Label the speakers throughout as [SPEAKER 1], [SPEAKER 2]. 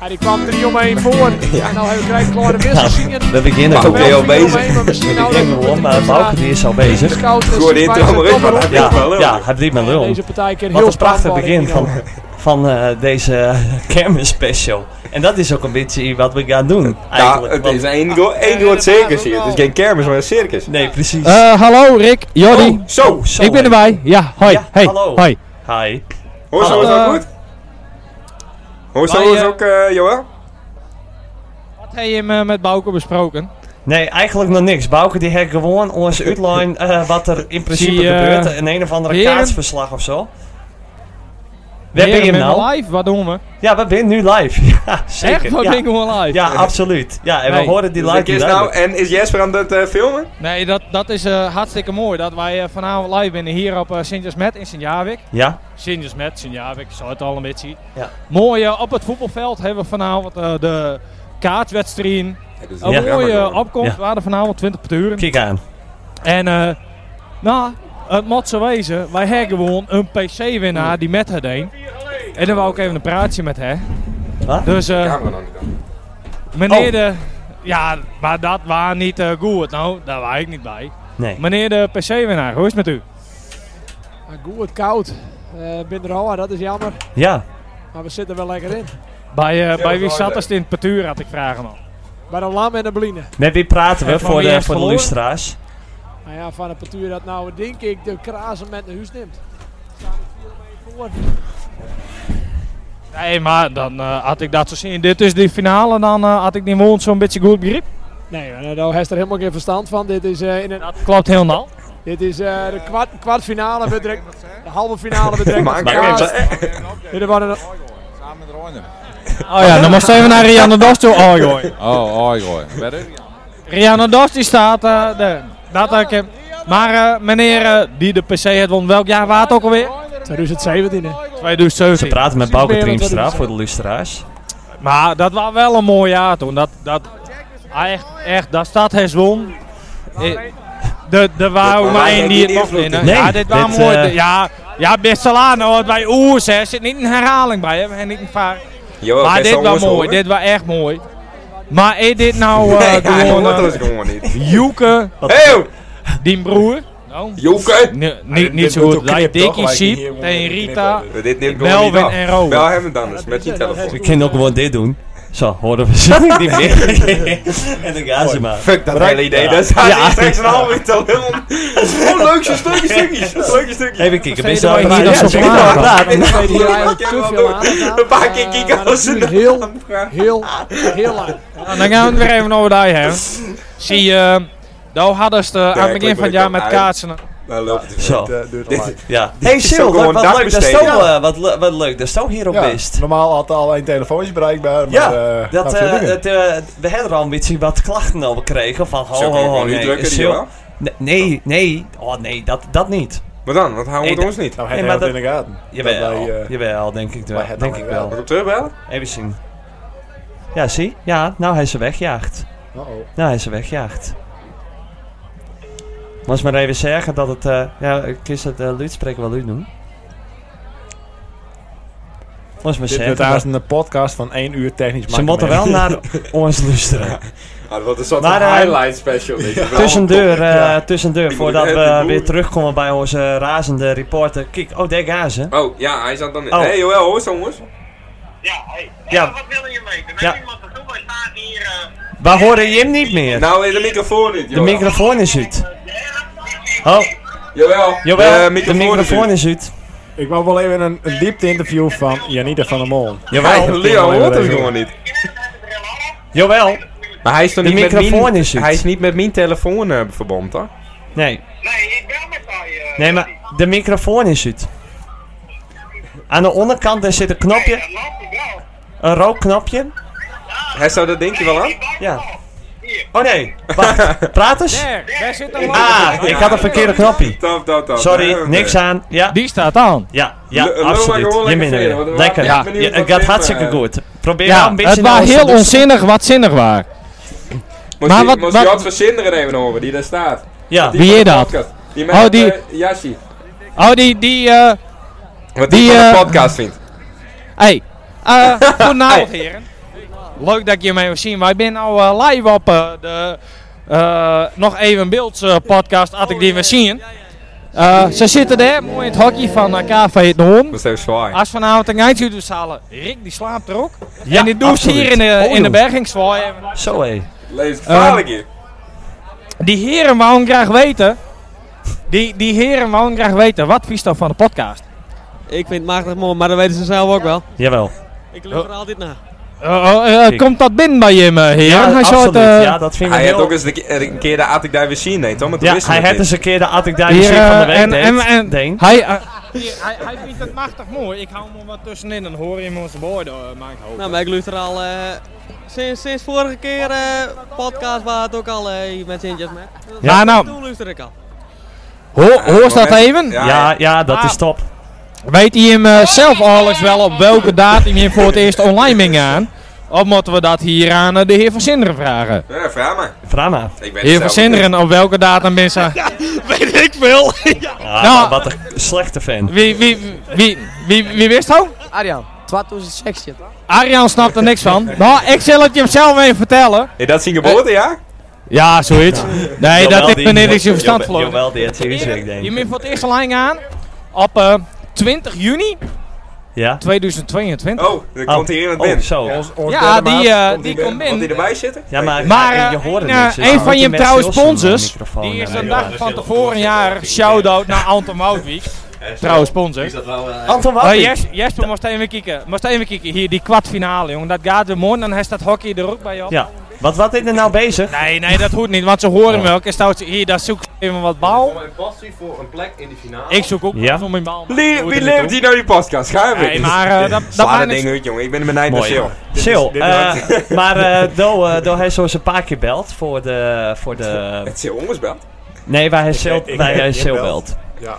[SPEAKER 1] Ja, die kwam 3 om 1 voor.
[SPEAKER 2] Ja.
[SPEAKER 1] En al heel klein kleine wisselsingen.
[SPEAKER 3] Nou, We beginnen
[SPEAKER 2] Maar
[SPEAKER 3] ook
[SPEAKER 2] wel
[SPEAKER 3] weer al
[SPEAKER 2] drie
[SPEAKER 1] om
[SPEAKER 3] bezig.
[SPEAKER 1] één, maar
[SPEAKER 3] We
[SPEAKER 1] misschien nou
[SPEAKER 3] beginnen
[SPEAKER 1] dat we
[SPEAKER 3] gewoon, maar
[SPEAKER 1] moeten
[SPEAKER 3] Bouke die is al bezig.
[SPEAKER 4] dus
[SPEAKER 1] dus
[SPEAKER 2] Gooi de intro maar in, maar hij
[SPEAKER 3] Ja,
[SPEAKER 2] doet wel hoor.
[SPEAKER 3] ja, hij blijft met lul.
[SPEAKER 1] Deze partij keer heel
[SPEAKER 3] Wat een prachtig
[SPEAKER 1] strafbaar
[SPEAKER 3] begin
[SPEAKER 1] in die
[SPEAKER 3] van,
[SPEAKER 1] rol.
[SPEAKER 3] van eh, deze kermis special. En dat is ook een beetje wat we gaan doen
[SPEAKER 2] Ja,
[SPEAKER 3] eigenlijk.
[SPEAKER 2] het
[SPEAKER 3] want-
[SPEAKER 2] is één go- één
[SPEAKER 1] Ja,
[SPEAKER 2] groot circus
[SPEAKER 1] inderdaad,
[SPEAKER 2] hier.
[SPEAKER 1] ook
[SPEAKER 2] Het is
[SPEAKER 1] wel.
[SPEAKER 2] geen kermis, maar een circus.
[SPEAKER 3] nee, precies.
[SPEAKER 5] Eh, hallo Rick, Jordi.
[SPEAKER 2] Oh, zo.
[SPEAKER 3] Oh, zo,
[SPEAKER 5] ik ben
[SPEAKER 3] hey.
[SPEAKER 5] erbij. Ja, hoi.
[SPEAKER 3] Ja,
[SPEAKER 5] hey,
[SPEAKER 3] hallo.
[SPEAKER 5] hoi.
[SPEAKER 3] Hi.
[SPEAKER 2] Hoor zo, is
[SPEAKER 5] Hallo.
[SPEAKER 2] dat goed? Hoor
[SPEAKER 4] Maar,
[SPEAKER 2] zo is
[SPEAKER 4] eh,
[SPEAKER 2] ook, eh, Joël?
[SPEAKER 4] Wat heb je me- met Bouke besproken?
[SPEAKER 3] Nee, eigenlijk nog niks. Bouke die heeft gewoon ons uitlijn eh, wat er in principe
[SPEAKER 4] Zie, eh,
[SPEAKER 3] gebeurt. Een een of andere
[SPEAKER 4] heren?
[SPEAKER 3] kaatsverslag of zo. Waar ben je
[SPEAKER 4] Heren, ben
[SPEAKER 3] nou?
[SPEAKER 4] Live, wat doen we?
[SPEAKER 3] Ja, we zijn nu live. Ja, zeker.
[SPEAKER 4] Echt, wat
[SPEAKER 3] ja.
[SPEAKER 4] dingen we live?
[SPEAKER 3] Ja, absoluut. Ja, en
[SPEAKER 4] Nee.
[SPEAKER 3] we horen die
[SPEAKER 2] Dus
[SPEAKER 3] live
[SPEAKER 2] ik is nou, en is Jesper aan het eh, filmen?
[SPEAKER 4] Nee, dat, dat is eh, hartstikke mooi dat wij eh, vanavond live binnen hier op eh Sint-Jasmet in Sint-Javik.
[SPEAKER 3] Ja,
[SPEAKER 4] Sintjes met Sint-Javik, zou het al een beetje zien.
[SPEAKER 3] Ja.
[SPEAKER 4] Mooi eh, op het voetbalveld hebben we vanavond eh, de kaartwedstrijd. Een
[SPEAKER 3] Ja.
[SPEAKER 4] mooie eh, opkomst,
[SPEAKER 3] Ja.
[SPEAKER 4] we hadden vanavond 20 per
[SPEAKER 3] kijk aan.
[SPEAKER 4] En eh, nou, het moet zo wezen, wij hebben gewoon een PC-winnaar die met haar deed. En dan wou ik even een praatje met haar.
[SPEAKER 3] Wat?
[SPEAKER 4] Dus eh,
[SPEAKER 2] Camera dan niet dan.
[SPEAKER 4] meneer
[SPEAKER 3] Oh.
[SPEAKER 4] de... Ja, maar dat was niet eh, goed. Nou, daar was ik niet bij.
[SPEAKER 3] Nee.
[SPEAKER 4] Meneer de PC-winnaar, hoe is het met u?
[SPEAKER 1] Ah, Goed, het koud. Eh binnen er al, ah, dat is jammer.
[SPEAKER 3] Ja,
[SPEAKER 1] Maar we zitten wel lekker in.
[SPEAKER 4] Bij, eh, bij wie
[SPEAKER 2] wel
[SPEAKER 4] zat
[SPEAKER 2] leuk.
[SPEAKER 4] het in het partuur, had ik vragen al.
[SPEAKER 1] Bij de lam en de bline.
[SPEAKER 3] met wie praten we
[SPEAKER 4] Heeft
[SPEAKER 3] voor
[SPEAKER 4] Marie
[SPEAKER 3] de,
[SPEAKER 4] echt
[SPEAKER 3] voor de
[SPEAKER 4] verloren?
[SPEAKER 3] lustra's?
[SPEAKER 1] Nou ja, van de partuur dat nou, denk ik, de krazen met naar huis neemt. Staan er vier om één
[SPEAKER 4] Nee, maar dan eh, had ik dat zo zien. Dit is die finale, dan eh, had ik die woont zo'n beetje goed begrip.
[SPEAKER 1] voor. Nee, maar daar heeft er helemaal geen verstand van. Dit is, eh, in een,
[SPEAKER 4] Dat klopt helemaal.
[SPEAKER 1] dit is eh, de kwart, kwartfinale. we direct- De halve finale we direct
[SPEAKER 2] Maar
[SPEAKER 1] met elkaar.
[SPEAKER 2] eh,
[SPEAKER 1] Dit waren een-
[SPEAKER 6] Samen met Roine.
[SPEAKER 4] Oh ja, dan moest even naar Rianne Dost toe. Oh, joh.
[SPEAKER 6] Oh, oh, gooi. Verder?
[SPEAKER 4] Rihanna Dos die staat eh de, dat heb ik hem. Maar eh, meneer eh, die de PC heeft won, welk jaar was het ook alweer?
[SPEAKER 1] 2017, hè.
[SPEAKER 4] 2017.
[SPEAKER 3] Ze praten met Bouke
[SPEAKER 1] Precies,
[SPEAKER 3] Triemstra
[SPEAKER 1] wat-
[SPEAKER 3] voor de lustra's.
[SPEAKER 4] Maar dat was wel een mooi jaar toen. Dat, dat, ah, echt, echt, dat stad heeft won. Eh, De, de wou maar één die het mocht winnen.
[SPEAKER 3] Nee,
[SPEAKER 4] ja, dit was
[SPEAKER 3] dit,
[SPEAKER 4] mooi.
[SPEAKER 3] eh,
[SPEAKER 4] Dit- ja, ja, best Salano, want bij Oers hè, zit niet een herhaling bij hem en niet een vaar.
[SPEAKER 2] Joël,
[SPEAKER 4] maar
[SPEAKER 2] best
[SPEAKER 4] dit
[SPEAKER 2] wel
[SPEAKER 4] was
[SPEAKER 2] ons
[SPEAKER 4] mooi,
[SPEAKER 2] horen.
[SPEAKER 4] dit was echt mooi. Maar is dit nou eh
[SPEAKER 2] Nee, ja, hij
[SPEAKER 4] gewoon
[SPEAKER 2] hoort
[SPEAKER 4] eh,
[SPEAKER 2] ons gewoon niet.
[SPEAKER 4] Joeke,
[SPEAKER 2] Hey,
[SPEAKER 4] die broer? Nou,
[SPEAKER 2] Joke!
[SPEAKER 4] Nee, niet, niet
[SPEAKER 2] Ah, dit
[SPEAKER 4] zo
[SPEAKER 2] moet
[SPEAKER 4] goed.
[SPEAKER 2] ook
[SPEAKER 4] Wij
[SPEAKER 2] knippen, toch?
[SPEAKER 4] Dickie
[SPEAKER 2] Wij die
[SPEAKER 4] Sheep tegen Rita,
[SPEAKER 2] Dit neemt gewoon niet
[SPEAKER 4] Melvin
[SPEAKER 2] af.
[SPEAKER 4] en Rowan.
[SPEAKER 2] Bel hem het anders, met die telefoon.
[SPEAKER 3] We kunnen ook gewoon dit doen. Zo, horen we ze niet meer. en dan gaan ze maar.
[SPEAKER 2] Fuck dat hele idee, dat staat
[SPEAKER 3] Ja.
[SPEAKER 2] hier straks een half uur te lullen. Oh, leuk, zo'n stukje, stukjes, zo'n leuke stukjes.
[SPEAKER 3] Even kijken, ben je
[SPEAKER 4] Vergeten
[SPEAKER 3] al
[SPEAKER 4] wij hier
[SPEAKER 3] praten?
[SPEAKER 4] dat
[SPEAKER 3] Ja,
[SPEAKER 4] ze
[SPEAKER 3] ben je al
[SPEAKER 4] praten?
[SPEAKER 3] praten?
[SPEAKER 1] Ik weet hier
[SPEAKER 2] Ik
[SPEAKER 1] eigenlijk
[SPEAKER 2] heb
[SPEAKER 1] te
[SPEAKER 2] wel
[SPEAKER 1] veel
[SPEAKER 2] door.
[SPEAKER 1] aan. gedaan.
[SPEAKER 2] Een paar keer
[SPEAKER 1] Eh,
[SPEAKER 2] kieken
[SPEAKER 1] maar dat
[SPEAKER 2] als ze
[SPEAKER 1] duurt
[SPEAKER 2] dat
[SPEAKER 1] heel,
[SPEAKER 2] aanvragen.
[SPEAKER 1] heel, heel lang.
[SPEAKER 4] Nou, dan gaan we het weer even over die hebben. Zie je, daar hadden ze het, eh, aan het
[SPEAKER 2] ik
[SPEAKER 4] begin van het
[SPEAKER 2] wil
[SPEAKER 4] jaar
[SPEAKER 2] het
[SPEAKER 4] met
[SPEAKER 2] ook
[SPEAKER 4] kaatsen.
[SPEAKER 2] Nou, loopt het weer.
[SPEAKER 3] Zo.
[SPEAKER 2] Dit, eh, duurt te lang.
[SPEAKER 3] Ja. Hey
[SPEAKER 2] is
[SPEAKER 3] Sil,
[SPEAKER 2] ook
[SPEAKER 3] wat,
[SPEAKER 2] gewoon
[SPEAKER 3] wat leuk dat
[SPEAKER 2] dagbesteding.
[SPEAKER 3] zo, eh, wat, le- wat leuk dat zo hierop
[SPEAKER 7] Ja,
[SPEAKER 3] is.
[SPEAKER 7] normaal had er al één telefoontje bereikbaar, maar
[SPEAKER 3] Ja,
[SPEAKER 7] eh,
[SPEAKER 3] dat,
[SPEAKER 7] nou,
[SPEAKER 3] eh,
[SPEAKER 7] veel dingen.
[SPEAKER 3] het, eh, we hebben er al een beetje wat klachten over gekregen. Van ho,
[SPEAKER 2] Zo
[SPEAKER 3] ho,
[SPEAKER 2] kan je
[SPEAKER 3] ho,
[SPEAKER 2] gewoon nu
[SPEAKER 3] nee,
[SPEAKER 2] drukken,
[SPEAKER 3] Sil-
[SPEAKER 2] die wel.
[SPEAKER 3] Nee, nee, nee. Oh nee, dat, dat niet.
[SPEAKER 2] Maar dan, want hij
[SPEAKER 3] Nee,
[SPEAKER 2] hoort
[SPEAKER 3] dat-
[SPEAKER 2] ons niet.
[SPEAKER 7] nou,
[SPEAKER 3] Nee,
[SPEAKER 7] hij
[SPEAKER 3] maar
[SPEAKER 7] houdt
[SPEAKER 3] dat-
[SPEAKER 7] in de gaten.
[SPEAKER 3] Jawel,
[SPEAKER 7] Dat wij, eh,
[SPEAKER 3] jawel, denk ik wel.
[SPEAKER 7] wij het
[SPEAKER 3] Denk
[SPEAKER 7] nou
[SPEAKER 3] ik
[SPEAKER 7] wel.
[SPEAKER 3] wel.
[SPEAKER 2] Mag ik hem terugbellen?
[SPEAKER 3] Even zien. Ja, zie? Ja, nou hij is ze wegjaagd.
[SPEAKER 7] uh-oh.
[SPEAKER 3] Nou hij is ze wegjaagd. Moest maar even zeggen dat het... eh, ja, ik kies het uh, luidspreker wel u doen. Moest maar
[SPEAKER 7] Dit wordt
[SPEAKER 3] zeggen...
[SPEAKER 7] haast
[SPEAKER 3] dat-
[SPEAKER 7] een podcast van één uur technisch
[SPEAKER 3] Ze moeten wel naar ons luisteren.
[SPEAKER 2] Ah, wat een soort
[SPEAKER 3] Maar, eh,
[SPEAKER 2] highlight special. weet je wel.
[SPEAKER 3] Tussendeur, eh, tussendeur,
[SPEAKER 2] Die moet ik
[SPEAKER 3] voordat
[SPEAKER 2] echt
[SPEAKER 3] we
[SPEAKER 2] doen.
[SPEAKER 3] weer terugkomen bij onze razende reporter. Kijk, oh, daar gaan ze.
[SPEAKER 2] Oh, ja, hij zat dan...
[SPEAKER 3] Oh.
[SPEAKER 2] Hey, Joël, hoor zo, jongens.
[SPEAKER 8] Ja, hey.
[SPEAKER 3] Ja.
[SPEAKER 8] Ja. wat wil je weten?
[SPEAKER 3] Ja.
[SPEAKER 8] Ja. Iemand te doen, wij staan hier. eh,
[SPEAKER 3] We horen je hem niet meer.
[SPEAKER 2] Nou, is de microfoon niet,
[SPEAKER 3] De
[SPEAKER 2] Joël.
[SPEAKER 3] microfoon is uit.
[SPEAKER 8] eh,
[SPEAKER 3] Oh,
[SPEAKER 2] Jawel,
[SPEAKER 3] jawel,
[SPEAKER 2] eh,
[SPEAKER 3] de microfoon is uit.
[SPEAKER 7] Ik wou wel even een, een diepte interview van Janita van der Mol.
[SPEAKER 2] Hij,
[SPEAKER 3] Jawel,
[SPEAKER 2] Leo hoort ons
[SPEAKER 7] Even
[SPEAKER 2] gewoon niet.
[SPEAKER 3] jawel.
[SPEAKER 2] Maar hij is toch
[SPEAKER 3] De
[SPEAKER 2] niet
[SPEAKER 3] microfoon
[SPEAKER 2] met mijn,
[SPEAKER 3] is uit.
[SPEAKER 2] Hij is niet met mijn telefoon eh, verbonden, toch?
[SPEAKER 3] Nee,
[SPEAKER 8] Nee, ik ben met hij. eh,
[SPEAKER 3] nee, maar de microfoon is uit. Aan de onderkant daar zit een knopje,
[SPEAKER 8] Dat loopt wel.
[SPEAKER 3] een rood knopje.
[SPEAKER 2] Hij zou dat denk je wel aan?
[SPEAKER 3] Ja. Oh nee, wacht, praat eens.
[SPEAKER 4] Daar, daar zit hem
[SPEAKER 3] Ah, ik had een verkeerde knopje.
[SPEAKER 2] Top, top, top.
[SPEAKER 3] Sorry, niks aan. Ja,
[SPEAKER 4] Die staat aan.
[SPEAKER 3] ja, ja,
[SPEAKER 2] Lul maar
[SPEAKER 3] absoluut. Je
[SPEAKER 2] gewoon lekker
[SPEAKER 3] minder
[SPEAKER 2] verder, want
[SPEAKER 3] weer.
[SPEAKER 2] we
[SPEAKER 3] Lekker.
[SPEAKER 2] waren
[SPEAKER 3] Ja,
[SPEAKER 2] benieuwd wat
[SPEAKER 3] het
[SPEAKER 2] Wim,
[SPEAKER 3] gaat
[SPEAKER 2] eh,
[SPEAKER 3] hartstikke goed. Probeer nou
[SPEAKER 4] Ja,
[SPEAKER 3] een beetje
[SPEAKER 4] het
[SPEAKER 3] naar
[SPEAKER 4] was
[SPEAKER 3] ons te
[SPEAKER 4] heel
[SPEAKER 3] luisteren.
[SPEAKER 4] onzinnig wat zinnig was.
[SPEAKER 2] Moest
[SPEAKER 4] Maar
[SPEAKER 2] je-
[SPEAKER 4] wat-
[SPEAKER 2] moest
[SPEAKER 4] wat-
[SPEAKER 2] Jad van Sinderen even horen, die daar staat.
[SPEAKER 3] Ja,
[SPEAKER 2] Die
[SPEAKER 4] Wie
[SPEAKER 2] van de
[SPEAKER 4] is dat?
[SPEAKER 2] podcast. Die
[SPEAKER 4] Oh,
[SPEAKER 2] met
[SPEAKER 4] die-
[SPEAKER 2] eh, Jassie.
[SPEAKER 4] Oh, die, die, eh,
[SPEAKER 2] Wat
[SPEAKER 4] Die,
[SPEAKER 2] die van de
[SPEAKER 4] eh,
[SPEAKER 2] podcast vindt.
[SPEAKER 4] hey. eh goedenavond heren. Leuk dat je mee wil zien. Wij zijn nou eh, live op eh, de eh, Nog Even Beelds eh, podcast, had ik die weer zien. Eh, ze zitten daar, mooi in het hockey van eh, KV De Hoorn.
[SPEAKER 2] Dat is even zwaar.
[SPEAKER 4] Als vanavond een eindje dus halen, Rick die slaapt er ook.
[SPEAKER 3] Ja,
[SPEAKER 4] en dit doet ze hier in de, in de
[SPEAKER 3] absoluut.
[SPEAKER 4] bergingswaai.
[SPEAKER 3] Zo hé.
[SPEAKER 2] Lees
[SPEAKER 3] Eh,
[SPEAKER 2] het gevaarlijk hier.
[SPEAKER 4] Die heren wouden graag weten, die, die heren wouden graag weten, wat vies dan van de podcast?
[SPEAKER 9] Ik vind het machtig mooi, maar dat weten ze zelf ook wel.
[SPEAKER 3] Jawel.
[SPEAKER 9] Ik lever er altijd na.
[SPEAKER 4] Eh, eh, eh,
[SPEAKER 3] Ik-
[SPEAKER 4] komt dat binnen bij je, heren? Hij zou het,
[SPEAKER 3] absoluut.
[SPEAKER 4] eh,
[SPEAKER 3] ja, dat vind ik
[SPEAKER 2] Hij had
[SPEAKER 3] heel...
[SPEAKER 2] ook eens de ke- eh, een keer de Attic Diver zien, nee, toch? Maar toen
[SPEAKER 3] ja,
[SPEAKER 2] wisten
[SPEAKER 3] hij
[SPEAKER 2] we
[SPEAKER 3] had
[SPEAKER 2] het
[SPEAKER 3] eens
[SPEAKER 2] niet.
[SPEAKER 3] een keer de Attic Dive
[SPEAKER 4] Hier,
[SPEAKER 3] van de
[SPEAKER 4] eh,
[SPEAKER 3] week
[SPEAKER 4] en-
[SPEAKER 3] deed.
[SPEAKER 4] en- en-
[SPEAKER 3] Deen.
[SPEAKER 4] Hij, eh, hij, hij vindt het machtig mooi. Ik hou me wat tussenin en hoor hem onze woorden, eh, maar ik hoop.
[SPEAKER 9] Nou, maar ik luister al eh, sinds, sinds vorige keer eh, podcast waar het ook al eh, met Sintjes met.
[SPEAKER 4] Ja, nou.
[SPEAKER 9] Toen luister ik al.
[SPEAKER 4] Hoor, hoor ze dat
[SPEAKER 2] moment-
[SPEAKER 4] even?
[SPEAKER 2] Ja,
[SPEAKER 3] ja, ja, dat
[SPEAKER 4] Ah.
[SPEAKER 3] is top.
[SPEAKER 4] Weet hij hem eh, zelf alles wel op welke datum hij voor het eerst online ming aan? Of moeten we dat hier aan eh, de heer Van Sinderen vragen?
[SPEAKER 2] Ja, vraag maar.
[SPEAKER 3] Vraag maar.
[SPEAKER 2] Ik ben
[SPEAKER 4] Heer Van
[SPEAKER 2] het zelf niet.
[SPEAKER 4] Sinderen, op welke datum ben ze?
[SPEAKER 9] Weet ik veel.
[SPEAKER 3] Ah,
[SPEAKER 4] Nou.
[SPEAKER 3] Wat een slechte fan.
[SPEAKER 4] Wie, wie, wie, wie, wie, wie wist dat?
[SPEAKER 9] Arjan, 2016.
[SPEAKER 4] Arjan snapt er niks van. Nou, ik zal het je hem zelf even vertellen.
[SPEAKER 2] Is dat zijn geboortejaar?
[SPEAKER 4] Ja, zoiets. Nee, dat heeft meneer niet zijn verstand
[SPEAKER 3] voor.
[SPEAKER 4] verloren.
[SPEAKER 3] Jawel, die had serieus ik
[SPEAKER 4] Je
[SPEAKER 3] denk.
[SPEAKER 4] moet voor het eerst online aan op eh, 20 juni
[SPEAKER 3] Ja?
[SPEAKER 4] 2022.
[SPEAKER 2] Oh, dan komt hij hier in het
[SPEAKER 3] Oh,
[SPEAKER 2] binnen.
[SPEAKER 3] zo.
[SPEAKER 4] ja, die, eh, die
[SPEAKER 2] binnen.
[SPEAKER 4] komt binnen.
[SPEAKER 2] Komt hij erbij zitten?
[SPEAKER 3] Ja, maar,
[SPEAKER 4] Maar, eh,
[SPEAKER 3] je hoorde
[SPEAKER 4] een, eh,
[SPEAKER 3] niks, dus
[SPEAKER 4] een
[SPEAKER 3] dan
[SPEAKER 4] van
[SPEAKER 3] moeten
[SPEAKER 4] je
[SPEAKER 3] mensen
[SPEAKER 4] trouwe
[SPEAKER 3] heel snel een
[SPEAKER 4] sponsors,
[SPEAKER 3] microfoon
[SPEAKER 4] Die is
[SPEAKER 3] hebben.
[SPEAKER 4] een dag van tevoren jaar shout-out naar Anton Moutwijk. Trouwe sponsor.
[SPEAKER 3] Anton
[SPEAKER 4] Eh,
[SPEAKER 3] Wappie.
[SPEAKER 4] Jes- Jesper, moest even kijken. Moest even kijken. Hier, die kwartfinale, jongen. Dat gaat weer mooi. Dan heeft dat hockey er ook bij op.
[SPEAKER 3] Ja. Wat, wat is er nou bezig?
[SPEAKER 4] Nee, nee, dat hoeft niet. Want ze horen me ook. En stout ze- hier, daar zoek ik even wat bal.
[SPEAKER 10] Mijn passie voor een plek in de finale.
[SPEAKER 4] Ik zoek ook
[SPEAKER 3] Ja.
[SPEAKER 4] om mijn bal. maar
[SPEAKER 2] Lee-
[SPEAKER 4] dat doet
[SPEAKER 2] Wie
[SPEAKER 4] er niet
[SPEAKER 2] leeft
[SPEAKER 4] toe.
[SPEAKER 2] hier nou die podcast? Ga
[SPEAKER 4] Nee,
[SPEAKER 2] even.
[SPEAKER 4] maar eh, dat, dat
[SPEAKER 2] Sla
[SPEAKER 4] maakt
[SPEAKER 2] dat
[SPEAKER 4] niks
[SPEAKER 2] ding uit, jongen. Ik ben er benijd naar
[SPEAKER 3] Mooi.
[SPEAKER 2] Sil.
[SPEAKER 3] Sil, eh, maar eh Do, eh, Do heeft zoals een paar keer belt voor de, voor de...
[SPEAKER 2] Het Sil ongesbeld.
[SPEAKER 3] Nee, waar hij Sil,
[SPEAKER 7] ik-
[SPEAKER 3] waar hij
[SPEAKER 7] ik
[SPEAKER 3] Sil
[SPEAKER 7] belt.
[SPEAKER 3] belt.
[SPEAKER 7] Ja.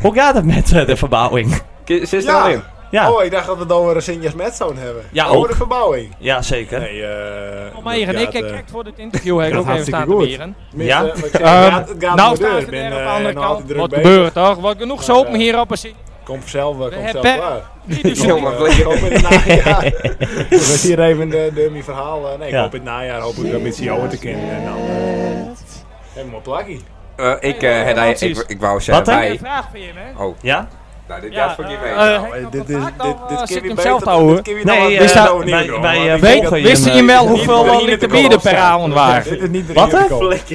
[SPEAKER 3] Hoe gaat het met eh, de verbouwing?
[SPEAKER 2] Zit er
[SPEAKER 10] Ja.
[SPEAKER 2] al in?
[SPEAKER 3] Ja,
[SPEAKER 10] Oh, ik dacht dat we dan weer een Sinjas met zouden hebben.
[SPEAKER 3] Ja,
[SPEAKER 10] Over
[SPEAKER 3] ook.
[SPEAKER 10] de verbouwing.
[SPEAKER 3] ja zeker.
[SPEAKER 7] Nee, eh.
[SPEAKER 4] Kom maar hier, en ik
[SPEAKER 7] dat gaat,
[SPEAKER 4] kijk
[SPEAKER 7] eh,
[SPEAKER 4] kijk voor dit interview heb ik
[SPEAKER 7] dat
[SPEAKER 4] ook even
[SPEAKER 7] hartstikke
[SPEAKER 4] staan te
[SPEAKER 7] goed.
[SPEAKER 4] leren.
[SPEAKER 10] Tenminste,
[SPEAKER 3] Ja?
[SPEAKER 10] wat ik zeg,
[SPEAKER 4] Ehm,
[SPEAKER 10] het gaat- het gaat
[SPEAKER 4] Nou
[SPEAKER 10] om de deur.
[SPEAKER 4] staan ze
[SPEAKER 10] Ik ben,
[SPEAKER 4] er
[SPEAKER 10] eh,
[SPEAKER 4] aan de andere
[SPEAKER 10] nog altijd
[SPEAKER 4] kant.
[SPEAKER 10] druk
[SPEAKER 4] Wat
[SPEAKER 10] bezig.
[SPEAKER 4] gebeurt toch? Wat genoeg zopen hier op een zin.
[SPEAKER 7] Komt vanzelf, eh, komt
[SPEAKER 4] hebben-
[SPEAKER 7] zelf klaar.
[SPEAKER 2] Jongen, vlees.
[SPEAKER 7] Ik hoop in het najaar. Ik was hier even de, de mijn verhaal. eh, nee, ik
[SPEAKER 3] Ja.
[SPEAKER 7] hoop in het najaar hoop ik dat met z'n te kennen. En dan. eh, Helemaal plakkie.
[SPEAKER 2] Eh, Ik eh, had hij- ik- ik wou zeggen,
[SPEAKER 3] Wat, hè?
[SPEAKER 4] Een
[SPEAKER 2] wij...
[SPEAKER 4] vraag voor je, hè?
[SPEAKER 3] Ja?
[SPEAKER 2] Nou, dit
[SPEAKER 4] Ja,
[SPEAKER 2] gaat voor niet
[SPEAKER 4] eh,
[SPEAKER 2] mee.
[SPEAKER 4] eh,
[SPEAKER 7] Dit-
[SPEAKER 4] Henk,
[SPEAKER 7] Dit
[SPEAKER 4] dan
[SPEAKER 7] is. Dit
[SPEAKER 1] Ah,
[SPEAKER 4] dan, eh,
[SPEAKER 7] dit
[SPEAKER 4] zit
[SPEAKER 7] kun
[SPEAKER 4] ik
[SPEAKER 7] je
[SPEAKER 4] hem
[SPEAKER 7] beter-
[SPEAKER 4] zelf te
[SPEAKER 7] dit
[SPEAKER 4] houden.
[SPEAKER 7] kun je
[SPEAKER 3] Nee,
[SPEAKER 7] nou
[SPEAKER 3] eh,
[SPEAKER 7] wat-
[SPEAKER 4] wij-
[SPEAKER 7] nou niet,
[SPEAKER 3] wij-
[SPEAKER 7] hoor,
[SPEAKER 3] wij,
[SPEAKER 7] want
[SPEAKER 3] eh,
[SPEAKER 7] ik
[SPEAKER 3] weet-
[SPEAKER 7] denk dat dit-
[SPEAKER 4] Wisten je wel hoeveel eh,
[SPEAKER 7] Iedereen
[SPEAKER 4] liter
[SPEAKER 7] in de
[SPEAKER 4] bier er
[SPEAKER 7] kop
[SPEAKER 4] per
[SPEAKER 7] staat.
[SPEAKER 4] avond waren?
[SPEAKER 7] Dit is niet de
[SPEAKER 3] Wat, hè?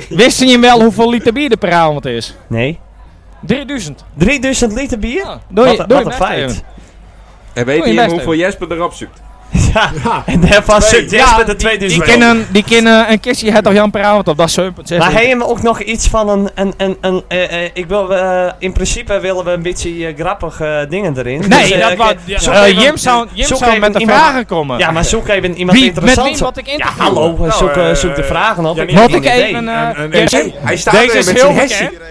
[SPEAKER 4] Wisten je wel hoeveel liter bier er per avond is?
[SPEAKER 3] Nee.
[SPEAKER 4] 3000.
[SPEAKER 3] 3000 liter bier?
[SPEAKER 4] Ja, doe je-
[SPEAKER 3] Wat, een-
[SPEAKER 4] doe je
[SPEAKER 3] wat een
[SPEAKER 4] best
[SPEAKER 3] feit.
[SPEAKER 2] En
[SPEAKER 4] even. Doe
[SPEAKER 2] weet
[SPEAKER 4] je
[SPEAKER 2] je
[SPEAKER 4] best
[SPEAKER 2] hoeveel Jesper erop zoekt?
[SPEAKER 3] Ja. En daarvan zit Jesper de 2000
[SPEAKER 4] Die kennen, die kennen een kistje het of Jan per avond op, dat is 7,6.
[SPEAKER 3] Maar hij hem ook nog iets van een. een, een, een eh, eh, ik wil, eh, in principe willen we een beetje eh, grappige dingen erin. Dus,
[SPEAKER 4] Nee,
[SPEAKER 3] eh,
[SPEAKER 4] dat
[SPEAKER 3] ik-
[SPEAKER 4] was.
[SPEAKER 3] zoek
[SPEAKER 4] eh,
[SPEAKER 3] even-
[SPEAKER 4] Jim zou, Jim
[SPEAKER 3] zoek
[SPEAKER 4] zou
[SPEAKER 3] even
[SPEAKER 4] met de
[SPEAKER 3] iemand-
[SPEAKER 4] vragen komen.
[SPEAKER 3] Ja, maar zoek even iemand
[SPEAKER 4] Wie- met
[SPEAKER 3] interessants.
[SPEAKER 4] wie wat ik
[SPEAKER 3] ja,
[SPEAKER 4] interview?
[SPEAKER 3] hallo,
[SPEAKER 2] Nou,
[SPEAKER 3] eh, zoek, eh,
[SPEAKER 7] eh,
[SPEAKER 3] zoek de vragen op.
[SPEAKER 7] Janine.
[SPEAKER 3] heb
[SPEAKER 4] Wat
[SPEAKER 3] geen
[SPEAKER 4] ik
[SPEAKER 3] idee.
[SPEAKER 4] even. eh,
[SPEAKER 7] Een- een-
[SPEAKER 4] eerst-
[SPEAKER 7] een-
[SPEAKER 2] Hij staat
[SPEAKER 4] Deze
[SPEAKER 2] er
[SPEAKER 4] is
[SPEAKER 2] met
[SPEAKER 4] heel
[SPEAKER 2] zijn hessie.
[SPEAKER 4] bekend.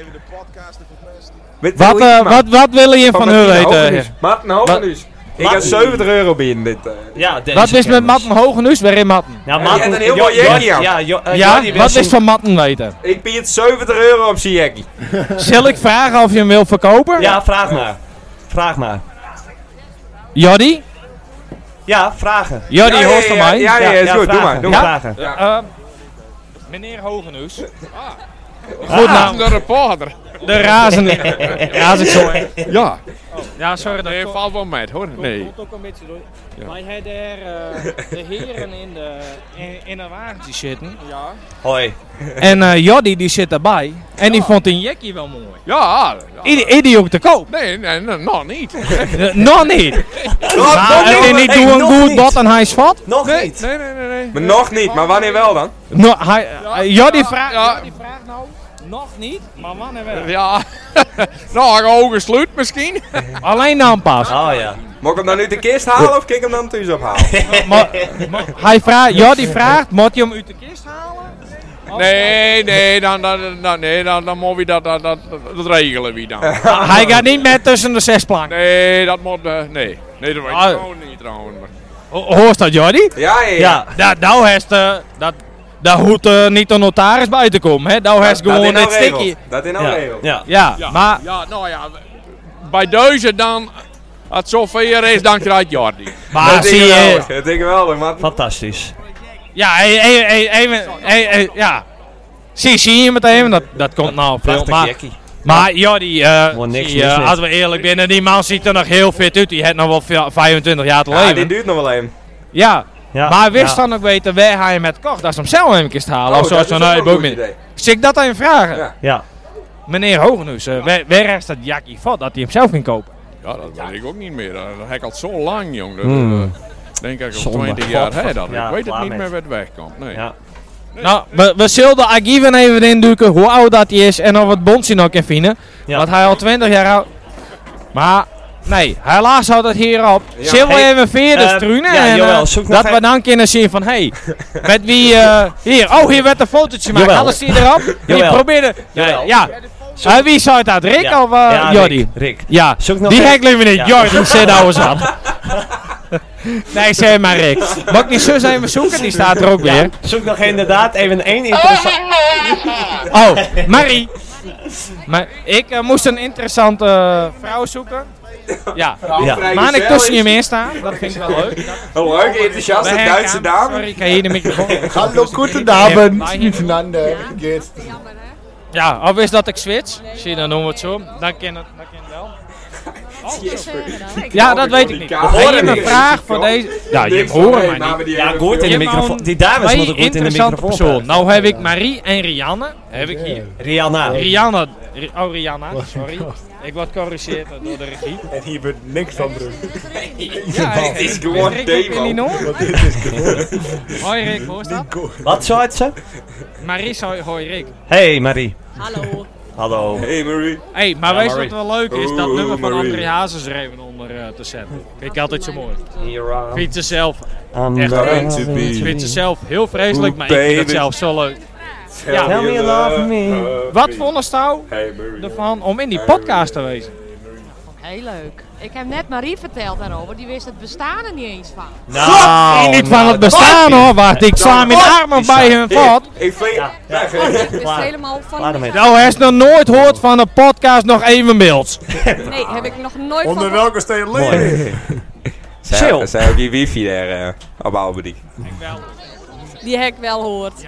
[SPEAKER 2] Met
[SPEAKER 4] Wat,
[SPEAKER 2] Wil
[SPEAKER 4] eh,
[SPEAKER 2] Jiema.
[SPEAKER 4] wat, wat willen je van hun
[SPEAKER 2] Martin
[SPEAKER 4] weten?
[SPEAKER 2] Hogenhuis. Martin Hogenhuis. Ik
[SPEAKER 3] Martin.
[SPEAKER 2] ga 70 euro bieden dit. eh.
[SPEAKER 3] Ja, deze
[SPEAKER 4] Wat wist met
[SPEAKER 3] kennis.
[SPEAKER 4] Matten Hogenhuis? Weer in Matten.
[SPEAKER 3] Ja,
[SPEAKER 2] die
[SPEAKER 3] Matten.
[SPEAKER 2] had een heel
[SPEAKER 3] Jo-
[SPEAKER 2] mooi
[SPEAKER 3] Jo-
[SPEAKER 2] jekkie aan.
[SPEAKER 3] Ja, Jo- eh,
[SPEAKER 4] Ja,
[SPEAKER 3] Jordi
[SPEAKER 4] wat
[SPEAKER 3] wist
[SPEAKER 4] wist
[SPEAKER 3] hem-
[SPEAKER 4] van Matten weten?
[SPEAKER 2] Ik bied 70 euro op zijn jackie.
[SPEAKER 4] Zal ik vragen of je hem wil verkopen?
[SPEAKER 3] Ja, vraag maar. Vraag maar.
[SPEAKER 4] Joddy?
[SPEAKER 3] Ja, vragen.
[SPEAKER 4] Joddy,
[SPEAKER 2] Ja, ja,
[SPEAKER 4] hoort van
[SPEAKER 2] ja,
[SPEAKER 4] mij.
[SPEAKER 2] Ja, ja, is goed. Doe
[SPEAKER 3] vragen.
[SPEAKER 2] maar. Doe
[SPEAKER 4] Ja?
[SPEAKER 2] maar.
[SPEAKER 3] Vragen.
[SPEAKER 4] Eh, meneer Hogenhuis. Ah, Goed naam.
[SPEAKER 11] De reporter.
[SPEAKER 4] De razende. Razend zo. hè.
[SPEAKER 11] Ja.
[SPEAKER 4] Ja, sorry dat
[SPEAKER 11] Nee, valt wel met hoor. Nee.
[SPEAKER 4] ook een beetje door. Wij hebben er eh, de heren in de, in, de wagentje zitten.
[SPEAKER 3] Hoi.
[SPEAKER 4] En eh Joddy die zit erbij. En die vond een jackie wel mooi.
[SPEAKER 11] Ja.
[SPEAKER 4] Idi idi ook te koop.
[SPEAKER 11] Nee, nee, nee, nog niet.
[SPEAKER 4] Eh, nog niet.
[SPEAKER 3] nog
[SPEAKER 4] Maar eh, als je
[SPEAKER 3] niet.
[SPEAKER 4] niet
[SPEAKER 3] Hey,
[SPEAKER 4] doet een
[SPEAKER 3] nog
[SPEAKER 4] goed
[SPEAKER 3] niet.
[SPEAKER 4] bot en hij is vat.
[SPEAKER 3] Nog
[SPEAKER 11] Nee,
[SPEAKER 3] niet.
[SPEAKER 11] nee, nee, nee. nee.
[SPEAKER 2] Maar nog niet. Maar wanneer wel dan?
[SPEAKER 4] No, hij, eh, Joddy vraagt
[SPEAKER 11] ja.
[SPEAKER 4] Joddy vraagt nou. Nog niet, maar wanneer wel?
[SPEAKER 11] Ja. Nog ogen sluit misschien.
[SPEAKER 4] Alleen aanpassen.
[SPEAKER 3] Oh ja.
[SPEAKER 2] Moet ik hem dan uit de kist halen of kijk ik hem dan thuis ophalen?
[SPEAKER 4] Maar, maar hij vraagt, Joddy vraagt, moet je hem uit de kist halen?
[SPEAKER 11] Oh,
[SPEAKER 4] Of-
[SPEAKER 11] Nee, nee, dan, dan, dan, nee, dan, dan moet we dat, dat, dat, dat regelen wie dan.
[SPEAKER 4] Hij gaat niet meer tussen de zes planken.
[SPEAKER 11] Nee, dat moet, eh, nee. Nee, dat weet ik
[SPEAKER 4] Ah.
[SPEAKER 11] gewoon niet trouwens. maar-
[SPEAKER 4] Ho- Hoort dat, Jordi?
[SPEAKER 2] Ja, ja, ja.
[SPEAKER 3] Ja.
[SPEAKER 4] Ja, nou heeft eh, dat, daar hoeft eh, niet de notaris bij te komen. Hè? Nou
[SPEAKER 2] Dat
[SPEAKER 4] heeft
[SPEAKER 2] in
[SPEAKER 4] gewoon
[SPEAKER 2] nou
[SPEAKER 4] dit stikje.
[SPEAKER 2] regelt. Dat in nou
[SPEAKER 3] Ja.
[SPEAKER 2] regel.
[SPEAKER 3] Ja.
[SPEAKER 4] Ja,
[SPEAKER 11] Ja,
[SPEAKER 4] maar
[SPEAKER 11] ja, nou ja, bij deze dan Als het zover is, dan krijgt Jordi.
[SPEAKER 3] Maar
[SPEAKER 11] Dat
[SPEAKER 3] zie
[SPEAKER 11] denk ik
[SPEAKER 3] je-
[SPEAKER 11] wel. Dat denk ik wel, man.
[SPEAKER 3] Fantastisch.
[SPEAKER 4] Ja, hey, hey, hey, even, hey, hey, ja. Zie, zie je meteen, dat, dat komt nou op veel.
[SPEAKER 3] Prachtig
[SPEAKER 4] Maar,
[SPEAKER 3] jackie.
[SPEAKER 4] maar ja, die, eh,
[SPEAKER 3] Gewoon niks,
[SPEAKER 4] die, eh,
[SPEAKER 3] niks, niks.
[SPEAKER 4] als we eerlijk binnen, die man ziet er nog heel fit uit. Die heeft nog wel vi- 25 jaar te
[SPEAKER 2] Ja,
[SPEAKER 4] leven.
[SPEAKER 2] dit duurt nog wel even.
[SPEAKER 4] Ja.
[SPEAKER 3] Ja,
[SPEAKER 4] maar wist
[SPEAKER 3] ja.
[SPEAKER 4] dan ook weten waar hij met kocht? Dat ze hem zelf even kist halen.
[SPEAKER 2] Oh,
[SPEAKER 4] of zo,
[SPEAKER 2] dat
[SPEAKER 4] zo
[SPEAKER 2] is
[SPEAKER 4] nou,
[SPEAKER 2] ook
[SPEAKER 4] ik
[SPEAKER 2] een
[SPEAKER 4] ook
[SPEAKER 2] goed
[SPEAKER 4] niet.
[SPEAKER 2] idee.
[SPEAKER 4] Zie ik dat aan je vragen?
[SPEAKER 2] Ja.
[SPEAKER 3] Ja.
[SPEAKER 4] Meneer Hogenhuis, eh, waar, waar is dat Jackie vat dat hij hem zelf ging kopen?
[SPEAKER 11] Ja, dat weet ik ook niet meer. Eh, Dat dat heb ik al zo lang, jong. Dat,
[SPEAKER 3] Hmm.
[SPEAKER 11] eh, denk ik al
[SPEAKER 3] Zonde.
[SPEAKER 11] 20 jaar hè, dat.
[SPEAKER 3] Ja,
[SPEAKER 11] ik weet het
[SPEAKER 3] klaar
[SPEAKER 11] niet
[SPEAKER 3] met.
[SPEAKER 11] meer waar het wegkomt. Nee.
[SPEAKER 3] Ja.
[SPEAKER 4] Nou, we, we zullen Agieven even induiken hoe oud dat hij is en of het Bonsie nog kan vinden.
[SPEAKER 3] Ja.
[SPEAKER 4] Want hij al 20 jaar oud. Maar, nee, helaas houdt het hier op. zullen we
[SPEAKER 3] Hey,
[SPEAKER 4] even verder
[SPEAKER 3] eh,
[SPEAKER 4] struinen?
[SPEAKER 3] ja,
[SPEAKER 4] en, eh,
[SPEAKER 3] jawel, zoek nog
[SPEAKER 4] dat we
[SPEAKER 3] even-
[SPEAKER 4] dan kunnen zien van, hé, hey, met wie... eh, hier, oh, hier werd een fotootje gemaakt.
[SPEAKER 3] Jawel.
[SPEAKER 4] Alles zie je erop. Hier,
[SPEAKER 3] Jawel.
[SPEAKER 4] probeerde... Ja,
[SPEAKER 3] Jawel.
[SPEAKER 4] ja. Eh, wie zou dat? Rick
[SPEAKER 3] Ja.
[SPEAKER 4] of eh,
[SPEAKER 3] Ja,
[SPEAKER 4] Jordi?
[SPEAKER 3] Rick, Rick.
[SPEAKER 4] Ja,
[SPEAKER 3] Zoek nog
[SPEAKER 4] die
[SPEAKER 3] even-
[SPEAKER 4] hek liever
[SPEAKER 3] Ja.
[SPEAKER 4] niet. Jordi, zit nou eens aan. nee, zeg maar Rick. Mag ik niet zo zijn we zoeken? Die staat er ook weer.
[SPEAKER 3] Zoek nog inderdaad even één interessant...
[SPEAKER 4] Oh, Marie. Maar ik eh, moest een interessante eh, vrouw zoeken. Ja.
[SPEAKER 3] Ja.
[SPEAKER 4] Maar ik tussen je meer staan. Dat vind ik wel leuk.
[SPEAKER 2] Een leuke, enthousiaste
[SPEAKER 4] Bij
[SPEAKER 2] Duitse
[SPEAKER 4] herkant. Sorry,
[SPEAKER 2] dame.
[SPEAKER 4] ik ga hier de microfoon.
[SPEAKER 10] Hallo, guten
[SPEAKER 4] Abend.
[SPEAKER 10] Miteinander. Geht's?
[SPEAKER 4] Ja, of is dat ik switch? Zie je, dan noemen we het zo. Dan kan het, dan kan het wel.
[SPEAKER 12] Oh, eh,
[SPEAKER 4] Ja, dat weet ik niet.
[SPEAKER 2] kamer.
[SPEAKER 4] Heb je
[SPEAKER 2] Horen
[SPEAKER 4] een
[SPEAKER 2] we
[SPEAKER 4] vraag
[SPEAKER 2] niet.
[SPEAKER 4] voor
[SPEAKER 2] Ja.
[SPEAKER 4] deze... Ja, je
[SPEAKER 2] Niks
[SPEAKER 4] hoort
[SPEAKER 2] van,
[SPEAKER 4] mij
[SPEAKER 2] nee,
[SPEAKER 4] niet.
[SPEAKER 2] maar die
[SPEAKER 3] Ja,
[SPEAKER 2] hebben
[SPEAKER 3] goed in de
[SPEAKER 4] Je hebt
[SPEAKER 3] microfoon.
[SPEAKER 4] een
[SPEAKER 3] Die dames
[SPEAKER 4] Twee
[SPEAKER 3] moeten goed in de
[SPEAKER 4] interessante
[SPEAKER 3] microfoon
[SPEAKER 4] persoon.
[SPEAKER 3] praten.
[SPEAKER 4] Nou heb ik Marie en Rianne. Heb ik hier.
[SPEAKER 3] Rihanna.
[SPEAKER 4] Rianne. Ri- Oh, Rianna. Sorry. Ik word gecorrigeerd door de regie.
[SPEAKER 10] En hier wordt niks van, broer.
[SPEAKER 4] Ja,
[SPEAKER 2] Dit is gewoon Demo.
[SPEAKER 4] Hoi Rick, hoe is dat?
[SPEAKER 3] Wat zou het ze?
[SPEAKER 4] Marie zei hoi Rick.
[SPEAKER 3] Hey Marie.
[SPEAKER 12] Hallo.
[SPEAKER 3] Hallo.
[SPEAKER 2] Hey Marie.
[SPEAKER 4] hey, maar weet je wat wel leuk is? Dat
[SPEAKER 2] Oeh,
[SPEAKER 4] nummer van
[SPEAKER 2] Marie.
[SPEAKER 4] André Hazes er even onder eh, te zetten. Vind ik altijd zo mooi.
[SPEAKER 2] eh,
[SPEAKER 4] Vindt ze zelf,
[SPEAKER 3] I'm
[SPEAKER 4] Echt
[SPEAKER 2] going to be-
[SPEAKER 4] vindt ze zelf heel vreselijk,
[SPEAKER 2] Oeh,
[SPEAKER 4] maar ik vind het
[SPEAKER 2] baby.
[SPEAKER 4] zelf zo leuk.
[SPEAKER 2] Tell
[SPEAKER 3] Tell me you love me.
[SPEAKER 2] love
[SPEAKER 4] Wat
[SPEAKER 2] me.
[SPEAKER 4] vonden ze nou
[SPEAKER 2] Hey Marie.
[SPEAKER 4] ervan om in die podcast te wezen?
[SPEAKER 12] Heel leuk. Ik heb net Marie verteld daarover, die wist het bestaan er niet eens van.
[SPEAKER 4] Nou, niet van het bestaan hoor, wacht. Ik sla mijn
[SPEAKER 1] Nou,
[SPEAKER 4] armen bij hun vat.
[SPEAKER 2] Ik vind...
[SPEAKER 12] Ik wist
[SPEAKER 3] Waar-
[SPEAKER 12] helemaal van.
[SPEAKER 3] waarom
[SPEAKER 12] niks
[SPEAKER 3] heet-
[SPEAKER 4] Nou, hij is nog nooit hoort van de podcast nog even beeld.
[SPEAKER 12] af. Nee, heb ik nog nooit
[SPEAKER 10] Onder
[SPEAKER 12] van
[SPEAKER 10] welke steen leven?
[SPEAKER 3] Mooi. Chill.
[SPEAKER 2] Zij zij ook die wifi daar eh, op Alberdiek.
[SPEAKER 12] die hek wel hoort.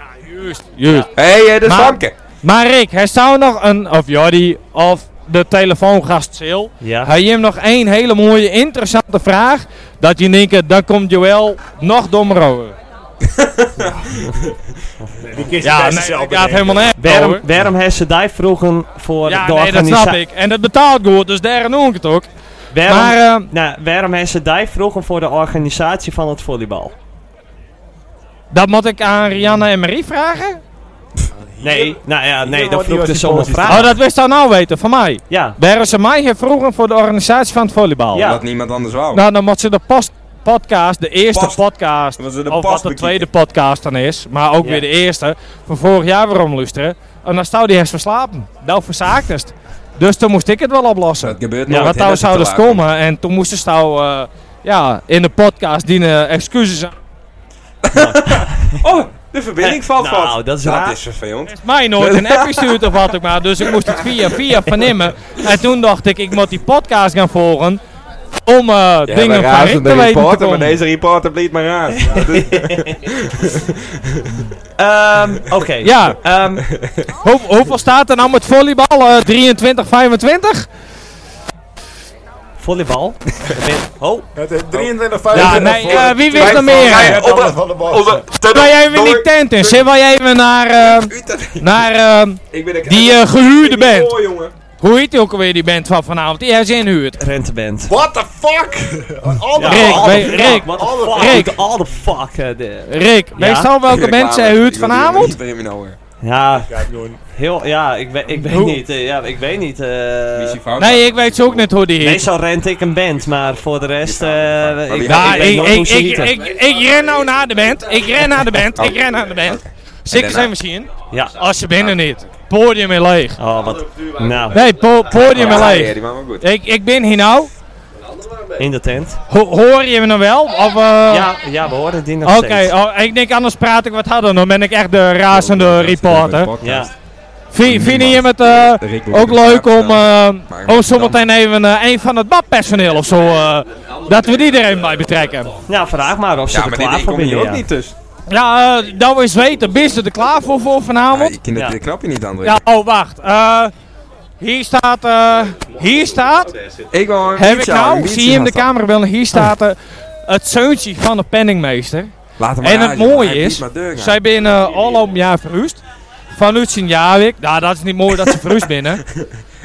[SPEAKER 4] Juist.
[SPEAKER 2] Hé, hey, dat is
[SPEAKER 4] Maar-
[SPEAKER 2] Famke.
[SPEAKER 4] Maar Rick, hij zou nog een, of Jordi, of de telefoongast Sil.
[SPEAKER 3] Ja.
[SPEAKER 4] Hij heeft nog één hele mooie, interessante vraag. Dat je denkt, dan komt Joël nog dommer over.
[SPEAKER 10] Die kist
[SPEAKER 4] Ja,
[SPEAKER 10] best
[SPEAKER 4] nee,
[SPEAKER 10] zelf
[SPEAKER 4] dat gaat
[SPEAKER 10] bedenken.
[SPEAKER 4] helemaal nergens
[SPEAKER 3] Waarom,
[SPEAKER 4] over.
[SPEAKER 3] waarom heeft ze die vroegen voor
[SPEAKER 4] Ja,
[SPEAKER 3] de
[SPEAKER 4] nee, dat snap
[SPEAKER 3] organisatie?
[SPEAKER 4] ik. En dat betaalt goed, dus daar noem ik het ook.
[SPEAKER 3] Waarom,
[SPEAKER 4] Maar, eh,
[SPEAKER 3] nou, waarom heeft ze die vroegen voor de organisatie van het volleybal?
[SPEAKER 4] dat moet ik aan Rianne en Marie vragen?
[SPEAKER 3] Nee, nou ja, nee, dat
[SPEAKER 10] wordt
[SPEAKER 3] vroeg
[SPEAKER 10] die
[SPEAKER 3] dus
[SPEAKER 10] was
[SPEAKER 3] om een
[SPEAKER 10] die
[SPEAKER 3] vraag.
[SPEAKER 4] Oh, dat wist hij nou weten, van mij.
[SPEAKER 3] Ja,
[SPEAKER 4] Waarom ze mij hier vroegen voor de organisatie van het volleybal?
[SPEAKER 3] Ja.
[SPEAKER 2] Oh, Dat niemand anders wou.
[SPEAKER 4] Nou, dan moet ze de post podcast, de eerste
[SPEAKER 2] Post.
[SPEAKER 4] podcast,
[SPEAKER 2] Dan moet ze de
[SPEAKER 4] of
[SPEAKER 2] post
[SPEAKER 4] wat de
[SPEAKER 2] bekijken.
[SPEAKER 4] tweede podcast dan is, maar ook
[SPEAKER 3] Ja.
[SPEAKER 4] weer de eerste, van vorig jaar weer omluisteren. En dan stond die hersen verslapen. Dat verzaakt het. Dus toen moest ik het wel oplossen.
[SPEAKER 2] Dat gebeurt
[SPEAKER 4] Ja,
[SPEAKER 2] nooit.
[SPEAKER 4] want
[SPEAKER 2] hè,
[SPEAKER 4] toen
[SPEAKER 2] dat
[SPEAKER 4] zou
[SPEAKER 2] het
[SPEAKER 4] dus
[SPEAKER 2] te laat komt.
[SPEAKER 4] komen en toen moesten ze nou, eh, ja, in de podcast dienen excuses aan.
[SPEAKER 2] Oh, de verbinding valt
[SPEAKER 3] nou,
[SPEAKER 2] vast.
[SPEAKER 3] dat is raar.
[SPEAKER 2] Dat is vervelend.
[SPEAKER 4] Mij nooit een appje stuurt of wat ook maar, dus ik moest het via via vernemen. En toen dacht ik, ik moet die podcast gaan volgen om eh, dingen van Rick te weten te
[SPEAKER 2] reporter, maar
[SPEAKER 4] komen.
[SPEAKER 2] deze reporter bleef maar aan. Ja, dus-
[SPEAKER 3] Ehm, oké.
[SPEAKER 4] Ja,
[SPEAKER 3] Ehm,
[SPEAKER 4] Hoe, hoeveel staat er nou met volleybal? Eh, 23, 25?
[SPEAKER 3] volleybal. oh,
[SPEAKER 10] Het is 23,
[SPEAKER 4] Ja, nee, eh, wie wist er meer?
[SPEAKER 2] Wij-
[SPEAKER 10] Op
[SPEAKER 2] Op-
[SPEAKER 10] van de bal.
[SPEAKER 2] Onze-
[SPEAKER 4] Ga jij even in die tent in? Zit wij even naar, eh,
[SPEAKER 2] Utrecht.
[SPEAKER 4] naar eh,
[SPEAKER 2] Ik ben een-
[SPEAKER 4] die eh, gehuurde band?
[SPEAKER 2] Oh, jongen.
[SPEAKER 4] Hoe heet die ook alweer die band van vanavond? Die hebben ze inhuurd.
[SPEAKER 3] renteband.
[SPEAKER 10] What the fuck? Al
[SPEAKER 3] Ja,
[SPEAKER 4] Rick,
[SPEAKER 3] all
[SPEAKER 4] weet-
[SPEAKER 3] the
[SPEAKER 4] Rick,
[SPEAKER 3] fuck, what the fuck,
[SPEAKER 4] Rick.
[SPEAKER 3] all the fuck. eh, de-
[SPEAKER 4] Rick, weet je al welke band zij huurt vanavond?
[SPEAKER 2] nou,
[SPEAKER 3] ja, heel, ja, ik, we- ik weet
[SPEAKER 4] Hoe-
[SPEAKER 3] niet, eh, ja, ik weet niet. eh
[SPEAKER 4] Nee, ik weet ze ook net hoe die heet.
[SPEAKER 3] meestal rent ik een band, maar voor de rest, eh, ik,
[SPEAKER 4] Ja,
[SPEAKER 3] ik weet
[SPEAKER 4] ik,
[SPEAKER 3] nooit hoe
[SPEAKER 4] ik,
[SPEAKER 3] ze
[SPEAKER 4] ik,
[SPEAKER 3] heten.
[SPEAKER 4] ik, ik ren nou naar de band. Ik ren naar de band. Ik ren naar de band. Zeker
[SPEAKER 2] daarna?
[SPEAKER 4] zijn misschien.
[SPEAKER 3] Ja.
[SPEAKER 4] Als je binnen niet. Podium is leeg.
[SPEAKER 3] Oh, wat. Nou,
[SPEAKER 4] Nee, po- podium is
[SPEAKER 2] Ja,
[SPEAKER 4] leeg.
[SPEAKER 2] die man wel goed.
[SPEAKER 4] Ik, ik ben hier nou.
[SPEAKER 2] Oh.
[SPEAKER 3] in de tent.
[SPEAKER 4] Ho- hoor je me nou wel? Of, eh,
[SPEAKER 3] Ja, ja we horen die nog
[SPEAKER 4] Oké,
[SPEAKER 3] steeds.
[SPEAKER 4] oh, ik denk anders praat ik wat harder, dan ben ik echt de razende reporter.
[SPEAKER 3] Ja.
[SPEAKER 4] Vind, vinden je het eh, ook leuk om, eh, om zometeen even eh, een van het badpersoneel of zo, eh, dat we die er even bij betrekken?
[SPEAKER 3] Ja, vraag maar of ze
[SPEAKER 4] Ja,
[SPEAKER 3] er
[SPEAKER 4] maar
[SPEAKER 3] klaar
[SPEAKER 4] die-
[SPEAKER 3] voor
[SPEAKER 4] die kom
[SPEAKER 3] binnen.
[SPEAKER 4] hier
[SPEAKER 3] ja.
[SPEAKER 4] ook niet dus. Ja, eh dat we eens weten, ben je er klaar voor, voor vanavond?
[SPEAKER 2] Ik ken het knapje niet aan.
[SPEAKER 4] Ja, oh wacht. Eh, hier staat. eh, hier staat.
[SPEAKER 2] Ik wil een
[SPEAKER 4] Heb ik
[SPEAKER 2] biertje
[SPEAKER 4] nou?
[SPEAKER 2] halen, een
[SPEAKER 4] zie je hem de
[SPEAKER 2] biertje
[SPEAKER 4] camera wel? Hier staat eh, het zeuntje van de penningmeester.
[SPEAKER 2] hem maar
[SPEAKER 4] en het
[SPEAKER 2] aan, jongen.
[SPEAKER 4] mooie
[SPEAKER 2] Hij biedt
[SPEAKER 4] is,
[SPEAKER 2] maar deur aan.
[SPEAKER 4] zij binnen al om jaar verhuisd. Vanuit Sint-Jawik. Nou, dat is niet mooi dat ze verhuisd binnen.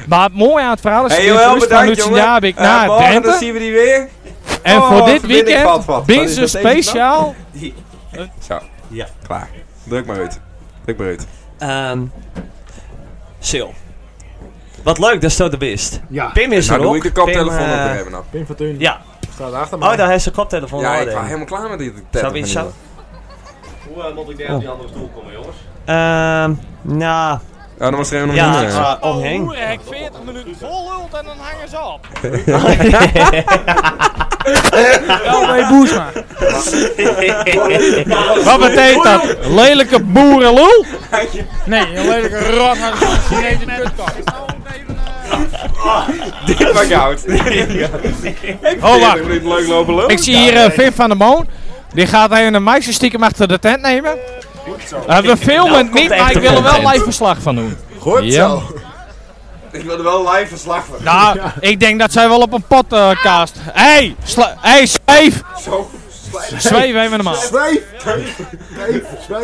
[SPEAKER 4] Maar het mooie aan het verhaal is,
[SPEAKER 2] Hey,
[SPEAKER 4] ze
[SPEAKER 2] joh,
[SPEAKER 4] zijn
[SPEAKER 2] heel bedankt,
[SPEAKER 4] verhuisd vanuit
[SPEAKER 2] jongen.
[SPEAKER 4] Sint-Jawik
[SPEAKER 2] Eh,
[SPEAKER 4] naar
[SPEAKER 2] morgen,
[SPEAKER 4] Drenthe.
[SPEAKER 2] dan zien we die weer.
[SPEAKER 4] En
[SPEAKER 2] Oh,
[SPEAKER 4] voor dit
[SPEAKER 2] verbind ik wat,
[SPEAKER 4] weekend
[SPEAKER 2] wat.
[SPEAKER 4] ben
[SPEAKER 2] Wat is
[SPEAKER 4] ze
[SPEAKER 2] dat even dan?
[SPEAKER 4] speciaal...
[SPEAKER 2] Zo. Ja. Klaar. Druk maar uit. Druk maar uit.
[SPEAKER 3] Ehm, Sil. Wat leuk dat je er bent.
[SPEAKER 7] Ja.
[SPEAKER 3] Pim is
[SPEAKER 2] Nou,
[SPEAKER 3] er
[SPEAKER 2] doe
[SPEAKER 3] ook.
[SPEAKER 2] ik de koptelefoon
[SPEAKER 3] Pim,
[SPEAKER 2] op
[SPEAKER 3] eh,
[SPEAKER 2] te hebben, nou.
[SPEAKER 7] Pim Fortuyn.
[SPEAKER 3] Ja.
[SPEAKER 7] Staat achter mij.
[SPEAKER 3] Oh, daar heeft ze koptelefoon
[SPEAKER 2] Ja,
[SPEAKER 3] al,
[SPEAKER 2] ik
[SPEAKER 3] hè.
[SPEAKER 2] was helemaal klaar met die
[SPEAKER 3] Zou
[SPEAKER 2] tetten
[SPEAKER 3] we iets
[SPEAKER 2] van
[SPEAKER 3] zo-
[SPEAKER 10] Hoe eh, moet ik daar op die andere stoel komen, jongens?
[SPEAKER 3] Ehm, nou...
[SPEAKER 2] Ja, dan was er Oh, even
[SPEAKER 3] Ja,
[SPEAKER 2] omheen,
[SPEAKER 3] ik
[SPEAKER 2] hè.
[SPEAKER 3] ga omheen.
[SPEAKER 4] Hek 40 minuten vol lult en dan hangen ze op. Wel bij Boesma. Wat betekent dat? Lelijke boerenlul? Nee, een lelijke rot aan de Chinese kutkop.
[SPEAKER 2] Dit was goud.
[SPEAKER 4] Oh, wacht.
[SPEAKER 2] Leuk lopen lopen.
[SPEAKER 4] Ik zie hier eh, Vin van der Moon. Die gaat even een meisje stiekem achter de tent nemen. Eh,
[SPEAKER 2] Nou,
[SPEAKER 4] we filmen het niet, maar ik wil er wel live verslag van doen.
[SPEAKER 2] Goed
[SPEAKER 4] Ja.
[SPEAKER 2] zo. Ik wil er wel live verslag van.
[SPEAKER 4] Nou, ik denk dat zij wel op een podcast. Hé, hey, sla- hey, zweef!
[SPEAKER 2] Zo.
[SPEAKER 4] Zweef even normaal.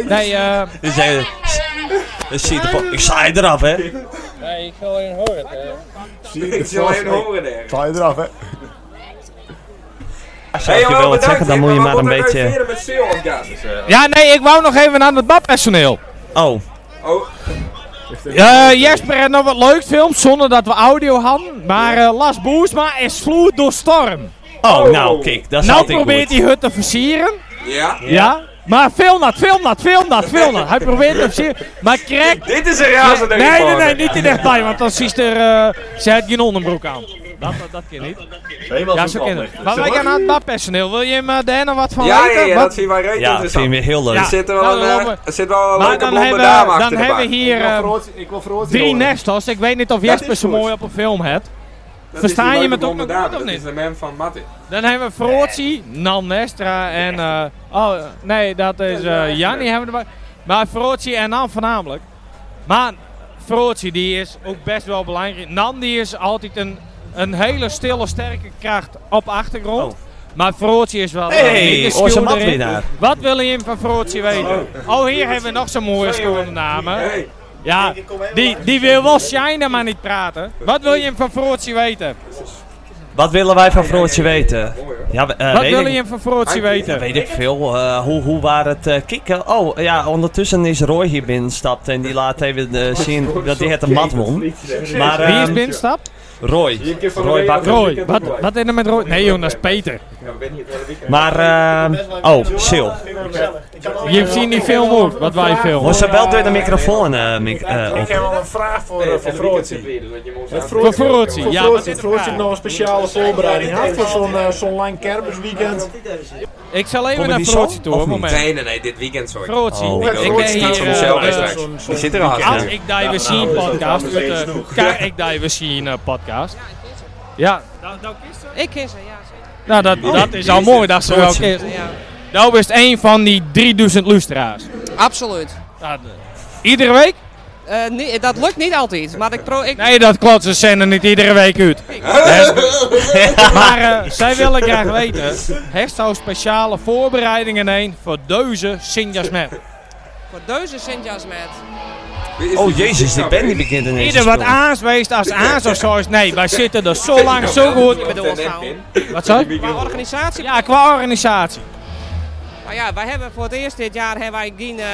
[SPEAKER 4] Nee, eh.
[SPEAKER 3] Dus jij... Dat zie je de po- Ik saai eraf, hè.
[SPEAKER 4] Nee, ik wil alleen horen.
[SPEAKER 2] Ik wil alleen horen ergens.
[SPEAKER 7] Sta je eraf, hè?
[SPEAKER 3] Als je hey, wil wat zeggen, dan moet je maar een beetje...
[SPEAKER 2] met eh. Sil op gas.
[SPEAKER 4] Ja, nee, ik wou nog even aan het badpersoneel.
[SPEAKER 3] Oh.
[SPEAKER 2] Oh.
[SPEAKER 4] Eh Jesper heeft nog wat leuks films zonder dat we audio hadden. Maar eh, Las Boesma is vloed door storm.
[SPEAKER 3] Oh, nou, kijk, dat is
[SPEAKER 4] nou
[SPEAKER 3] altijd
[SPEAKER 4] probeert
[SPEAKER 3] goed.
[SPEAKER 4] die hut te versieren.
[SPEAKER 2] Ja.
[SPEAKER 4] Ja. Maar film dat, film dat, film dat, film dat. Hij probeert te versieren. Maar krijgt...
[SPEAKER 2] Dit is een razende
[SPEAKER 4] Nee, nee, nee,
[SPEAKER 2] reporter.
[SPEAKER 4] niet te dichtbij. Want dan ziet er... eh ze heeft geen onderbroek aan. Dat, dat, dat kan niet. Ja, zo kan het. Maar wij gaan aan het badpersoneel. Wil je hem eh, daar nog wat van
[SPEAKER 2] Ja,
[SPEAKER 4] weten?
[SPEAKER 2] ja, ja,
[SPEAKER 4] Wat-
[SPEAKER 2] dat vind wij dus- reuze
[SPEAKER 3] Ja,
[SPEAKER 2] interessant.
[SPEAKER 3] vind je heel leuk.
[SPEAKER 2] Er zit er wel
[SPEAKER 4] Nou,
[SPEAKER 2] een,
[SPEAKER 4] dan
[SPEAKER 2] eh,
[SPEAKER 4] lopen-
[SPEAKER 2] er zit wel een
[SPEAKER 4] Maar
[SPEAKER 2] leuke
[SPEAKER 4] dan
[SPEAKER 2] blonde
[SPEAKER 4] hebben,
[SPEAKER 2] dame
[SPEAKER 4] dan
[SPEAKER 2] achter de
[SPEAKER 4] hebben
[SPEAKER 2] bar.
[SPEAKER 4] we hier
[SPEAKER 7] Ik wil
[SPEAKER 4] eh,
[SPEAKER 7] veroordeel- ik wil veroordeel
[SPEAKER 4] drie
[SPEAKER 7] worden.
[SPEAKER 4] Nestos. Ik weet niet of
[SPEAKER 7] Dat
[SPEAKER 4] Jesper
[SPEAKER 7] is
[SPEAKER 4] zo
[SPEAKER 7] goed.
[SPEAKER 4] mooi op een film hebt.
[SPEAKER 2] Dat is die
[SPEAKER 4] Verstaan je
[SPEAKER 2] leuke
[SPEAKER 4] me toch
[SPEAKER 2] blonde
[SPEAKER 4] nog
[SPEAKER 2] dame,
[SPEAKER 4] goed of
[SPEAKER 2] Dat is
[SPEAKER 4] niet?
[SPEAKER 2] de man van Martin.
[SPEAKER 4] Dan hebben we Frotzi, Nan Nestra en... eh, oh, nee, dat is eh Janni hebben we erbij. Maar Frotzi en Nan voornamelijk. Maar Frotzi die is ook best wel belangrijk. Nan die is altijd een, een hele stille, sterke kracht op achtergrond. Maar Frotzi is wel... eh,
[SPEAKER 3] Oh. Hey,
[SPEAKER 4] minder
[SPEAKER 3] onze
[SPEAKER 4] skilled erin.
[SPEAKER 3] matwinnaar.
[SPEAKER 4] Wat wil je van Frotzi weten? Oh, hier hebben we nog zo'n mooie schone namen. Ja, die, die wil wel shinen, maar niet praten. Wat wil je van Frotzi weten?
[SPEAKER 3] Wat willen wij van Froortje weten? Ja, we- eh,
[SPEAKER 4] Wat
[SPEAKER 3] weet
[SPEAKER 4] wil
[SPEAKER 3] ik-
[SPEAKER 4] je van Frotzi
[SPEAKER 3] Ja,
[SPEAKER 4] weten?
[SPEAKER 3] weet ik veel. Eh, hoe, hoe waar het eh, kikken? Oh, ja, ondertussen is Roy hier binnenstapt en die laat even eh, zien dat hij het een mat won. Maar,
[SPEAKER 4] Wie is
[SPEAKER 3] ehm,
[SPEAKER 4] binnenstap?
[SPEAKER 3] Roy. Roy Bakker.
[SPEAKER 4] Roy, wat, wat is er met Roy? Nee jongen, dat is Peter.
[SPEAKER 3] Maar, ehm, oh, Sil.
[SPEAKER 4] Je hebt zien die film ook, wat wij filmen.
[SPEAKER 3] Was ze wel door de microfoon eh mic eh,
[SPEAKER 7] Ik
[SPEAKER 3] op?
[SPEAKER 7] heb wel een vraag voor, eh, voor Froortje. Het
[SPEAKER 4] Voor Froortje, ja,
[SPEAKER 7] Froortje.
[SPEAKER 4] wat is de
[SPEAKER 7] Froortje
[SPEAKER 4] vraag?
[SPEAKER 7] heeft nog een speciale voorbereiding had voor zo'n eh, zo'n lang kermisweekend.
[SPEAKER 4] Ik zal even
[SPEAKER 7] Komen
[SPEAKER 4] naar
[SPEAKER 7] die
[SPEAKER 4] Frotsie
[SPEAKER 7] zo,
[SPEAKER 4] toe
[SPEAKER 7] of
[SPEAKER 4] hoor,
[SPEAKER 7] niet?
[SPEAKER 4] moment.
[SPEAKER 2] Nee, nee, nee, dit weekend sorry.
[SPEAKER 4] Frotsie,
[SPEAKER 2] Oh.
[SPEAKER 4] ik
[SPEAKER 2] Ja,
[SPEAKER 4] ben
[SPEAKER 2] Frotsie
[SPEAKER 4] hier,
[SPEAKER 2] staat voor
[SPEAKER 4] eh,
[SPEAKER 2] zichzelf
[SPEAKER 4] eh,
[SPEAKER 2] straks.
[SPEAKER 4] zo'n-
[SPEAKER 2] Die zit er al
[SPEAKER 4] Als
[SPEAKER 2] hard in.
[SPEAKER 4] ik die we zien
[SPEAKER 2] nou,
[SPEAKER 4] podcast, eh,
[SPEAKER 2] dat is
[SPEAKER 4] uit de
[SPEAKER 2] genoeg.
[SPEAKER 4] Kijk, ik die we zien eh, podcast. Ja,
[SPEAKER 12] Ik kies ze, ja. zeker.
[SPEAKER 4] nou dat, dat is al mooi dat ze wel keer.
[SPEAKER 12] Ja.
[SPEAKER 4] Nou is een van die 3000 lustra's.
[SPEAKER 12] Absoluut.
[SPEAKER 4] Iedere week?
[SPEAKER 12] Eh, nee, dat lukt niet altijd, maar ik pro... Ik...
[SPEAKER 4] Nee, dat klopt, ze zijn er niet iedere week uit. Eh, maar eh, zij willen graag weten, heeft zou speciale voorbereidingen heen voor deuze Sint-Jasmet?
[SPEAKER 12] Voor deuze Sint-Jasmet.
[SPEAKER 3] Oh jezus, die Benny begint ineens te
[SPEAKER 4] Ieder wat
[SPEAKER 3] spelen.
[SPEAKER 4] aansweest als aans of zo is. Nee, wij zitten er zo lang, zo goed. Wat zo?
[SPEAKER 12] Qua organisatie?
[SPEAKER 4] Ja, qua organisatie.
[SPEAKER 12] Nou ja, wij hebben voor het eerst dit jaar hebben wij geen eh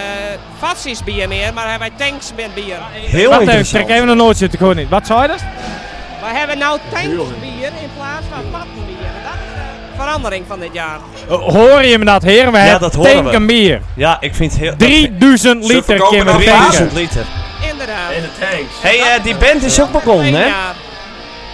[SPEAKER 12] fatsies bier meer, maar hebben wij tanks met bier.
[SPEAKER 4] Heel Wacht even, trek even een noot zitten, gewoon niet. Wat zou je dat?
[SPEAKER 12] Wij hebben nou tanks bier in plaats van vattenbier. Dat is de verandering van dit jaar.
[SPEAKER 4] Eh, Hoor je me dat, heren? We
[SPEAKER 3] Ja,
[SPEAKER 4] hebben
[SPEAKER 3] dat horen we.
[SPEAKER 4] tanken bier.
[SPEAKER 3] Ja, ik vind het heel...
[SPEAKER 4] 3000
[SPEAKER 3] Ze
[SPEAKER 4] liter
[SPEAKER 3] verkopen
[SPEAKER 4] kunnen we
[SPEAKER 3] nog
[SPEAKER 4] tanken.
[SPEAKER 3] 1000 liter.
[SPEAKER 12] Inderdaad.
[SPEAKER 7] In de tanks.
[SPEAKER 3] Hé, hey, eh, die band is ook begonnen, hè?
[SPEAKER 12] Ja,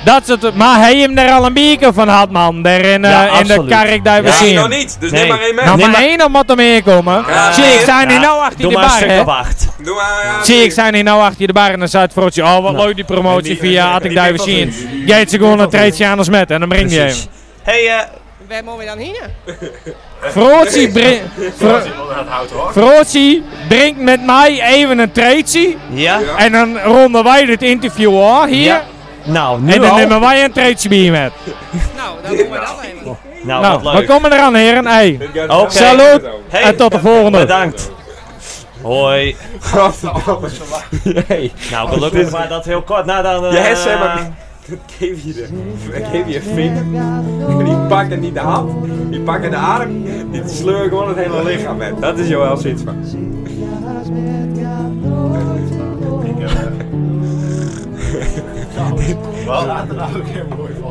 [SPEAKER 4] Dat is het, maar hij hem daar al een bierke van had, man. Daar in, eh,
[SPEAKER 3] Ja,
[SPEAKER 4] in de
[SPEAKER 3] absoluut.
[SPEAKER 4] kark daar we
[SPEAKER 3] Ja,
[SPEAKER 4] zien.
[SPEAKER 2] nog niet, dus neem maar één mee.
[SPEAKER 4] Nou,
[SPEAKER 3] Neem
[SPEAKER 4] maar
[SPEAKER 3] maar-
[SPEAKER 4] één om wat er mee komen. Zie, ik sta nu nou achter
[SPEAKER 3] doe
[SPEAKER 4] de
[SPEAKER 3] maar een
[SPEAKER 4] bar,
[SPEAKER 3] stuk
[SPEAKER 4] hè.
[SPEAKER 3] op acht.
[SPEAKER 2] Doe maar, ja.
[SPEAKER 4] Zie ik zijn hier nou achter de bar en dan staat Frotje, oh wat
[SPEAKER 3] Nou.
[SPEAKER 4] leuk die promotie via Attic Divers zien. Jij ze gewoon een treedje aan als met en dan breng je hem.
[SPEAKER 3] Precies. Hey, eh,
[SPEAKER 12] Waar moeten we dan heen?
[SPEAKER 4] Frotje, brengt met mij even een treedje.
[SPEAKER 3] Ja.
[SPEAKER 4] En dan ronden wij dit interview hoor, hier.
[SPEAKER 3] Ja. nou, nu
[SPEAKER 4] En dan
[SPEAKER 3] al.
[SPEAKER 4] nemen wij een treedje bij je met.
[SPEAKER 3] Nou,
[SPEAKER 4] nou,
[SPEAKER 3] wat
[SPEAKER 4] we
[SPEAKER 3] leuk.
[SPEAKER 4] komen eraan heren. Hey.
[SPEAKER 3] Oké.
[SPEAKER 4] Salut
[SPEAKER 3] Hey,
[SPEAKER 4] en tot de volgende.
[SPEAKER 3] Bedankt. Hoi.
[SPEAKER 2] Godverdomme.
[SPEAKER 3] Nou, gelukkig maar dat heel kort. Nou, dan... eh,
[SPEAKER 2] Je hebt zeg maar... Dat geef je de... Dat geef je vink. Die pakken niet de hand, die pakken de arm, die sleuren gewoon het hele lichaam met. Dat is Joël Sietsma.
[SPEAKER 10] Wat?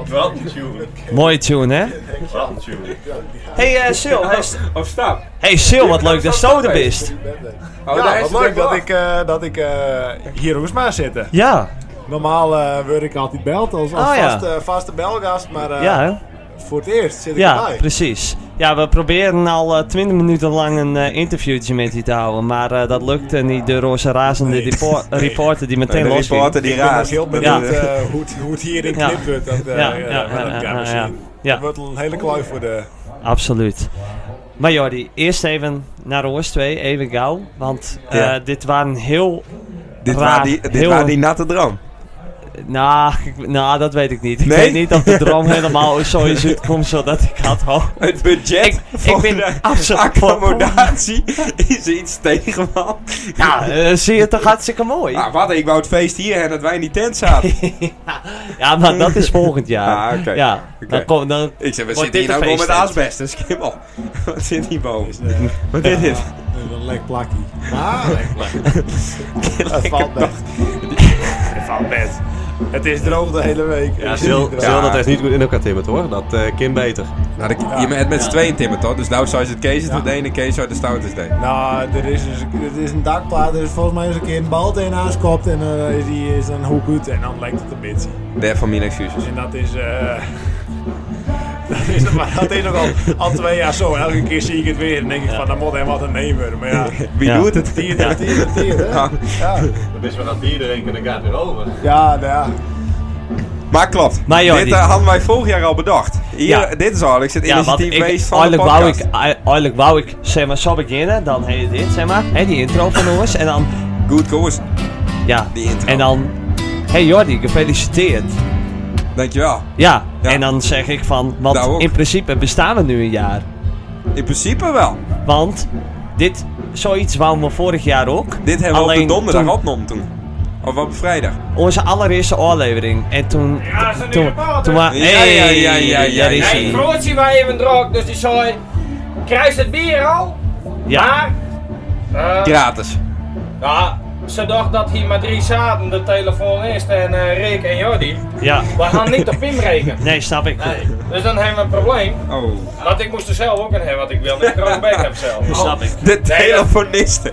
[SPEAKER 10] Wat een tune.
[SPEAKER 3] Mooie tune, hè?
[SPEAKER 10] Wat een tune.
[SPEAKER 3] Hey, eh, Sil. hey, s-
[SPEAKER 2] Of oh, stap.
[SPEAKER 3] Hey, Sil, wat leuk dat je er bent.
[SPEAKER 7] Oh,
[SPEAKER 2] daar is het
[SPEAKER 7] wat leuk
[SPEAKER 2] ook
[SPEAKER 7] dat
[SPEAKER 2] wel.
[SPEAKER 7] ik, eh, dat ik eh, hier hoes maar zitten.
[SPEAKER 3] Ja.
[SPEAKER 7] Normaal eh, word ik altijd beld als, als
[SPEAKER 3] Oh, ja.
[SPEAKER 7] vaste, vaste belgast, maar eh,
[SPEAKER 3] Ja, hè?
[SPEAKER 7] voor het eerst zit ik
[SPEAKER 3] Ja,
[SPEAKER 7] erbij.
[SPEAKER 3] precies. Ja, we proberen al eh, 20 minuten lang een eh, interviewtje met die te houden, maar eh, dat lukte niet door onze razende repo- reporter die meteen
[SPEAKER 2] Nee, de
[SPEAKER 3] losging.
[SPEAKER 2] reporter die Ik ben raast.
[SPEAKER 7] Ik ben ook heel
[SPEAKER 3] Ja.
[SPEAKER 7] benieuwd eh, hoe, het, hoe het hierin
[SPEAKER 3] Ja.
[SPEAKER 7] knipt wordt. Dat, eh,
[SPEAKER 3] Ja,
[SPEAKER 7] eh,
[SPEAKER 3] ja,
[SPEAKER 7] maar
[SPEAKER 3] ja,
[SPEAKER 7] dat kan
[SPEAKER 3] ja,
[SPEAKER 7] we zien.
[SPEAKER 3] ja. Ja.
[SPEAKER 7] Het wordt een hele kluif voor de...
[SPEAKER 3] Absoluut. Maar Jordi, eerst even naar Oors 2, even gauw, want eh,
[SPEAKER 2] Ja.
[SPEAKER 3] dit waren heel
[SPEAKER 2] Dit
[SPEAKER 3] raar,
[SPEAKER 2] waren die, dit
[SPEAKER 3] heel-
[SPEAKER 2] waren die natte droom.
[SPEAKER 3] Nou, ik- nou, dat weet ik niet. Ik
[SPEAKER 2] Nee?
[SPEAKER 3] weet niet of de droom helemaal zo is uitkomt zodat ik had hoor.
[SPEAKER 2] Het budget
[SPEAKER 3] Ik
[SPEAKER 2] voor
[SPEAKER 3] ben
[SPEAKER 2] de
[SPEAKER 3] absoluut...
[SPEAKER 2] accommodatie is iets tegen, man.
[SPEAKER 3] Ja, eh, zie je toch hartstikke mooi.
[SPEAKER 2] Ah, wat, ik wou het feest hier en dat wij in die tent zaten.
[SPEAKER 3] Ja, maar dat is volgend jaar.
[SPEAKER 2] Ah, oké.
[SPEAKER 3] Ja,
[SPEAKER 2] Oké.
[SPEAKER 3] dan kom, dan
[SPEAKER 2] Ik zeg, we
[SPEAKER 3] wordt
[SPEAKER 2] zitten hier
[SPEAKER 3] dit
[SPEAKER 2] nou
[SPEAKER 3] een
[SPEAKER 2] gewoon met
[SPEAKER 3] feesttent.
[SPEAKER 2] asbest, dus kim op. Wat zit hier boven? Wat is dit?
[SPEAKER 7] eh, Een lek plakkie. Ah, lek plakkie. Het valt best. Het valt best. Het is droog de hele week.
[SPEAKER 10] Ja,
[SPEAKER 7] Het is niet
[SPEAKER 10] Sil,
[SPEAKER 7] droog.
[SPEAKER 10] Sil, dat heeft niet goed in elkaar timmerd hoor. Dat eh Kim beter.
[SPEAKER 2] Nou, de, je bent met z'n tweeën timmerd, hoor. Dus nou zou je het Kees het deed en Kees zou de stout het deed.
[SPEAKER 7] Nou, er is, dus, er is een dakplaat, er is volgens mij eens een keer een bal tegenaan gekopt en eh, is die is een hoek uit en dan lijkt het een beetje.
[SPEAKER 2] Daarvan mijn excuses.
[SPEAKER 7] En dat is, eh dat is, maar dat is ook al, al twee jaar zo. Elke keer zie ik het weer en denk ik van, dan moet hem wat een nemen. Maar ja,
[SPEAKER 2] Wie
[SPEAKER 3] Ja.
[SPEAKER 2] doet het?
[SPEAKER 7] tiert, tiert, tiert, tiert, hè?
[SPEAKER 2] Ja.
[SPEAKER 7] Ja,
[SPEAKER 10] Dat is wel dat bier drinken, dan gaat het weer over.
[SPEAKER 7] ja, nou ja.
[SPEAKER 2] Maar klopt.
[SPEAKER 3] Maar joh,
[SPEAKER 2] dit
[SPEAKER 3] die-
[SPEAKER 2] eh, hadden wij vorig jaar al bedacht. Hier,
[SPEAKER 3] Ja.
[SPEAKER 2] Dit is eigenlijk het
[SPEAKER 3] Ja, want
[SPEAKER 2] initiatief
[SPEAKER 3] ik,
[SPEAKER 2] geweest van de
[SPEAKER 3] eigenlijk wou
[SPEAKER 2] podcast.
[SPEAKER 3] ik, eigenlijk wou ik, zeg maar, zo beginnen, dan heet dit, zeg maar, hè, die intro van ons, en dan,
[SPEAKER 2] Good course.
[SPEAKER 3] ja,
[SPEAKER 2] Die intro.
[SPEAKER 3] en dan, hey Jordi, gefeliciteerd.
[SPEAKER 2] Dankjewel.
[SPEAKER 3] Ja,
[SPEAKER 2] Ja.
[SPEAKER 3] en dan zeg ik van, want
[SPEAKER 2] Nou ook.
[SPEAKER 3] in principe bestaan we nu een jaar.
[SPEAKER 2] In principe wel.
[SPEAKER 3] Want, dit, zoiets wou me vorig jaar ook.
[SPEAKER 2] Dit hebben we op
[SPEAKER 3] Alleen
[SPEAKER 2] de donderdag
[SPEAKER 3] toen-
[SPEAKER 2] opgenomen toen. Of op vrijdag.
[SPEAKER 3] Onze allereerste oorlevering, en toen,
[SPEAKER 4] ze
[SPEAKER 3] toen, toen, wa-
[SPEAKER 2] Ja,
[SPEAKER 3] hey,
[SPEAKER 2] ja, ja, ja, ja,
[SPEAKER 3] daar is
[SPEAKER 2] ja.
[SPEAKER 3] ie.
[SPEAKER 12] Broodje waar even dronk, dus die zei... Krijg het bier al?
[SPEAKER 3] Ja,
[SPEAKER 12] Maar...
[SPEAKER 2] Gratis.
[SPEAKER 12] Ja, ze dacht dat hier maar drie zaten, de telefonist en eh, Rick en Jordi.
[SPEAKER 3] ja.
[SPEAKER 12] We gaan niet op Pim rekenen.
[SPEAKER 3] Nee, snap ik.
[SPEAKER 12] Dus dan hebben we een probleem.
[SPEAKER 2] Oh.
[SPEAKER 12] Want ik moest er zelf ook in hebben wat ik wilde. Ik rook bek heb zelf.
[SPEAKER 3] Snap ik.
[SPEAKER 2] De telefonisten.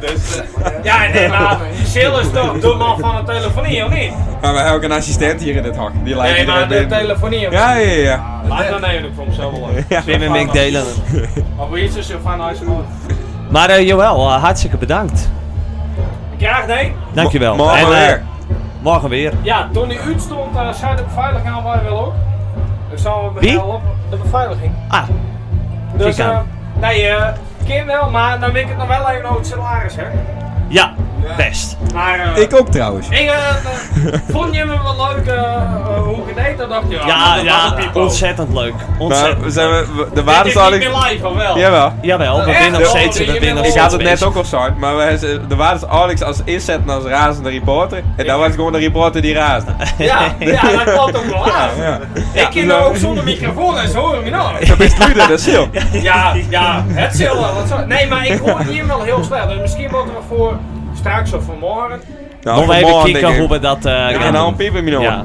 [SPEAKER 12] Ja, nee, maar Sil is toch de man van de telefonie, of niet?
[SPEAKER 2] Maar we hebben ook een assistent hier in het hak. Die lijkt
[SPEAKER 12] Nee, maar de
[SPEAKER 2] iedereen binnen.
[SPEAKER 12] telefonie. of
[SPEAKER 2] Ja, ja, ja.
[SPEAKER 12] niet? Maar dan neem ik voor hem zelf wel leuk.
[SPEAKER 3] Wim en Mick delen.
[SPEAKER 12] Maar hoe is het zo van huis gewoon?
[SPEAKER 3] Maar eh, Joël, eh, hartstikke bedankt.
[SPEAKER 12] Graag nee.
[SPEAKER 3] Dankjewel.
[SPEAKER 2] Mo- morgen
[SPEAKER 3] En, eh,
[SPEAKER 2] weer.
[SPEAKER 3] Morgen weer.
[SPEAKER 12] Ja, toen die uit stond, eh, zei de beveiliging aan wij wel ook. Dus zouden we
[SPEAKER 3] Wie?
[SPEAKER 12] wel op de beveiliging.
[SPEAKER 3] Ah,
[SPEAKER 12] Dus,
[SPEAKER 3] Kijk
[SPEAKER 12] eh
[SPEAKER 3] aan.
[SPEAKER 12] nee, eh Kim wel, maar dan wil ik het nog wel even over het salaris, hè.
[SPEAKER 3] ja, best.
[SPEAKER 12] Maar, eh,
[SPEAKER 2] Ik ook trouwens.
[SPEAKER 12] Inge, eh, vond je me wel leuk eh, eh, hoe ik het deed? Dan dacht je, ah,
[SPEAKER 3] Ja,
[SPEAKER 12] dat was een
[SPEAKER 3] ja,
[SPEAKER 12] pipo.
[SPEAKER 3] ontzettend leuk.
[SPEAKER 2] Maar we
[SPEAKER 3] Ontzettend.
[SPEAKER 2] zijn we, we- de
[SPEAKER 12] Dit is niet
[SPEAKER 2] waardestaling...
[SPEAKER 12] meer live, of wel?
[SPEAKER 2] Jawel.
[SPEAKER 3] Jawel, we
[SPEAKER 12] Echt?
[SPEAKER 3] winnen nog
[SPEAKER 12] Ja,
[SPEAKER 3] steeds.
[SPEAKER 12] je
[SPEAKER 3] We
[SPEAKER 12] bent
[SPEAKER 3] winnen nog
[SPEAKER 12] al-
[SPEAKER 2] Ik
[SPEAKER 3] steeds.
[SPEAKER 2] had het net
[SPEAKER 3] mensen.
[SPEAKER 2] ook al gezegd, maar we, ze- er waren dus Alex als inzet en als razende reporter. En daar was gewoon de reporter die raasde.
[SPEAKER 12] Ja, ja, dat klopt ook wel aan.
[SPEAKER 2] Ja.
[SPEAKER 12] Ik ken nou ook zonder microfoon en ze horen me nou.
[SPEAKER 2] Dat is Luda, dat is heel.
[SPEAKER 12] Ja, ja, het zal wel. wat zo- Nee, maar ik hoor hier wel heel slecht. Dus misschien moeten we voor straks of vanmorgen.
[SPEAKER 2] Nou,
[SPEAKER 3] Nog even
[SPEAKER 2] vanmorgen,
[SPEAKER 3] kijken
[SPEAKER 2] denk
[SPEAKER 3] hoe
[SPEAKER 2] ik.
[SPEAKER 3] we dat eh,
[SPEAKER 2] Ja,
[SPEAKER 3] gaan
[SPEAKER 2] nou een
[SPEAKER 3] doen.
[SPEAKER 2] piep in mijn
[SPEAKER 3] Ja,
[SPEAKER 2] oor.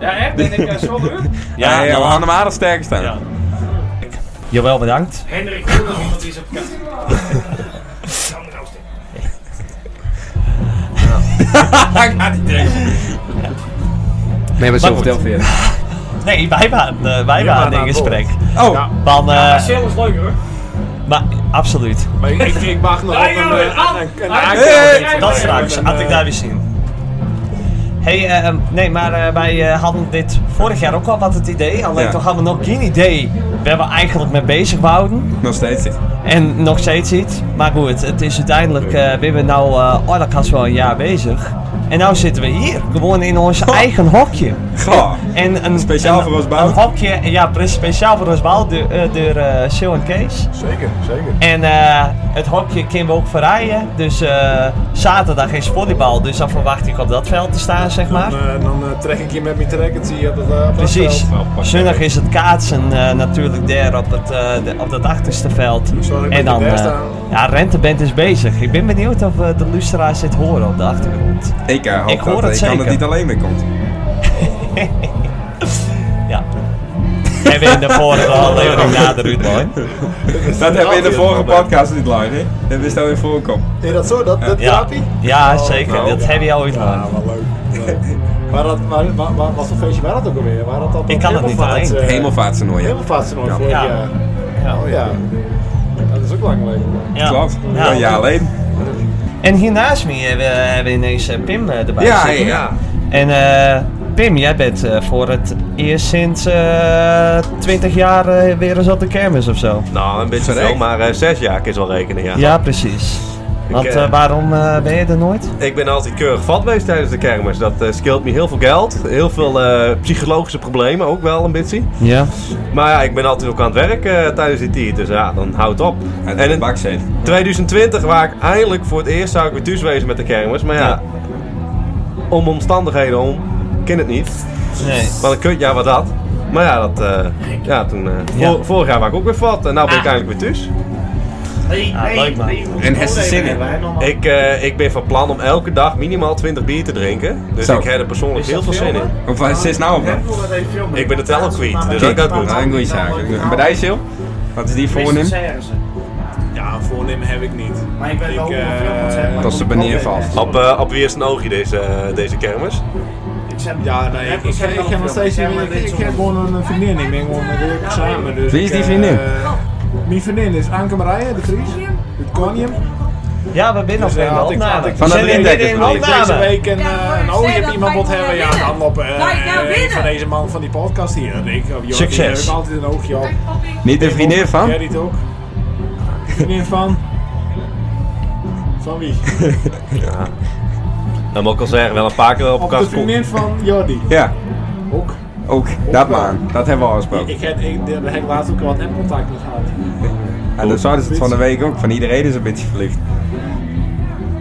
[SPEAKER 12] Ja, echt? Ben ik eh, zo leuk?
[SPEAKER 2] Ja, ja, we
[SPEAKER 3] nou,
[SPEAKER 2] hadden hem aardig sterk staan.
[SPEAKER 3] Ja. Jawel, bedankt.
[SPEAKER 12] Hendrik, ik wil iemand die is op kant.
[SPEAKER 2] Nee, maar zo
[SPEAKER 3] goed. vertel
[SPEAKER 2] verder.
[SPEAKER 3] Nee, wij waren, eh, wij waren in
[SPEAKER 7] aan
[SPEAKER 3] gesprek.
[SPEAKER 2] Oh,
[SPEAKER 3] Van, eh,
[SPEAKER 12] Sil is leuk hoor.
[SPEAKER 3] maar absoluut.
[SPEAKER 7] Maar ik, ik mag nog op een, eh, een- een- een- een-
[SPEAKER 3] Dat straks,
[SPEAKER 7] een-
[SPEAKER 3] had ik daar weer zien. hey, eh, ehm, nee, maar eh, wij eh, hadden dit vorig jaar ook al wat het idee. Alleen
[SPEAKER 2] Ja.
[SPEAKER 3] toen hadden we nog geen idee waar we eigenlijk mee bezig wouden.
[SPEAKER 2] Nog steeds niet.
[SPEAKER 3] En nog steeds niet. Maar goed, het is uiteindelijk, eh we hebben nou eh Oilakast wel een jaar bezig. En nou zitten we hier, gewoon in ons eigen hokje.
[SPEAKER 2] Goh.
[SPEAKER 3] En een,
[SPEAKER 2] Speciaal
[SPEAKER 3] een-
[SPEAKER 2] voor ons bouw.
[SPEAKER 3] Een hokje, ja, precies, speciaal voor ons bouw door, eh, door eh, Sil en Kees.
[SPEAKER 7] Zeker, zeker.
[SPEAKER 3] En eh, het hokje kunnen we ook verrijden. Dus eh, zaterdag is volleybal, dus dan verwacht ik op dat veld te staan, zeg maar.
[SPEAKER 7] Dan, eh, dan eh, trek ik je met mijn trekkertje op dat eh, op dat
[SPEAKER 3] Precies.
[SPEAKER 7] veld.
[SPEAKER 3] Zondag is het kaatsen eh, natuurlijk daar op, het, eh, de- op dat achterste veld.
[SPEAKER 7] dat
[SPEAKER 3] en
[SPEAKER 7] ik
[SPEAKER 3] dan,
[SPEAKER 7] daar
[SPEAKER 3] eh,
[SPEAKER 7] sta.
[SPEAKER 3] ja, Renteband is bezig. Ik ben benieuwd of eh, de luisteraars dit horen op de achtergrond.
[SPEAKER 2] Ik eh, hoop
[SPEAKER 3] Ik hoor
[SPEAKER 2] dat
[SPEAKER 3] het
[SPEAKER 2] ik kan
[SPEAKER 3] zeker.
[SPEAKER 2] dat niet alleen mee komt.
[SPEAKER 3] Ja. Hebben we in de vorige aflevering naderhand, hoor.
[SPEAKER 2] Dat hebben we in de vorige podcast niet lang, hè? Dat wist al in voorkom.
[SPEAKER 7] Is dat zo? Dat, dat
[SPEAKER 3] Ja.
[SPEAKER 7] grapje?
[SPEAKER 3] Ja, zeker. Dat heb je al ooit gedaan.
[SPEAKER 7] Ja, wat leuk. Ja. maar dat, maar, maar, maar, wat voor feestje was dat ook alweer? Waar dat, eh, dat
[SPEAKER 3] Ik kan het niet alleen.
[SPEAKER 2] Hemelvaartstoernooi, ja.
[SPEAKER 7] Hemelvaartstoernooi
[SPEAKER 2] Ja.
[SPEAKER 7] vorig
[SPEAKER 2] Ja.
[SPEAKER 7] jaar. Oh ja. Dat is ook lang geleden.
[SPEAKER 3] Ja.
[SPEAKER 2] Klopt.
[SPEAKER 3] Ja.
[SPEAKER 2] Een jaar alleen.
[SPEAKER 3] En hiernaast me hebben we, hebben we ineens eh, Pim eh, erbij
[SPEAKER 2] Ja,
[SPEAKER 3] zitten.
[SPEAKER 2] ja.
[SPEAKER 3] En eh, Pim, jij bent eh, voor het eerst sinds eh 20 jaar eh, weer eens op de kermis of zo.
[SPEAKER 10] Nou, een beetje
[SPEAKER 3] Verrekt.
[SPEAKER 10] veel, maar eh, zes jaar is wel rekenen, ja.
[SPEAKER 3] Ja, precies. Want
[SPEAKER 10] eh,
[SPEAKER 3] eh, waarom eh, ben je er nooit?
[SPEAKER 10] Ik ben altijd keurig vat geweest tijdens de kermis. Dat eh scheelt me heel veel geld. Heel veel eh, psychologische problemen ook wel een beetje.
[SPEAKER 3] Ja.
[SPEAKER 10] Maar ja, ik ben altijd ook aan het werk eh, tijdens die tijd. Dus ja, dan houdt op. En in 2020 waar ik eindelijk voor het eerst zou ik weer thuis wezen met de kermis. Maar ja, om omstandigheden om, ken het niet.
[SPEAKER 3] Nee.
[SPEAKER 10] Wat een kutjaar was dat. Maar ja, dat, eh, ja toen, eh,
[SPEAKER 3] Ja.
[SPEAKER 10] vor- vorig jaar was ik ook weer vat. En nu ben ik eindelijk weer thuis.
[SPEAKER 3] Ah, leuk man.
[SPEAKER 2] En heeft ze zin in?
[SPEAKER 10] Ik, eh, ik ben van plan om elke dag minimaal 20 bier te drinken. Dus
[SPEAKER 2] Zo.
[SPEAKER 10] ik heb er persoonlijk heel veel zin in.
[SPEAKER 2] Of waar zit nou op dan?
[SPEAKER 10] Ik ben de teller kwijt, dus dat gaat goed.
[SPEAKER 2] Nou, een goede zaak. En bij jou, Sil? Wat is die voornemen?
[SPEAKER 7] Ja, een voornemen heb ik niet. Maar ik eh, ben wel
[SPEAKER 2] Dat ze benieuwd vast.
[SPEAKER 10] Op, eh, op wie is een oogje deze, eh, deze kermis?
[SPEAKER 7] Ja, nee, ik, ik, ik, heb nog steeds ik, ik, ik heb gewoon een vriendin. Ik ben gewoon met haar samen. Dus
[SPEAKER 2] Wie is
[SPEAKER 7] ik,
[SPEAKER 2] die
[SPEAKER 7] eh,
[SPEAKER 2] vriendin?
[SPEAKER 7] mijn vriendin is Anke Marije de Vries. Het Conium.
[SPEAKER 3] Ja, we binnen
[SPEAKER 7] Dus,
[SPEAKER 3] nog
[SPEAKER 7] eh,
[SPEAKER 3] in de
[SPEAKER 7] had ik- had
[SPEAKER 3] opname.
[SPEAKER 7] ik-
[SPEAKER 3] We zijn in de- in de
[SPEAKER 7] Had ik Deze
[SPEAKER 3] opname.
[SPEAKER 7] week een, eh, een oh, je hebt iemand wat hebben. Ja, dan loop eh van deze man van die podcast hier. eh, Rick, of Jordi,
[SPEAKER 2] Succes.
[SPEAKER 7] daar heb ik altijd een oogje op.
[SPEAKER 2] Niet de vriendin van?
[SPEAKER 7] Gerrit ook. Ah, Vriendin van? Van wie?
[SPEAKER 10] Ja. Dat moet ik al zeggen, wel een paar keer op
[SPEAKER 7] Op de
[SPEAKER 10] elkaar gekomen.
[SPEAKER 7] vriendin van Jordi.
[SPEAKER 2] Ja.
[SPEAKER 7] Ook.
[SPEAKER 2] Ook, dat man. Dat hebben we al gesproken.
[SPEAKER 7] Ik heb, ik, daar heb ik laatst ook wat contact mee gehad.
[SPEAKER 2] En dat zouden ze het van de week ook. Van iedereen is een beetje verliefd.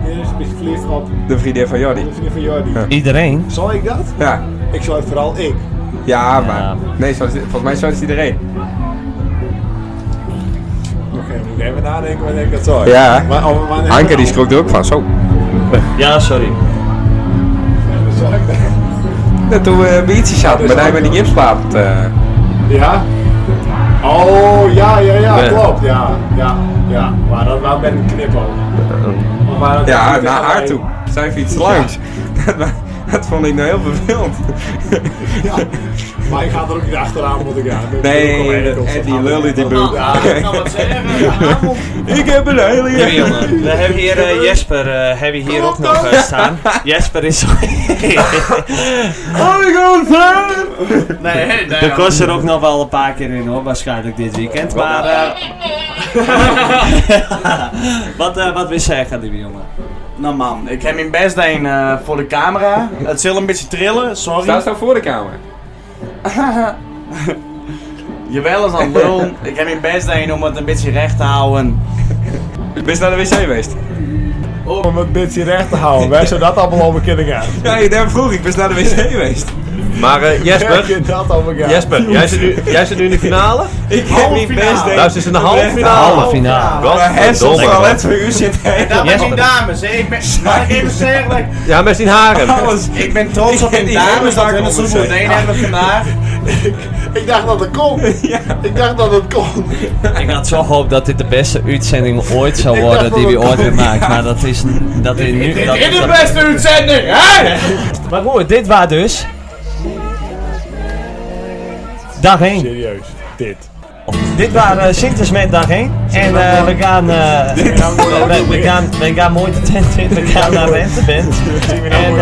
[SPEAKER 7] Hier is een beetje verliefd op
[SPEAKER 2] De vriendin van Jordi.
[SPEAKER 7] de vriendin van Jordi.
[SPEAKER 2] Ja.
[SPEAKER 3] Iedereen?
[SPEAKER 7] Zal ik dat?
[SPEAKER 2] Ja.
[SPEAKER 7] Ik zou het vooral ik.
[SPEAKER 2] Ja, maar. Nee, zo is het- volgens mij zo is het iedereen.
[SPEAKER 7] Oké, moet ik even nadenken wanneer ik dat zou.
[SPEAKER 2] Ja.
[SPEAKER 7] Maar, oh, wanneer-
[SPEAKER 2] Anke die schrok er ook van. Zo.
[SPEAKER 3] Ja, sorry.
[SPEAKER 7] Zal ik dat?
[SPEAKER 2] Dat toen we bij ietsje zaten, maar daar hebben we die gipsplaat. eh,
[SPEAKER 7] dus Ja? Oh, ja, ja, ja,
[SPEAKER 2] Nee.
[SPEAKER 7] klopt. Ja, ja, ja. Maar dat was met een knipoog. Maar dat-
[SPEAKER 2] Ja,
[SPEAKER 7] dat-
[SPEAKER 2] naar haar toe. Zij fiets langs. Dat vond ik nou heel vervelend.
[SPEAKER 7] Maar ik ga er ook niet achteraan moeten gaan. Met
[SPEAKER 2] Nee,
[SPEAKER 7] Wilco
[SPEAKER 2] dat-
[SPEAKER 7] Enkels.
[SPEAKER 2] en die lul in die broek.
[SPEAKER 7] Ja, dat kan wat zeggen.
[SPEAKER 2] Ik heb een hele
[SPEAKER 3] Ja, jongen. We hebben hier eh, Jesper eh, hebben we hier ook nog eh, staan. Jesper is...
[SPEAKER 2] Oh my god,
[SPEAKER 3] Nee, Er kost er ook nog wel een paar keer in hoor, waarschijnlijk dit weekend. Maar eh, wat, eh wat wil jij gaan doen, jongen?
[SPEAKER 13] Nou man, ik heb mijn best gedaan eh, voor de camera. Het zal een beetje trillen, sorry.
[SPEAKER 2] Staat zo voor de kamer.
[SPEAKER 13] Jawel is aan het lullen. ik heb mijn best gedaan om het een beetje recht te houden.
[SPEAKER 2] Ben je naar de wc geweest?
[SPEAKER 7] Om het beetje recht te houden. Wij zouden dat allemaal over kunnen gaan.
[SPEAKER 2] Ja, ik daar vroeg, ik ben naar de wc geweest.
[SPEAKER 10] Maar eh,
[SPEAKER 7] Wij
[SPEAKER 10] Jesper,
[SPEAKER 7] kunnen dat over gaan.
[SPEAKER 10] Jesper jij, zit nu, jij zit nu in de finale?
[SPEAKER 2] Ik heb niet best denk
[SPEAKER 10] Nou, ze is in de halve finale.
[SPEAKER 3] Halve finale.
[SPEAKER 10] Godverdomme.
[SPEAKER 2] Maar Hessel zal net voor u
[SPEAKER 13] En
[SPEAKER 2] zitten.
[SPEAKER 13] dat ben ik dames, hè. ik ben... Laat ik even zeggen, like,
[SPEAKER 10] Ja, met zijn
[SPEAKER 2] Oh.
[SPEAKER 10] haren.
[SPEAKER 13] ik ben trots op
[SPEAKER 2] Ik heb
[SPEAKER 13] mijn
[SPEAKER 2] die hele
[SPEAKER 13] dames dat
[SPEAKER 2] zak
[SPEAKER 13] we
[SPEAKER 2] onder
[SPEAKER 13] ons goed
[SPEAKER 2] zijn.
[SPEAKER 13] heen hebben vandaag.
[SPEAKER 7] Ik dacht dat het kon. Ik dacht dat het kon.
[SPEAKER 3] Ik had zo gehoopt dat dit de beste uitzending ooit zou
[SPEAKER 7] Ik
[SPEAKER 3] worden
[SPEAKER 7] dacht
[SPEAKER 3] die we
[SPEAKER 7] dat het
[SPEAKER 3] ooit weer
[SPEAKER 7] kon,
[SPEAKER 3] maken. Maar dat is n- dat is nu. Dat
[SPEAKER 13] Dit is
[SPEAKER 3] is
[SPEAKER 13] de
[SPEAKER 3] dat-
[SPEAKER 13] beste uitzending, hè?
[SPEAKER 3] Maar goed, dit was dus. Dag 1.
[SPEAKER 7] Serieus, dit.
[SPEAKER 3] Dit eh, waren Sintersmiddag 1. En eh, we gaan... eh, we, we- we gaan, we gaan mooi de tent in. We gaan naar Rentenbent. En, eh, en,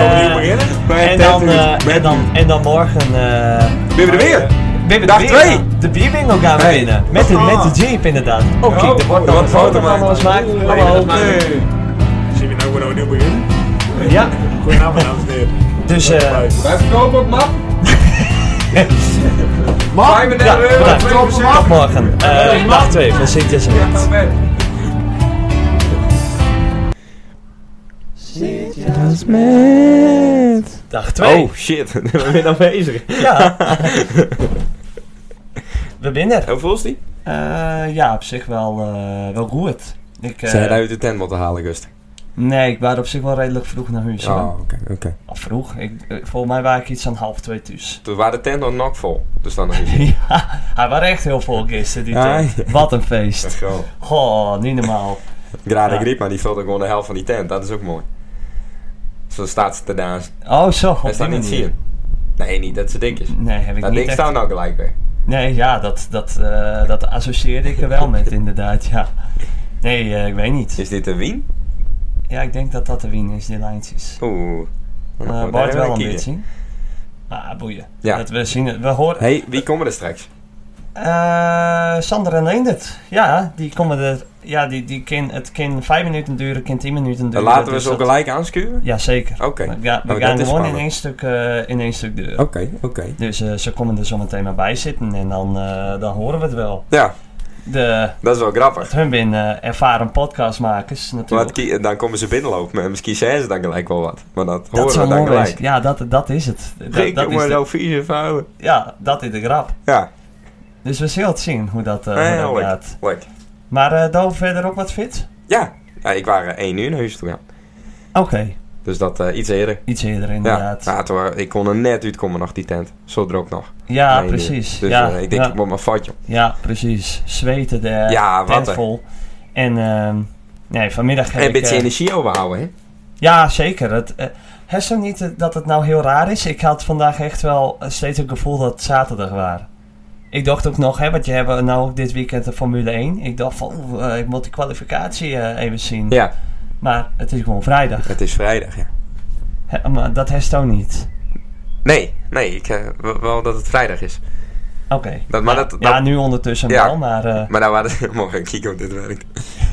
[SPEAKER 3] dan, eh, en, dan, en dan morgen... eh
[SPEAKER 2] Winnen we er weer?
[SPEAKER 3] Winnen we
[SPEAKER 2] Dag
[SPEAKER 3] weer,
[SPEAKER 2] twee.
[SPEAKER 3] ja. De bierbingo gaan we
[SPEAKER 2] Hey.
[SPEAKER 3] winnen. Met de, met de Jeep inderdaad. Oh kijk, er wordt nog een foto van ons maken. Hallo.
[SPEAKER 7] Zien we nou gewoon opnieuw beginnen?
[SPEAKER 3] Ja.
[SPEAKER 7] Goedenavond, dames en heren.
[SPEAKER 3] Dus eh...
[SPEAKER 2] Wij verkopen ook map.
[SPEAKER 3] Mag?
[SPEAKER 2] Wij
[SPEAKER 3] Ja,
[SPEAKER 2] beneden,
[SPEAKER 3] bedankt.
[SPEAKER 2] twee procent.
[SPEAKER 3] Tot morgen.
[SPEAKER 2] Hey,
[SPEAKER 3] Eh
[SPEAKER 2] map.
[SPEAKER 3] dag 2 van Sintersmiddag.
[SPEAKER 10] Met.
[SPEAKER 3] Dag 2.
[SPEAKER 2] Oh shit, we zijn aanwezig.
[SPEAKER 3] Ja. We winnen.
[SPEAKER 2] Hoeveel is die?
[SPEAKER 3] Eh, ja, op zich wel, eh, wel goed. Ik, eh,
[SPEAKER 2] Ze hadden uit de tent moeten halen, Gust.
[SPEAKER 3] Nee, ik was op zich wel redelijk vroeg naar huis.
[SPEAKER 2] Oh,
[SPEAKER 3] hoor.
[SPEAKER 2] oké, oké.
[SPEAKER 3] Of vroeg. Ik, eh, volgens mij was ik iets aan half twee thuis.
[SPEAKER 2] Toen waren de tent nog nok vol. Dus dan nog niet.
[SPEAKER 3] ja, hij was echt heel vol gisteren, die
[SPEAKER 2] Ah,
[SPEAKER 3] tent.
[SPEAKER 2] ja.
[SPEAKER 3] Wat een feest.
[SPEAKER 2] Goh,
[SPEAKER 3] Goh, niet normaal.
[SPEAKER 2] Grade
[SPEAKER 3] Ja.
[SPEAKER 2] Griep, maar die vult ook gewoon de helft van die tent. Dat is ook mooi. Zo staat ze te dansen.
[SPEAKER 3] Oh, zo, op
[SPEAKER 2] Hij staat
[SPEAKER 3] die
[SPEAKER 2] niet
[SPEAKER 3] manier.
[SPEAKER 2] zien. Nee, niet dat ze dik is.
[SPEAKER 3] Nee, heb ik
[SPEAKER 2] dat
[SPEAKER 3] niet
[SPEAKER 2] ding
[SPEAKER 3] echt-
[SPEAKER 2] staat nou gelijk weer.
[SPEAKER 3] Nee, ja, dat, dat, eh, dat associeerde ik er wel met, inderdaad, ja. Nee, eh, ik weet niet.
[SPEAKER 2] Is dit de Wien?
[SPEAKER 3] Ja, ik denk dat dat de wien is, die lijntjes.
[SPEAKER 2] Oeh.
[SPEAKER 3] Eh
[SPEAKER 2] Nou, daar
[SPEAKER 3] Bart
[SPEAKER 2] hebben
[SPEAKER 3] wel
[SPEAKER 2] we
[SPEAKER 3] een
[SPEAKER 2] een
[SPEAKER 3] beetje. Ah, boeien.
[SPEAKER 2] Ja.
[SPEAKER 3] Dat we zien, het- we horen...
[SPEAKER 2] hey, wie komen er straks?
[SPEAKER 3] Eh, Sander en Leendert. Ja, die komen er... Ja, die, die kan, het kan vijf minuten duren, kan tien minuten
[SPEAKER 2] Dan
[SPEAKER 3] duren.
[SPEAKER 2] laten we
[SPEAKER 3] dus
[SPEAKER 2] ze ook
[SPEAKER 3] dat-
[SPEAKER 2] gelijk aanschuren?
[SPEAKER 3] Jazeker.
[SPEAKER 2] Oké.
[SPEAKER 3] Ja, we
[SPEAKER 2] Oh,
[SPEAKER 3] gaan
[SPEAKER 2] dat
[SPEAKER 3] gewoon in
[SPEAKER 2] is spannend.
[SPEAKER 3] één stuk, eh in één stuk deuren. Oké,
[SPEAKER 2] oké.
[SPEAKER 3] Dus eh, ze komen er zometeen maar bij zitten en dan, eh, dan horen we het wel.
[SPEAKER 2] Ja,
[SPEAKER 3] De,
[SPEAKER 2] dat is wel grappig.
[SPEAKER 3] hun zijn eh, ervaren podcastmakers natuurlijk.
[SPEAKER 2] Want ki- dan komen ze binnenlopen en misschien zeggen ze dan gelijk wel wat. Maar dat,
[SPEAKER 3] dat
[SPEAKER 2] horen
[SPEAKER 3] zou
[SPEAKER 2] we dan
[SPEAKER 3] mooi
[SPEAKER 2] gelijk.
[SPEAKER 3] zijn. Ja, dat, dat is het. Dat,
[SPEAKER 2] Rick,
[SPEAKER 3] dat
[SPEAKER 2] jongen,
[SPEAKER 3] is
[SPEAKER 2] nou
[SPEAKER 3] vieze vuilen. Ja, dat is de grap.
[SPEAKER 2] Ja.
[SPEAKER 3] Dus we zullen het zien hoe dat, eh, hoe
[SPEAKER 2] Nee,
[SPEAKER 3] dat
[SPEAKER 2] leuk,
[SPEAKER 3] gaat.
[SPEAKER 2] leuk.
[SPEAKER 3] Maar eh Dove verder ook wat fit?
[SPEAKER 2] Ja. ja, ik was eh, één uur naar huis toe gaan.
[SPEAKER 3] Oké,
[SPEAKER 2] Dus dat eh, iets eerder.
[SPEAKER 3] Iets eerder, inderdaad.
[SPEAKER 2] Ja, ja, toen waren- ik kon er net uitkomen nog, die tent. Zo droog nog.
[SPEAKER 3] Ja,
[SPEAKER 2] Nee, nee.
[SPEAKER 3] precies.
[SPEAKER 2] Dus
[SPEAKER 3] Ja,
[SPEAKER 2] eh, ik denk,
[SPEAKER 3] ja.
[SPEAKER 2] ik moet mijn foutje.
[SPEAKER 3] ja, precies. Zweten de
[SPEAKER 2] Ja, wat
[SPEAKER 3] tent
[SPEAKER 2] een.
[SPEAKER 3] vol. En ehm, nee, vanmiddag heb
[SPEAKER 2] En een
[SPEAKER 3] ik...
[SPEAKER 2] beetje
[SPEAKER 3] eh,
[SPEAKER 2] energie overhouden, hè?
[SPEAKER 3] Ja, zeker. Het, eh, het is zo niet eh, dat het nou heel raar is. Ik had vandaag echt wel eh, steeds het gevoel dat het zaterdag was. Ik dacht ook nog, hè, want je hebt nou ook dit weekend de Formule 1. Ik dacht van, oeh, eh, ik moet die kwalificatie eh, even zien.
[SPEAKER 2] Ja.
[SPEAKER 3] Maar het is gewoon vrijdag.
[SPEAKER 2] Het is vrijdag, ja.
[SPEAKER 3] Hè, maar dat heeft ook niet.
[SPEAKER 2] Nee, nee, ik, eh, wel- wel dat het vrijdag is.
[SPEAKER 3] Oké.
[SPEAKER 2] Dat, maar dat,
[SPEAKER 3] Ja,
[SPEAKER 2] dat-
[SPEAKER 3] nu ondertussen
[SPEAKER 2] Ja.
[SPEAKER 3] wel, maar... eh,
[SPEAKER 2] Maar daar waren ze... Morgen kijken hoe dit werkt.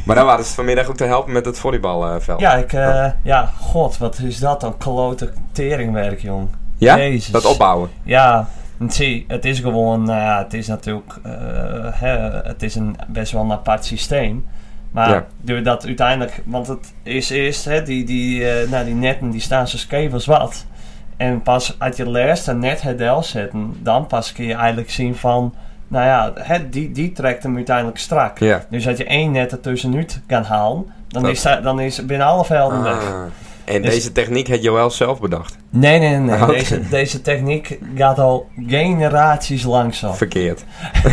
[SPEAKER 2] Maar daar waren ze vanmiddag ook te helpen met het volleybalveld.
[SPEAKER 3] ja, ik... eh,
[SPEAKER 2] Oh.
[SPEAKER 3] Ja, god, wat is dat dan? Klote teringwerk, jong.
[SPEAKER 2] Ja?
[SPEAKER 3] Jezus.
[SPEAKER 2] Dat opbouwen.
[SPEAKER 3] Ja, en zie, het is gewoon, nou ja, het is natuurlijk, eh, hè, het is een best wel een apart systeem. Maar
[SPEAKER 2] Ja.
[SPEAKER 3] door dat uiteindelijk, want het is eerst, hè, die, die, eh, nou, die netten die staan zo scheef als wat. En pas uit je laatste net het deel zetten, dan pas kun je eigenlijk zien van, nou ja, hè, die, die trekt hem uiteindelijk strak.
[SPEAKER 2] Ja.
[SPEAKER 3] Dus als je één net ertussenuit kan halen, dan,
[SPEAKER 2] Dat-
[SPEAKER 3] is, dat- dan is binnen alle velden weg.
[SPEAKER 2] Ah. En
[SPEAKER 3] Dus-
[SPEAKER 2] deze techniek had Joël zelf bedacht.
[SPEAKER 3] Nee, nee, nee. nee.
[SPEAKER 2] Oké.
[SPEAKER 3] Deze, deze techniek gaat al generaties langzaam.
[SPEAKER 2] Verkeerd.
[SPEAKER 3] Dat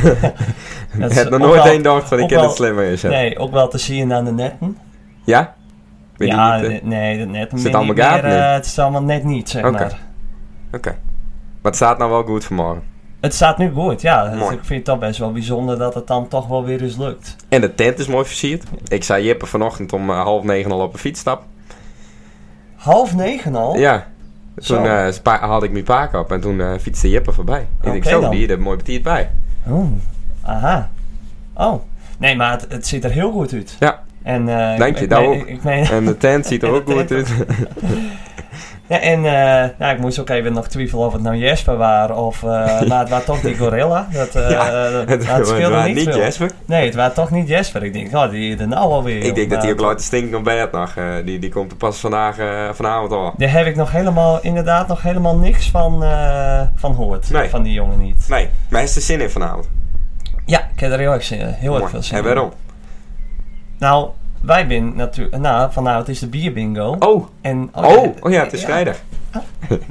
[SPEAKER 2] Het
[SPEAKER 3] is
[SPEAKER 2] had nog
[SPEAKER 3] ook
[SPEAKER 2] nooit
[SPEAKER 3] wel-
[SPEAKER 2] één dacht van ik
[SPEAKER 3] ook
[SPEAKER 2] ken
[SPEAKER 3] wel-
[SPEAKER 2] het slimmer is. hè.
[SPEAKER 3] Nee, ook wel te zien aan de netten.
[SPEAKER 2] Ja? Weet je
[SPEAKER 3] ja,
[SPEAKER 2] niet, hè?
[SPEAKER 3] de- nee, de netten.
[SPEAKER 2] Zit
[SPEAKER 3] ben
[SPEAKER 2] allemaal
[SPEAKER 3] niet
[SPEAKER 2] gaten
[SPEAKER 3] meer,
[SPEAKER 2] in?
[SPEAKER 3] eh, Het is allemaal net niet, zeg
[SPEAKER 2] Oké.
[SPEAKER 3] maar.
[SPEAKER 2] Oké. Maar het staat nou wel goed vanmorgen.
[SPEAKER 3] Het staat nu goed, ja. Het-
[SPEAKER 2] Mooi.
[SPEAKER 3] ik vind het toch best wel bijzonder dat het dan toch wel weer eens lukt.
[SPEAKER 2] En de tent is mooi versierd. Ik zei Jippe vanochtend om eh, half negen al op een fiets stap.
[SPEAKER 3] Half negen al?
[SPEAKER 2] Ja.
[SPEAKER 3] Oh. Zo.
[SPEAKER 2] Toen eh, spa- haalde ik mijn paak op en toen eh, fietste Jippe voorbij. ik denk
[SPEAKER 3] Oké
[SPEAKER 2] zo,
[SPEAKER 3] dan.
[SPEAKER 2] die heeft mooi betiert bij.
[SPEAKER 3] Oh, aha. Oh. Nee, maar het, het ziet er heel goed uit.
[SPEAKER 2] Ja.
[SPEAKER 3] En, eh,
[SPEAKER 2] Dank
[SPEAKER 3] ik-
[SPEAKER 2] je,
[SPEAKER 3] ik
[SPEAKER 2] daar
[SPEAKER 3] meen-
[SPEAKER 2] ook.
[SPEAKER 3] ik meen-
[SPEAKER 2] En de tent ziet er
[SPEAKER 3] En
[SPEAKER 2] ook
[SPEAKER 3] de
[SPEAKER 2] goed
[SPEAKER 3] tent
[SPEAKER 2] uit.
[SPEAKER 3] Ja, en eh, nou, ik moest ook even nog twijfelen of het nou Jesper waren of... eh, maar het was toch die gorilla. Dat, eh,
[SPEAKER 2] Ja,
[SPEAKER 3] eh, dat,
[SPEAKER 2] het-
[SPEAKER 3] dat
[SPEAKER 2] het
[SPEAKER 3] scheelde
[SPEAKER 2] waren
[SPEAKER 3] niet
[SPEAKER 2] niet
[SPEAKER 3] veel.
[SPEAKER 2] Jesper.
[SPEAKER 3] Nee, het was toch niet Jesper. Ik denk, oh, die er nou alweer.
[SPEAKER 2] ik denk
[SPEAKER 3] joh.
[SPEAKER 2] dat hij ook
[SPEAKER 3] Maar
[SPEAKER 2] laat te stinken op bed nog. eh, die, die komt er pas vandaag, eh, vanavond al.
[SPEAKER 3] Daar heb ik nog helemaal, inderdaad nog helemaal niks van, eh, van hoort.
[SPEAKER 2] Nee.
[SPEAKER 3] Van die jongen niet.
[SPEAKER 2] Nee, maar hij heeft er zin in vanavond.
[SPEAKER 3] Ja, ik heb er heel erg zin in. Heel erg
[SPEAKER 2] Mooi.
[SPEAKER 3] veel zin
[SPEAKER 2] En
[SPEAKER 3] in.
[SPEAKER 2] waarom?
[SPEAKER 3] Nou, wij winnen natuurlijk... Nou, vanavond is de bierbingo.
[SPEAKER 2] Oh.
[SPEAKER 3] En,
[SPEAKER 2] Oh, oh ja, het is vrijdag.
[SPEAKER 3] Ah.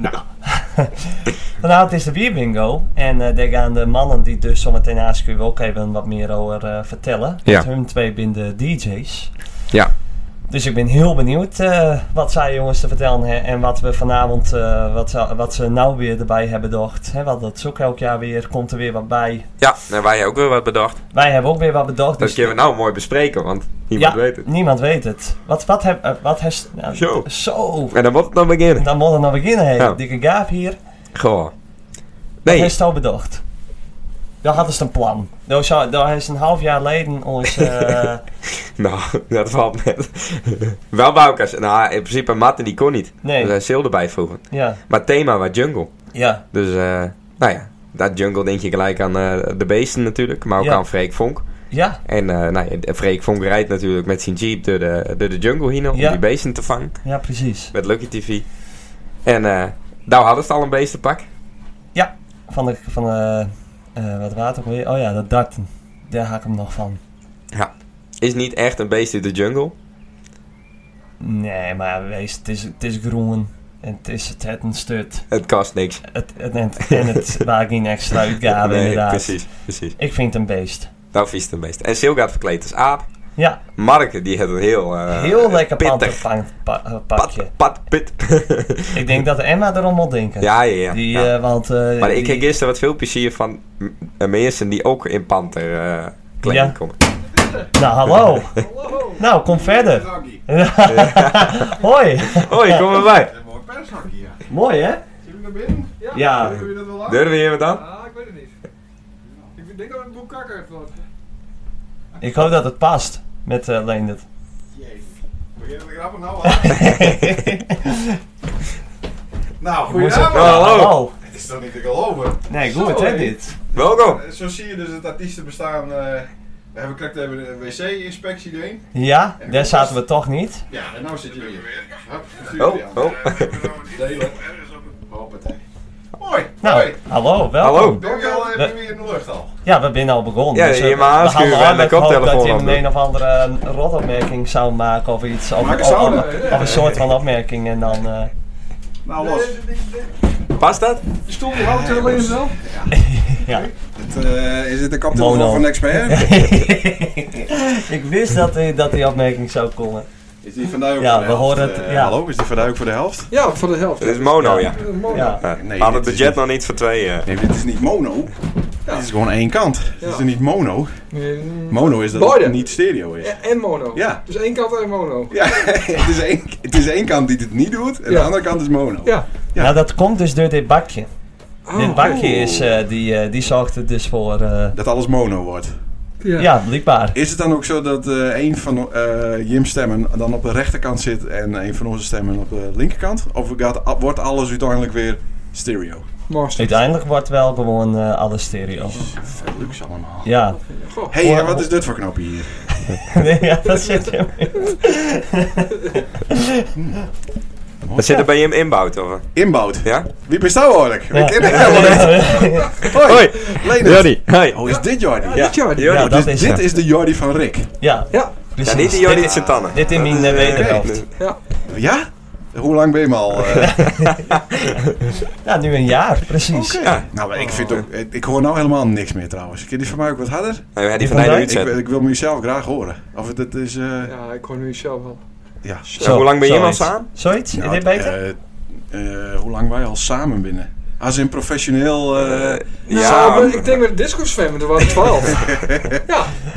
[SPEAKER 3] Vanavond Nou. is de bierbingo. En eh, daar gaan de mannen die dus zometeen aanschuiven ook even wat meer over eh, vertellen.
[SPEAKER 2] Ja.
[SPEAKER 3] Want hun twee binden DJ's.
[SPEAKER 2] Ja.
[SPEAKER 3] Dus ik ben heel benieuwd eh, wat zij jongens te vertellen hè, en wat we vanavond, eh, wat, ze, wat ze nou weer erbij hebben bedacht. Hè, want dat is ook elk jaar weer, komt er weer wat bij.
[SPEAKER 2] Ja, en wij hebben ook weer wat bedacht.
[SPEAKER 3] Wij hebben ook weer wat bedacht.
[SPEAKER 2] Dat
[SPEAKER 3] dus-
[SPEAKER 2] kunnen we nou mooi bespreken, want niemand weet het.
[SPEAKER 3] Niemand weet het. Wat, wat heb, eh, wat has, nou,
[SPEAKER 2] Zo.
[SPEAKER 3] zo.
[SPEAKER 2] En dan moet het dan beginnen.
[SPEAKER 3] Dan moet het nog beginnen, hè.
[SPEAKER 2] Ja.
[SPEAKER 3] Dikke gaap hier.
[SPEAKER 2] Goh.
[SPEAKER 3] Nee. Dat is al bedacht. Dat hadden ze een plan. Dat zou- dat is een half jaar geleden ons... eh,
[SPEAKER 2] Nou, dat valt net. Wel Boukers. Nou, in principe Matten die kon niet.
[SPEAKER 3] Nee.
[SPEAKER 2] Dus hij Sil erbij vroegen.
[SPEAKER 3] Ja.
[SPEAKER 2] Maar het thema was jungle.
[SPEAKER 3] Ja.
[SPEAKER 2] Dus, eh, nou ja. Dat jungle denk je gelijk aan eh, de beesten natuurlijk. Maar ook
[SPEAKER 3] Ja.
[SPEAKER 2] aan Freek Vonk.
[SPEAKER 3] Ja.
[SPEAKER 2] En eh nou, ja, Freek Vonk rijdt natuurlijk met zijn jeep door de, door de jungle heen om
[SPEAKER 3] Ja.
[SPEAKER 2] die beesten te vangen.
[SPEAKER 3] ja, precies.
[SPEAKER 2] Met Lucky TV. En eh nou hadden ze al een beestenpak.
[SPEAKER 3] Ja, van de... Van de eh, wat water ook weer? Oh ja, dat darten. Daar haak ik hem nog van.
[SPEAKER 2] Ja. Is niet echt een beest uit de jungle.
[SPEAKER 3] Nee, maar wees, het is, het is groen. En het is het, het een stut.
[SPEAKER 2] Het kost niks.
[SPEAKER 3] Het, het, en het, en het maakt geen extra uitgave,
[SPEAKER 2] Nee,
[SPEAKER 3] inderdaad.
[SPEAKER 2] precies, precies.
[SPEAKER 3] Ik vind het een beest.
[SPEAKER 2] Nou vies het een beest. En Sil gaat verkleed als aap.
[SPEAKER 3] Ja.
[SPEAKER 2] Marke die had een heel... eh,
[SPEAKER 3] Heel lekker
[SPEAKER 2] pittig.
[SPEAKER 3] panterpakje. eh, pakje.
[SPEAKER 2] Pat, pit.
[SPEAKER 3] ik denk dat Emma erom moet denken.
[SPEAKER 2] Ja, ja, ja.
[SPEAKER 3] Die,
[SPEAKER 2] Ja.
[SPEAKER 3] eh, want, eh,
[SPEAKER 2] maar ik
[SPEAKER 3] die-
[SPEAKER 2] kreeg gisteren wat veel plezier van m- eh, mensen die ook in panter eh kleding
[SPEAKER 3] Ja.
[SPEAKER 2] komen.
[SPEAKER 3] Nou, hallo. nou, kom verder. Hoi.
[SPEAKER 2] Hoi, kom erbij.
[SPEAKER 3] Een mooi pershakje, ja. Mooi, hè?
[SPEAKER 14] Zullen we naar binnen?
[SPEAKER 3] Ja.
[SPEAKER 14] Durven jullie dat wel aan?
[SPEAKER 2] Durven jullie dat aan?
[SPEAKER 14] Ah, ik weet het niet. Ik denk dat het een boek kakker heeft wordt.
[SPEAKER 3] Ik hoop dat het past met eh Leendert.
[SPEAKER 14] Jezus. Begin de grappen nou aan. nou,
[SPEAKER 3] Je moet
[SPEAKER 14] goedenavond.
[SPEAKER 3] het- Nou, hallo. Hallo.
[SPEAKER 14] Het is toch niet te geloven?
[SPEAKER 3] Nee, goed,
[SPEAKER 14] Zo,
[SPEAKER 3] hè, dit.
[SPEAKER 2] Welkom.
[SPEAKER 14] Eh, Zo zie je dus het artiestenbestaan. eh we hebben krijgt even een wc-inspectie erin.
[SPEAKER 3] Ja,
[SPEAKER 14] En
[SPEAKER 3] daar
[SPEAKER 14] nu-
[SPEAKER 3] zaten we toch niet.
[SPEAKER 14] Ja, en nou zit je weer. Hup,
[SPEAKER 2] Oh,
[SPEAKER 14] stuur
[SPEAKER 2] oh.
[SPEAKER 14] Delen. Hoppatee. Hoi.
[SPEAKER 3] Nou,
[SPEAKER 14] hoi.
[SPEAKER 3] hallo, welkom.
[SPEAKER 2] Hallo.
[SPEAKER 14] Ben je al
[SPEAKER 3] We-
[SPEAKER 14] even weer in de lucht al?
[SPEAKER 3] Ja, we zijn al begonnen.
[SPEAKER 2] Ja,
[SPEAKER 3] eh,
[SPEAKER 2] je mag
[SPEAKER 3] we
[SPEAKER 2] aanschuiven
[SPEAKER 3] hadden
[SPEAKER 2] en
[SPEAKER 3] al
[SPEAKER 2] de
[SPEAKER 3] gehoopt
[SPEAKER 2] koptelefoon
[SPEAKER 3] dat je
[SPEAKER 2] opdoen.
[SPEAKER 3] een, een of andere eh, rotopmerking zou maken of iets. Of,
[SPEAKER 14] Maak
[SPEAKER 3] of,
[SPEAKER 14] eens
[SPEAKER 3] of-
[SPEAKER 14] ouder,
[SPEAKER 3] of
[SPEAKER 14] ja.
[SPEAKER 3] een soort van opmerking en dan... eh,
[SPEAKER 14] Nou, los.
[SPEAKER 2] Past dat?
[SPEAKER 14] Je stoel die houdt helemaal jezelf?
[SPEAKER 3] ja.
[SPEAKER 14] Het, eh, is dit de koptelefoon
[SPEAKER 3] Mono.
[SPEAKER 14] van expert?
[SPEAKER 3] ik wist dat die, dat die opmerking zou komen.
[SPEAKER 14] Is die vandaag ook
[SPEAKER 3] Ja,
[SPEAKER 14] voor de
[SPEAKER 3] we
[SPEAKER 14] helft?
[SPEAKER 3] horen het,
[SPEAKER 14] Eh,
[SPEAKER 3] ja.
[SPEAKER 14] Hallo, is die vandaag ook voor de helft?
[SPEAKER 1] Ja, voor de helft.
[SPEAKER 2] Het is mono, ja.
[SPEAKER 1] mono.
[SPEAKER 3] Ja.
[SPEAKER 2] We
[SPEAKER 14] Nee,
[SPEAKER 2] hadden
[SPEAKER 14] dit
[SPEAKER 2] het
[SPEAKER 14] is
[SPEAKER 2] budget nog niet voor twee. eh.
[SPEAKER 14] Nee, dit is niet mono. Dit is gewoon één kant. Dit is er niet mono. Mono is dat
[SPEAKER 1] Beide.
[SPEAKER 14] het niet stereo is.
[SPEAKER 1] En mono.
[SPEAKER 14] Ja.
[SPEAKER 1] Dus één kant en mono.
[SPEAKER 14] Ja, het, is één, het is één kant die dit niet doet en
[SPEAKER 1] Ja.
[SPEAKER 14] de andere kant is mono.
[SPEAKER 1] Ja.
[SPEAKER 3] Nou, dat komt dus door dit bakje.
[SPEAKER 14] Oh.
[SPEAKER 3] dit bakje is, eh, die, eh, die zorgt er dus voor... eh,
[SPEAKER 14] Dat alles mono wordt.
[SPEAKER 3] ja. blijkbaar.
[SPEAKER 14] Is het dan ook zo dat eh een van eh Jim's stemmen dan op de rechterkant zit en een van onze stemmen op de linkerkant? Of gaat, wordt alles uiteindelijk weer stereo?
[SPEAKER 3] Uiteindelijk wordt wel gewoon eh alles stereo.
[SPEAKER 14] Veel luxe allemaal.
[SPEAKER 3] Ja.
[SPEAKER 14] Hé, hey, en wat is dit voor knopje hier?
[SPEAKER 3] nee, ja, dat zit je
[SPEAKER 2] Wat zit er bij je in inbouwt? Of?
[SPEAKER 14] Inbouwt?
[SPEAKER 2] Ja?
[SPEAKER 14] Wie bent jou eigenlijk? We
[SPEAKER 2] Ja.
[SPEAKER 14] kennen helemaal niet. Hoi,
[SPEAKER 2] Hoi.
[SPEAKER 14] Leonard.
[SPEAKER 2] Jordi. Hoi.
[SPEAKER 14] Oh, is dit Jordi?
[SPEAKER 2] Ja, dit Jordi. Ja, dat
[SPEAKER 14] dus
[SPEAKER 2] is
[SPEAKER 14] dit
[SPEAKER 2] het.
[SPEAKER 14] is de Jordi van Rick.
[SPEAKER 3] Ja.
[SPEAKER 1] Ja.
[SPEAKER 2] Ja, dit is Jordi zijn tanden.
[SPEAKER 3] Dit in mijn eh, wederhelft.
[SPEAKER 1] Ja.
[SPEAKER 14] Ja? Hoe lang ben je hem al? eh?
[SPEAKER 3] Ja, nu een jaar, precies.
[SPEAKER 14] Ja. Nou, maar ik vind ook... Ik ik hoor nou helemaal niks meer trouwens. Kun je die van mij ook wat harder?
[SPEAKER 2] Nou, ja, die van mij eruit
[SPEAKER 14] ik,
[SPEAKER 2] zetten.
[SPEAKER 14] ik wil mezelf graag horen. Of het, het is... eh,
[SPEAKER 1] Ja, ik hoor nu zelf al.
[SPEAKER 14] ja.
[SPEAKER 2] Zo, hoe lang ben je al samen?
[SPEAKER 3] Zoiets?
[SPEAKER 14] Nou,
[SPEAKER 3] is dit beter?
[SPEAKER 14] eh, eh, hoe lang wij al samen binnen? Als in professioneel... eh,
[SPEAKER 1] Nou,
[SPEAKER 14] samen.
[SPEAKER 1] maar ik denk met de disco zwemmen, er waren 12.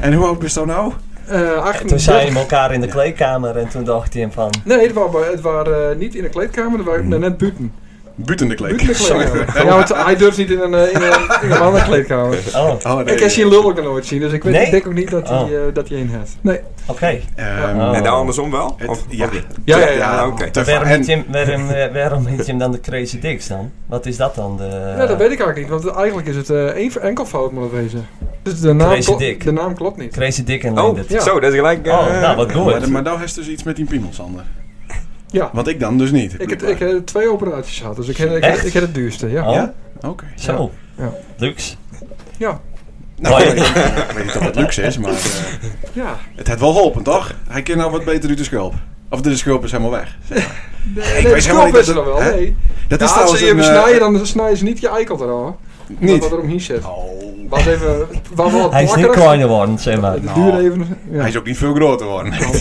[SPEAKER 14] En hoe oud bist je nou?
[SPEAKER 1] Eh 18.
[SPEAKER 3] Toen zijn we elkaar in de kleedkamer en toen dacht hij hem van...
[SPEAKER 1] Nee, het waren, het waren eh, niet in de kleedkamer, het waren net buiten.
[SPEAKER 14] Buiten de
[SPEAKER 1] Buiten de
[SPEAKER 14] kleed.
[SPEAKER 1] kleedkamer. Ja, want hij durft niet in een, eh, in een, in een mannenkleedkamer.
[SPEAKER 3] Oh.
[SPEAKER 1] Ik heb zijn lul ook nog nooit zien, dus ik, weet,
[SPEAKER 3] Nee?
[SPEAKER 1] ik denk ook niet dat hij,
[SPEAKER 3] Oh.
[SPEAKER 1] eh, dat hij een heeft. Nee.
[SPEAKER 3] Oké. Oh.
[SPEAKER 14] Ehm,
[SPEAKER 2] En daar andersom wel?
[SPEAKER 14] Het-
[SPEAKER 2] Of,
[SPEAKER 14] ja.
[SPEAKER 2] of niet?
[SPEAKER 1] Ja, ja, ja.
[SPEAKER 2] Ah, oké.
[SPEAKER 14] Te
[SPEAKER 3] Waarom
[SPEAKER 14] en-
[SPEAKER 3] heet, je hem, waarom, eh, waarom heet je hem dan de Crazy Dicks dan? Wat is dat dan? De,
[SPEAKER 1] Ja, dat weet ik eigenlijk niet, want eigenlijk is het eh, één enkelvoud moet het wezen. Dus de naam,
[SPEAKER 3] Crazy
[SPEAKER 1] klo-
[SPEAKER 3] Dick.
[SPEAKER 1] de naam klopt niet.
[SPEAKER 3] Crazy Dick en
[SPEAKER 2] Oh,
[SPEAKER 3] Leendert.
[SPEAKER 2] zo, dat is gelijk. eh,
[SPEAKER 3] Oh, nou, wat
[SPEAKER 14] Maar,
[SPEAKER 3] goed.
[SPEAKER 14] maar nou heeft dus iets met die piemel, Sander.
[SPEAKER 1] Ja.
[SPEAKER 14] Want ik dan dus niet.
[SPEAKER 1] Ik heb ik, heb twee operaties gehad, dus ik heb ik,
[SPEAKER 14] Echt?
[SPEAKER 1] heb- ik heb het duurste. Ja.
[SPEAKER 3] Oh,
[SPEAKER 14] Ja? Oké.
[SPEAKER 3] Zo.
[SPEAKER 1] Ja.
[SPEAKER 3] Luxe.
[SPEAKER 1] Ja.
[SPEAKER 14] Nou,
[SPEAKER 3] Hoi.
[SPEAKER 14] ik weet, niet- ik weet niet of het luxe is, maar eh,
[SPEAKER 1] Ja.
[SPEAKER 14] het had wel geholpen, toch? Hij kan nou wat beter uit de schulp. Of de schulp is helemaal weg.
[SPEAKER 1] Nee,
[SPEAKER 14] weet
[SPEAKER 1] nee,
[SPEAKER 14] helemaal
[SPEAKER 1] de
[SPEAKER 14] niet
[SPEAKER 1] is
[SPEAKER 14] dat
[SPEAKER 1] er wel,
[SPEAKER 14] het- hè?
[SPEAKER 1] nee.
[SPEAKER 14] Dat is
[SPEAKER 1] ja, als
[SPEAKER 14] trouwens
[SPEAKER 1] ze je
[SPEAKER 14] een, eh,
[SPEAKER 1] besnijden, dan snijden ze niet je eikel er al.
[SPEAKER 15] Niet. Wat er omheen zit. Oh. Was even... Was wel wat
[SPEAKER 3] Hij is niet
[SPEAKER 15] plakkerig.
[SPEAKER 3] kleiner geworden, zeg maar.
[SPEAKER 15] Het duurde even...
[SPEAKER 14] Hij is ook niet veel groter
[SPEAKER 10] Oh,
[SPEAKER 14] geworden.
[SPEAKER 15] Oh,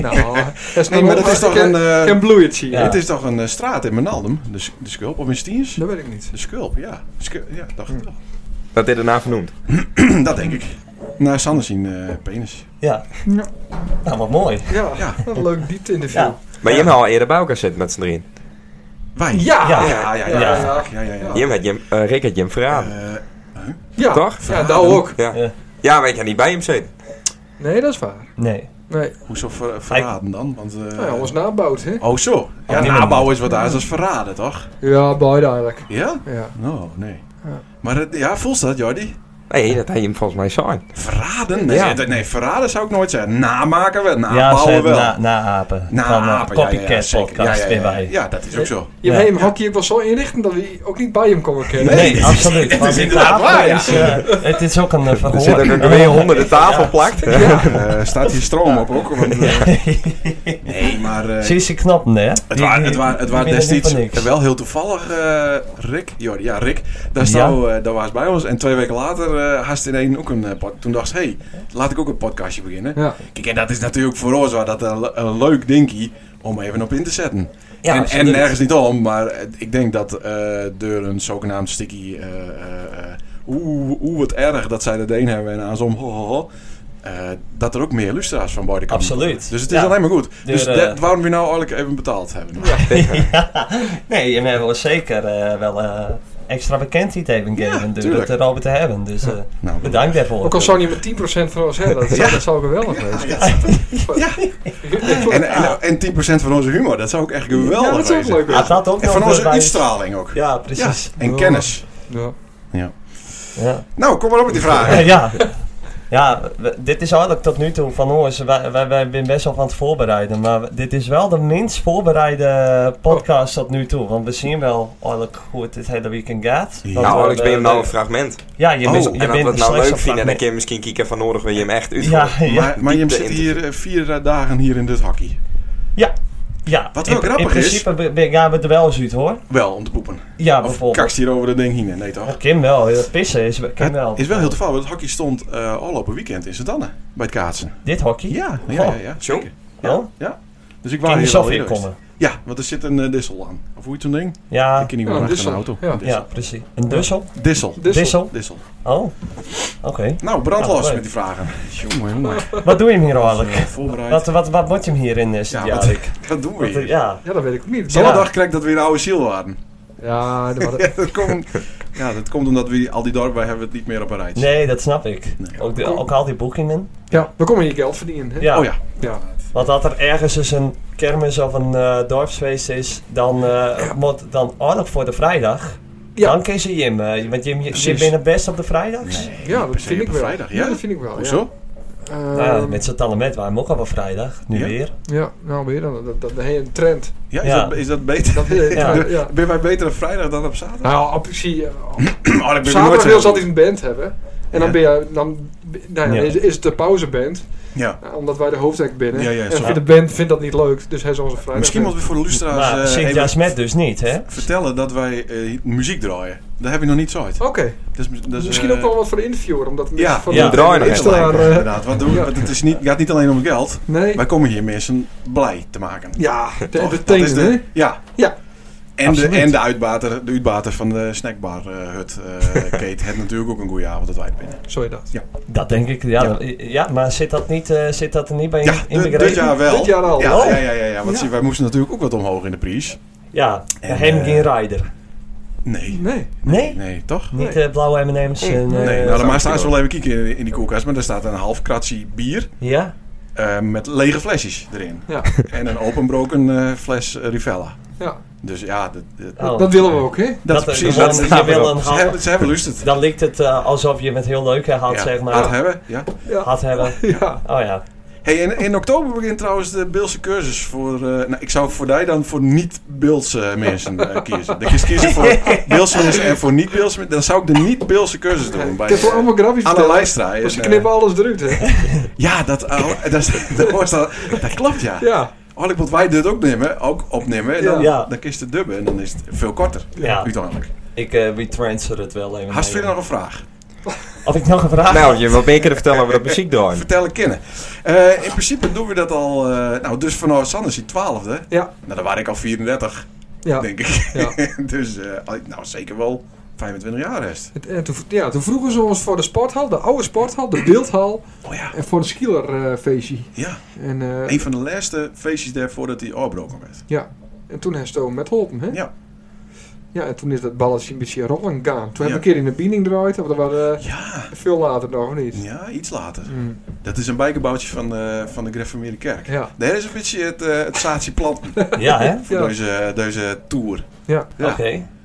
[SPEAKER 15] Nou, dat is
[SPEAKER 14] Nee,
[SPEAKER 15] nog
[SPEAKER 14] maar dat
[SPEAKER 15] wel-
[SPEAKER 14] is toch
[SPEAKER 15] ik
[SPEAKER 14] een...
[SPEAKER 15] ken-
[SPEAKER 14] eh,
[SPEAKER 15] ken bloeiert zie je.
[SPEAKER 14] Het is toch een eh, straat in Menaldum? De, s- de Skulp of in Stiens? Dat
[SPEAKER 15] weet ik niet. Hm.
[SPEAKER 14] De Skulp, ja. Sku- ja, dacht ik toch.
[SPEAKER 10] Dat dit daarna vernoemd.
[SPEAKER 14] dat denk ik. Naar Sander zien eh, penis.
[SPEAKER 3] Ja.
[SPEAKER 15] Ja.
[SPEAKER 3] Nou, wat mooi.
[SPEAKER 15] Ja, wat een leuk diepte in de film.
[SPEAKER 10] Maar Jim had al eerder bij elkaar zitten met z'n drieën.
[SPEAKER 14] Wij?
[SPEAKER 15] Ja.
[SPEAKER 10] Ja, ja, ja.
[SPEAKER 15] Ja, ja.
[SPEAKER 10] ja.
[SPEAKER 14] ja, ja, ja. Eh,
[SPEAKER 10] Jim had Jim, eh, Rick had Jim verraden.
[SPEAKER 15] Ja.
[SPEAKER 10] Toch?
[SPEAKER 15] Ja, daar ook.
[SPEAKER 10] Ja. ja, maar ik had niet bij hem zitten.
[SPEAKER 15] Nee, dat is waar.
[SPEAKER 3] Nee.
[SPEAKER 15] Nee.
[SPEAKER 14] Hoezo ver- verraden dan? Want, eh,
[SPEAKER 15] Nou ja, ons nabouwt, hè?
[SPEAKER 14] Oh zo. Ja,
[SPEAKER 15] Oh, nee,
[SPEAKER 14] nabouw
[SPEAKER 15] maar-
[SPEAKER 14] is wat daar is als verraden, toch?
[SPEAKER 15] Ja, beide eigenlijk.
[SPEAKER 14] Ja?
[SPEAKER 15] Ja.
[SPEAKER 14] Nou, nee.
[SPEAKER 15] Ja.
[SPEAKER 14] Maar dat, ja, voelt dat, Jordi?
[SPEAKER 10] Nee, dat hij hem volgens mij saai.
[SPEAKER 14] Verraden? Ah, Nee,
[SPEAKER 10] Ja.
[SPEAKER 14] dat- nee, verraden zou ik nooit zeggen. Namaken wel,
[SPEAKER 3] Ja, ze
[SPEAKER 14] nabouwen
[SPEAKER 3] hebben
[SPEAKER 14] wel.
[SPEAKER 3] na, na apen.
[SPEAKER 14] Na
[SPEAKER 3] van, eh,
[SPEAKER 14] apen, ja, ja, ja,
[SPEAKER 3] Copycat
[SPEAKER 14] zeker.
[SPEAKER 3] podcast
[SPEAKER 14] Ja, ja,
[SPEAKER 3] weer
[SPEAKER 14] ja,
[SPEAKER 3] bij.
[SPEAKER 14] ja, dat is ook zo.
[SPEAKER 15] Je hebt hem hockey ook wel zo inrichten dat we ook niet bij hem komen kennen.
[SPEAKER 3] Nee, absoluut.
[SPEAKER 15] Het
[SPEAKER 3] Want die tafel is, eh, het is ook een eh, verhoor.
[SPEAKER 14] Ja. Eh, staat hier stroom op ook. Want, eh, nee, maar... eh,
[SPEAKER 3] Zie ze knappen, hè?
[SPEAKER 14] Het waren het waar, het waar destijds
[SPEAKER 3] niks.
[SPEAKER 14] wel heel toevallig, eh, Rick. Jordi, ja, Rick. Daar, stond, eh, daar was bij ons. En twee weken later eh had hij ineens ook een eh, pod- Toen dacht ze, hey, laat ik ook een podcastje beginnen.
[SPEAKER 15] Ja.
[SPEAKER 14] Kijk, en dat is natuurlijk voor ons wel dat een, le- een leuk dingie om even op in te zetten.
[SPEAKER 3] Ja,
[SPEAKER 14] en, en
[SPEAKER 3] absoluut.
[SPEAKER 14] nergens niet om, maar eh, ik denk dat eh door een zogenaamd sticky... eh, eh, eh, Oeh, oeh, wat erg dat zij dat een hebben en aan zo'n ho, ho, ho, eh, dat er ook meer lustra's van beide kanten
[SPEAKER 3] Absoluut.
[SPEAKER 14] komen. Dus het is
[SPEAKER 3] Ja.
[SPEAKER 14] alleen maar goed. Dus
[SPEAKER 3] Door, eh,
[SPEAKER 14] dat- waarom we nou eigenlijk even betaald hebben.
[SPEAKER 3] Nee, en we hebben ons zeker eh, wel eh, extra bekendheid even gegeven door
[SPEAKER 14] tuurlijk.
[SPEAKER 3] het erover te hebben. Dus eh,
[SPEAKER 14] Nou,
[SPEAKER 3] bedankt daarvoor.
[SPEAKER 15] Ook al zou je met 10% van ons hebben, dat zou,
[SPEAKER 14] Ja.
[SPEAKER 15] dat zou geweldig zijn.
[SPEAKER 14] En, en, en 10% van onze humor, dat zou ook echt geweldig
[SPEAKER 15] Ja, dat zou ook
[SPEAKER 14] wezen.
[SPEAKER 15] leuk zijn. Ja, dat ook
[SPEAKER 14] en
[SPEAKER 15] nog
[SPEAKER 14] van onze
[SPEAKER 15] erbij.
[SPEAKER 14] uitstraling ook.
[SPEAKER 3] Ja, precies.
[SPEAKER 14] en kennis.
[SPEAKER 15] Ja.
[SPEAKER 14] Ja.
[SPEAKER 3] Ja.
[SPEAKER 14] Nou, kom maar op met die vragen.
[SPEAKER 3] Eh, ja. Ja, we- dit is eigenlijk tot nu toe van ons. Wij, wij, wij zijn best wel van het voorbereiden. Maar we- dit is wel de minst voorbereide podcast tot nu toe. Want we zien wel eigenlijk hoe het dit hele weekend gaat. Dat
[SPEAKER 10] nou,
[SPEAKER 3] we-
[SPEAKER 10] Alex,
[SPEAKER 2] eh,
[SPEAKER 10] ben je hem
[SPEAKER 3] we-
[SPEAKER 10] nou een fragment?
[SPEAKER 3] Ja, je bent- je
[SPEAKER 10] En als
[SPEAKER 3] bent
[SPEAKER 10] we het nou
[SPEAKER 3] slechts
[SPEAKER 10] leuk
[SPEAKER 3] een
[SPEAKER 10] vinden, dan
[SPEAKER 3] fragment.
[SPEAKER 10] kun je misschien kieken van nodig wil je hem echt
[SPEAKER 3] Ja,
[SPEAKER 10] uitvoeren.
[SPEAKER 3] ja.
[SPEAKER 14] Maar, maar je
[SPEAKER 10] Diepte
[SPEAKER 14] zit
[SPEAKER 10] in-
[SPEAKER 14] hier eh, vier eh, dagen hier in dit hockey.
[SPEAKER 3] Ja. ja.
[SPEAKER 14] Wat wel
[SPEAKER 3] in,
[SPEAKER 14] grappig
[SPEAKER 3] in
[SPEAKER 14] is-
[SPEAKER 3] principe be- be- gaan we er wel eens uit hoor.
[SPEAKER 14] Wel, om te poepen.
[SPEAKER 3] Ja,
[SPEAKER 14] Of
[SPEAKER 3] bijvoorbeeld.
[SPEAKER 14] kakst hier over dat ding heen. Nee, toch?
[SPEAKER 3] Kim wel, dat pissen is Kim wel.
[SPEAKER 14] Is wel heel toevallig, want het hockey stond eh al op een weekend in Sedanne. Bij het kaatsen.
[SPEAKER 3] Dit hockey?
[SPEAKER 14] Ja, ja, ja. ja,
[SPEAKER 10] Zo.
[SPEAKER 14] Ja. ja. Dus ik wou
[SPEAKER 3] Kan je
[SPEAKER 14] hier wel
[SPEAKER 3] zelf
[SPEAKER 14] eerder
[SPEAKER 3] in
[SPEAKER 14] geweest. Ja, want er zit een eh, dissel aan. Of hoe heet zo'n ding?
[SPEAKER 3] Ja.
[SPEAKER 14] Ik ken niet meer
[SPEAKER 3] Ja,
[SPEAKER 14] achter
[SPEAKER 3] dissel.
[SPEAKER 14] een auto.
[SPEAKER 3] Ja.
[SPEAKER 14] Een dissel.
[SPEAKER 3] Ja, precies. Een dussel?
[SPEAKER 14] Dissel.
[SPEAKER 3] Dissel. Dissel?
[SPEAKER 14] Dissel.
[SPEAKER 3] Oh, oké.
[SPEAKER 14] Nou, brandlos
[SPEAKER 3] leuk.
[SPEAKER 14] met die vragen. Jongen, jongen.
[SPEAKER 3] Wat doe je hem hier
[SPEAKER 14] Eh,
[SPEAKER 3] eigenlijk?
[SPEAKER 14] voorbereid.
[SPEAKER 3] Wat, wat, wat moet je hem hier in eh, zitten,
[SPEAKER 14] Ja, wat,
[SPEAKER 3] Jarik?
[SPEAKER 14] wat doen we
[SPEAKER 3] Wat,
[SPEAKER 14] hier?
[SPEAKER 3] ja.
[SPEAKER 15] Ja, dat weet ik ook niet.
[SPEAKER 14] Zondag
[SPEAKER 15] Ja.
[SPEAKER 14] krijg ik dat we een oude ziel waren.
[SPEAKER 15] Ja, dat was-
[SPEAKER 14] dat, komt, ja, dat komt omdat we al die dorpen wij hebben het niet meer op een rijtje.
[SPEAKER 3] Nee, dat snap ik. Ook, de- ook al die boekingen.
[SPEAKER 15] Ja, we komen hier geld verdienen. Hè?
[SPEAKER 3] Ja.
[SPEAKER 14] Oh ja.
[SPEAKER 15] Ja.
[SPEAKER 3] Want als er ergens dus een kermis of een eh, dorpsfeest is, dan eh, moet dan oorlog voor de vrijdag. Dan kun je Jim. eh, want Jim, je- Jim
[SPEAKER 15] Precies.
[SPEAKER 3] ben je best op de vrijdags?
[SPEAKER 15] Ja, dat
[SPEAKER 14] per se
[SPEAKER 15] vind
[SPEAKER 14] op
[SPEAKER 15] ik
[SPEAKER 14] een
[SPEAKER 15] wel.
[SPEAKER 14] vrijdag, ja?
[SPEAKER 15] dat vind ik wel.
[SPEAKER 14] Hoezo?
[SPEAKER 15] Ja.
[SPEAKER 3] nou, ja,
[SPEAKER 15] Ehm,
[SPEAKER 3] met z'n tanden met waren we ook al op een vrijdag. Nu
[SPEAKER 14] Ja?
[SPEAKER 3] weer.
[SPEAKER 15] ja, nou weer dan. Dat, dat, de hele trend.
[SPEAKER 14] Ja, is,
[SPEAKER 3] Ja.
[SPEAKER 14] Dat, is dat beter?
[SPEAKER 15] Dat is- ja, ja.
[SPEAKER 14] Ben wij beter op vrijdag dan op zaterdag?
[SPEAKER 15] Nou, op, zie, eh,
[SPEAKER 14] oh, dat ben ik nooit
[SPEAKER 15] zaterdag
[SPEAKER 14] zo
[SPEAKER 15] wil ze
[SPEAKER 14] goed.
[SPEAKER 15] altijd een band hebben. En
[SPEAKER 14] Ja.
[SPEAKER 15] dan ben je, dan, nou ja,
[SPEAKER 14] Ja.
[SPEAKER 15] Is, is het de pauzeband.
[SPEAKER 14] Ja.
[SPEAKER 15] Nou, omdat wij de hoofdact binnen.
[SPEAKER 14] Ja, ja,
[SPEAKER 15] en
[SPEAKER 14] zo.
[SPEAKER 15] vindt de band vindt dat niet leuk, dus hij is onze vrijdag.
[SPEAKER 14] Misschien moeten we voor de eh, lustra's
[SPEAKER 3] Maar Sint Jasmet dus niet, hè?
[SPEAKER 14] vertellen dat wij eh, muziek draaien. Dat heb je nog niet zo uit.
[SPEAKER 15] Oké.
[SPEAKER 14] Dat is- dat is,
[SPEAKER 15] Misschien
[SPEAKER 14] eh,
[SPEAKER 15] ook wel wat voor de interviewer, omdat het
[SPEAKER 14] Ja,
[SPEAKER 15] van
[SPEAKER 14] ja.
[SPEAKER 15] de
[SPEAKER 14] draaien
[SPEAKER 15] extra, eh,
[SPEAKER 14] inderdaad. Want doen we- want het is niet, gaat niet alleen om het geld.
[SPEAKER 15] Nee.
[SPEAKER 14] Wij komen hier mensen blij te maken.
[SPEAKER 15] Ja, te
[SPEAKER 14] Toch? Dat
[SPEAKER 15] entertainen,
[SPEAKER 14] is de-
[SPEAKER 15] hè?
[SPEAKER 14] Ja.
[SPEAKER 15] ja.
[SPEAKER 14] En, de,
[SPEAKER 15] Absoluut.
[SPEAKER 14] en de, uitbater, de uitbater van de snackbar eh, hut, eh, Kate, had natuurlijk ook een goede avond dat wij het binnen.
[SPEAKER 15] Zo dat.
[SPEAKER 14] Ja.
[SPEAKER 3] Dat denk ik, ja. dat- Ja, maar zit dat, niet, eh, zit dat er niet bij in,
[SPEAKER 14] Ja,
[SPEAKER 3] in
[SPEAKER 14] dit- dit jaar wel.
[SPEAKER 3] Dit jaar al.
[SPEAKER 14] Ja,
[SPEAKER 3] Oh.
[SPEAKER 14] ja, ja, ja, ja, want zie, wij moesten natuurlijk ook wat omhoog in de prijs.
[SPEAKER 3] Ja,
[SPEAKER 14] En,
[SPEAKER 3] hem
[SPEAKER 14] eh,
[SPEAKER 3] geen rider.
[SPEAKER 14] Nee.
[SPEAKER 15] Nee?
[SPEAKER 3] Nee?
[SPEAKER 14] Nee, toch?
[SPEAKER 3] Niet eh, blauwe M&M's en... eh,
[SPEAKER 14] nee, nou, maar staan ze wel even kijken in, in die koelkast, maar daar staat een half kratje bier.
[SPEAKER 3] Ja.
[SPEAKER 14] eh, met lege flesjes erin.
[SPEAKER 15] Ja.
[SPEAKER 14] En een openbroken eh, fles eh, Rivella.
[SPEAKER 15] Ja.
[SPEAKER 14] Dus ja, dat,
[SPEAKER 3] Oh. Dat willen we ook, hè?
[SPEAKER 14] Dat, is
[SPEAKER 3] eh,
[SPEAKER 14] precies
[SPEAKER 3] gewoon,
[SPEAKER 14] dat
[SPEAKER 3] je
[SPEAKER 14] staat
[SPEAKER 3] wil
[SPEAKER 14] erop.
[SPEAKER 3] een
[SPEAKER 14] Ze
[SPEAKER 3] hap-
[SPEAKER 14] hebben, ze hebben lust het.
[SPEAKER 3] Dan lijkt het eh, alsof je het heel leuk eh, had,
[SPEAKER 14] Ja,
[SPEAKER 3] zeg maar.
[SPEAKER 14] Had hebben, ja.
[SPEAKER 3] Had hebben.
[SPEAKER 15] Ja.
[SPEAKER 3] Oh ja.
[SPEAKER 14] Hey, in, in oktober begint trouwens de Beelse cursus voor... eh, nou, ik zou voor die dan voor niet-Beelse mensen eh, kiezen. Dan kies kiezen voor Beelse mensen en voor niet-Beelse mensen. Dan zou ik de niet-Beelse cursus doen. Bij, eh,
[SPEAKER 15] Ik heb wel allemaal grafisch
[SPEAKER 14] Anne Lijstra is,
[SPEAKER 15] Dus ze
[SPEAKER 14] eh,
[SPEAKER 15] knippen alles eruit, hè?
[SPEAKER 14] Ja, dat, eh, dat, is- dat, was dat, dat klopt, ja.
[SPEAKER 15] Ja.
[SPEAKER 14] Oh, ik moet wij dit ook nemen, ook opnemen. En dan,
[SPEAKER 15] Ja.
[SPEAKER 14] dan kies de dubbe en dan is het veel korter.
[SPEAKER 15] Ja.
[SPEAKER 14] Uiteindelijk.
[SPEAKER 3] Ik eh retransfer het wel even. mee.
[SPEAKER 14] Hast verder nog een vraag?
[SPEAKER 3] Of ik nog een vraag
[SPEAKER 2] Nou, je wil beter vertellen over dat muziek doen.
[SPEAKER 14] Vertellen kennen. Eh, in principe doen we dat al. eh, nou, dus vanaf Sander is die 12e.
[SPEAKER 15] Ja.
[SPEAKER 14] Nou, dan waren ik al 34,
[SPEAKER 15] Ja.
[SPEAKER 14] denk ik. dus, eh, al- nou, zeker wel 25 jaar rest.
[SPEAKER 15] Het- En Eh, toen, ja, toen vroegen ze ons voor de sporthal, de oude sporthal, de beeldhal.
[SPEAKER 14] Oh
[SPEAKER 15] En voor een skielerfeestje.
[SPEAKER 14] ja.
[SPEAKER 15] En, eh,
[SPEAKER 14] Een van de laatste feestjes daarvoor dat hij oorbroken werd.
[SPEAKER 15] ja. En toen heeft Stoom met Holpen, hè?
[SPEAKER 14] Ja.
[SPEAKER 15] Ja, en toen is dat balletje een beetje rollen gaan. Toen
[SPEAKER 14] Ja.
[SPEAKER 15] hebben we een keer in de binding gedraaid, want dat was eh, veel later nog, of niet?
[SPEAKER 14] Ja, iets later. Mm. Dat is een bijgebouwtje van, eh, van de gereformeerde kerk.
[SPEAKER 15] Ja.
[SPEAKER 14] Daar is een beetje het, eh het zaadje plant.
[SPEAKER 3] Ja, hè?
[SPEAKER 14] Voor
[SPEAKER 15] Ja.
[SPEAKER 14] deze, deze tour.
[SPEAKER 15] Ja.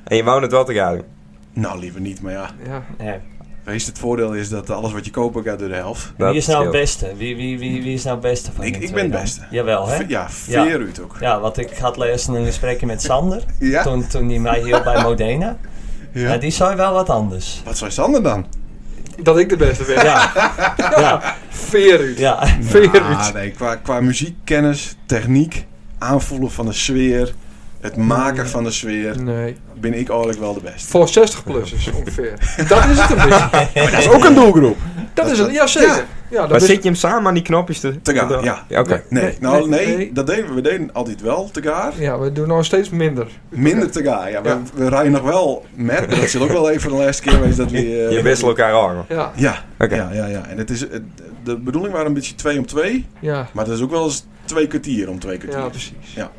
[SPEAKER 2] En je wou het wel te gaan doen?
[SPEAKER 14] Nou, liever niet, maar ja.
[SPEAKER 15] Ja.
[SPEAKER 14] Wees het voordeel is dat alles wat je kopen gaat door de helft.
[SPEAKER 3] wie is nou het beste? Wie, wie, wie, wie is nou het beste van
[SPEAKER 14] Ik-
[SPEAKER 3] de
[SPEAKER 14] ik
[SPEAKER 3] twee
[SPEAKER 14] ben
[SPEAKER 3] dan?
[SPEAKER 14] beste.
[SPEAKER 3] Jawel, hè?
[SPEAKER 14] Ve- ja, Veerhuut ook.
[SPEAKER 3] Ja, want ik had lezen een gesprekje met Sander. Toen, toen die mij hielp bij Modena.
[SPEAKER 14] Ja.
[SPEAKER 3] Maar die zei wel wat anders.
[SPEAKER 14] Wat zei Sander dan?
[SPEAKER 15] Dat ik de beste ben.
[SPEAKER 3] Ja. ja.
[SPEAKER 15] Veerhuut.
[SPEAKER 3] Ja.
[SPEAKER 14] Ah, nee, qua, qua muziekkennis, techniek, aanvoelen van de sfeer, het maken van de sfeer,
[SPEAKER 15] nee.
[SPEAKER 14] ben ik eigenlijk wel de beste.
[SPEAKER 15] Voor 60-plussers ongeveer. Dat is het een beetje.
[SPEAKER 14] Maar dat is ook een doelgroep.
[SPEAKER 15] Dat is het, ja zeker. Ja. dat
[SPEAKER 2] maar
[SPEAKER 15] is-
[SPEAKER 2] zit je hem samen aan die knopjes te,
[SPEAKER 14] Te gaan,
[SPEAKER 2] te-
[SPEAKER 14] ja.
[SPEAKER 2] Oké.
[SPEAKER 14] Nee, nou
[SPEAKER 15] nee,
[SPEAKER 14] nee,
[SPEAKER 15] nee.
[SPEAKER 14] dat deden we. We deden altijd wel te gaar.
[SPEAKER 15] ja, we doen nog steeds minder.
[SPEAKER 14] Minder te gaan. Ja, we, we rijden nog wel met. maar Dat zal ook wel even de laatste keer geweest dat we... eh,
[SPEAKER 2] Je wisselt elkaar aan.
[SPEAKER 15] Ja.
[SPEAKER 14] Ja,
[SPEAKER 2] Oké.
[SPEAKER 14] ja, ja, ja. En het is, het- de bedoeling waren een beetje twee om twee.
[SPEAKER 15] Ja.
[SPEAKER 14] Maar dat is ook wel eens twee kwartier om twee kwartier.
[SPEAKER 15] Ja,
[SPEAKER 14] precies. Ja.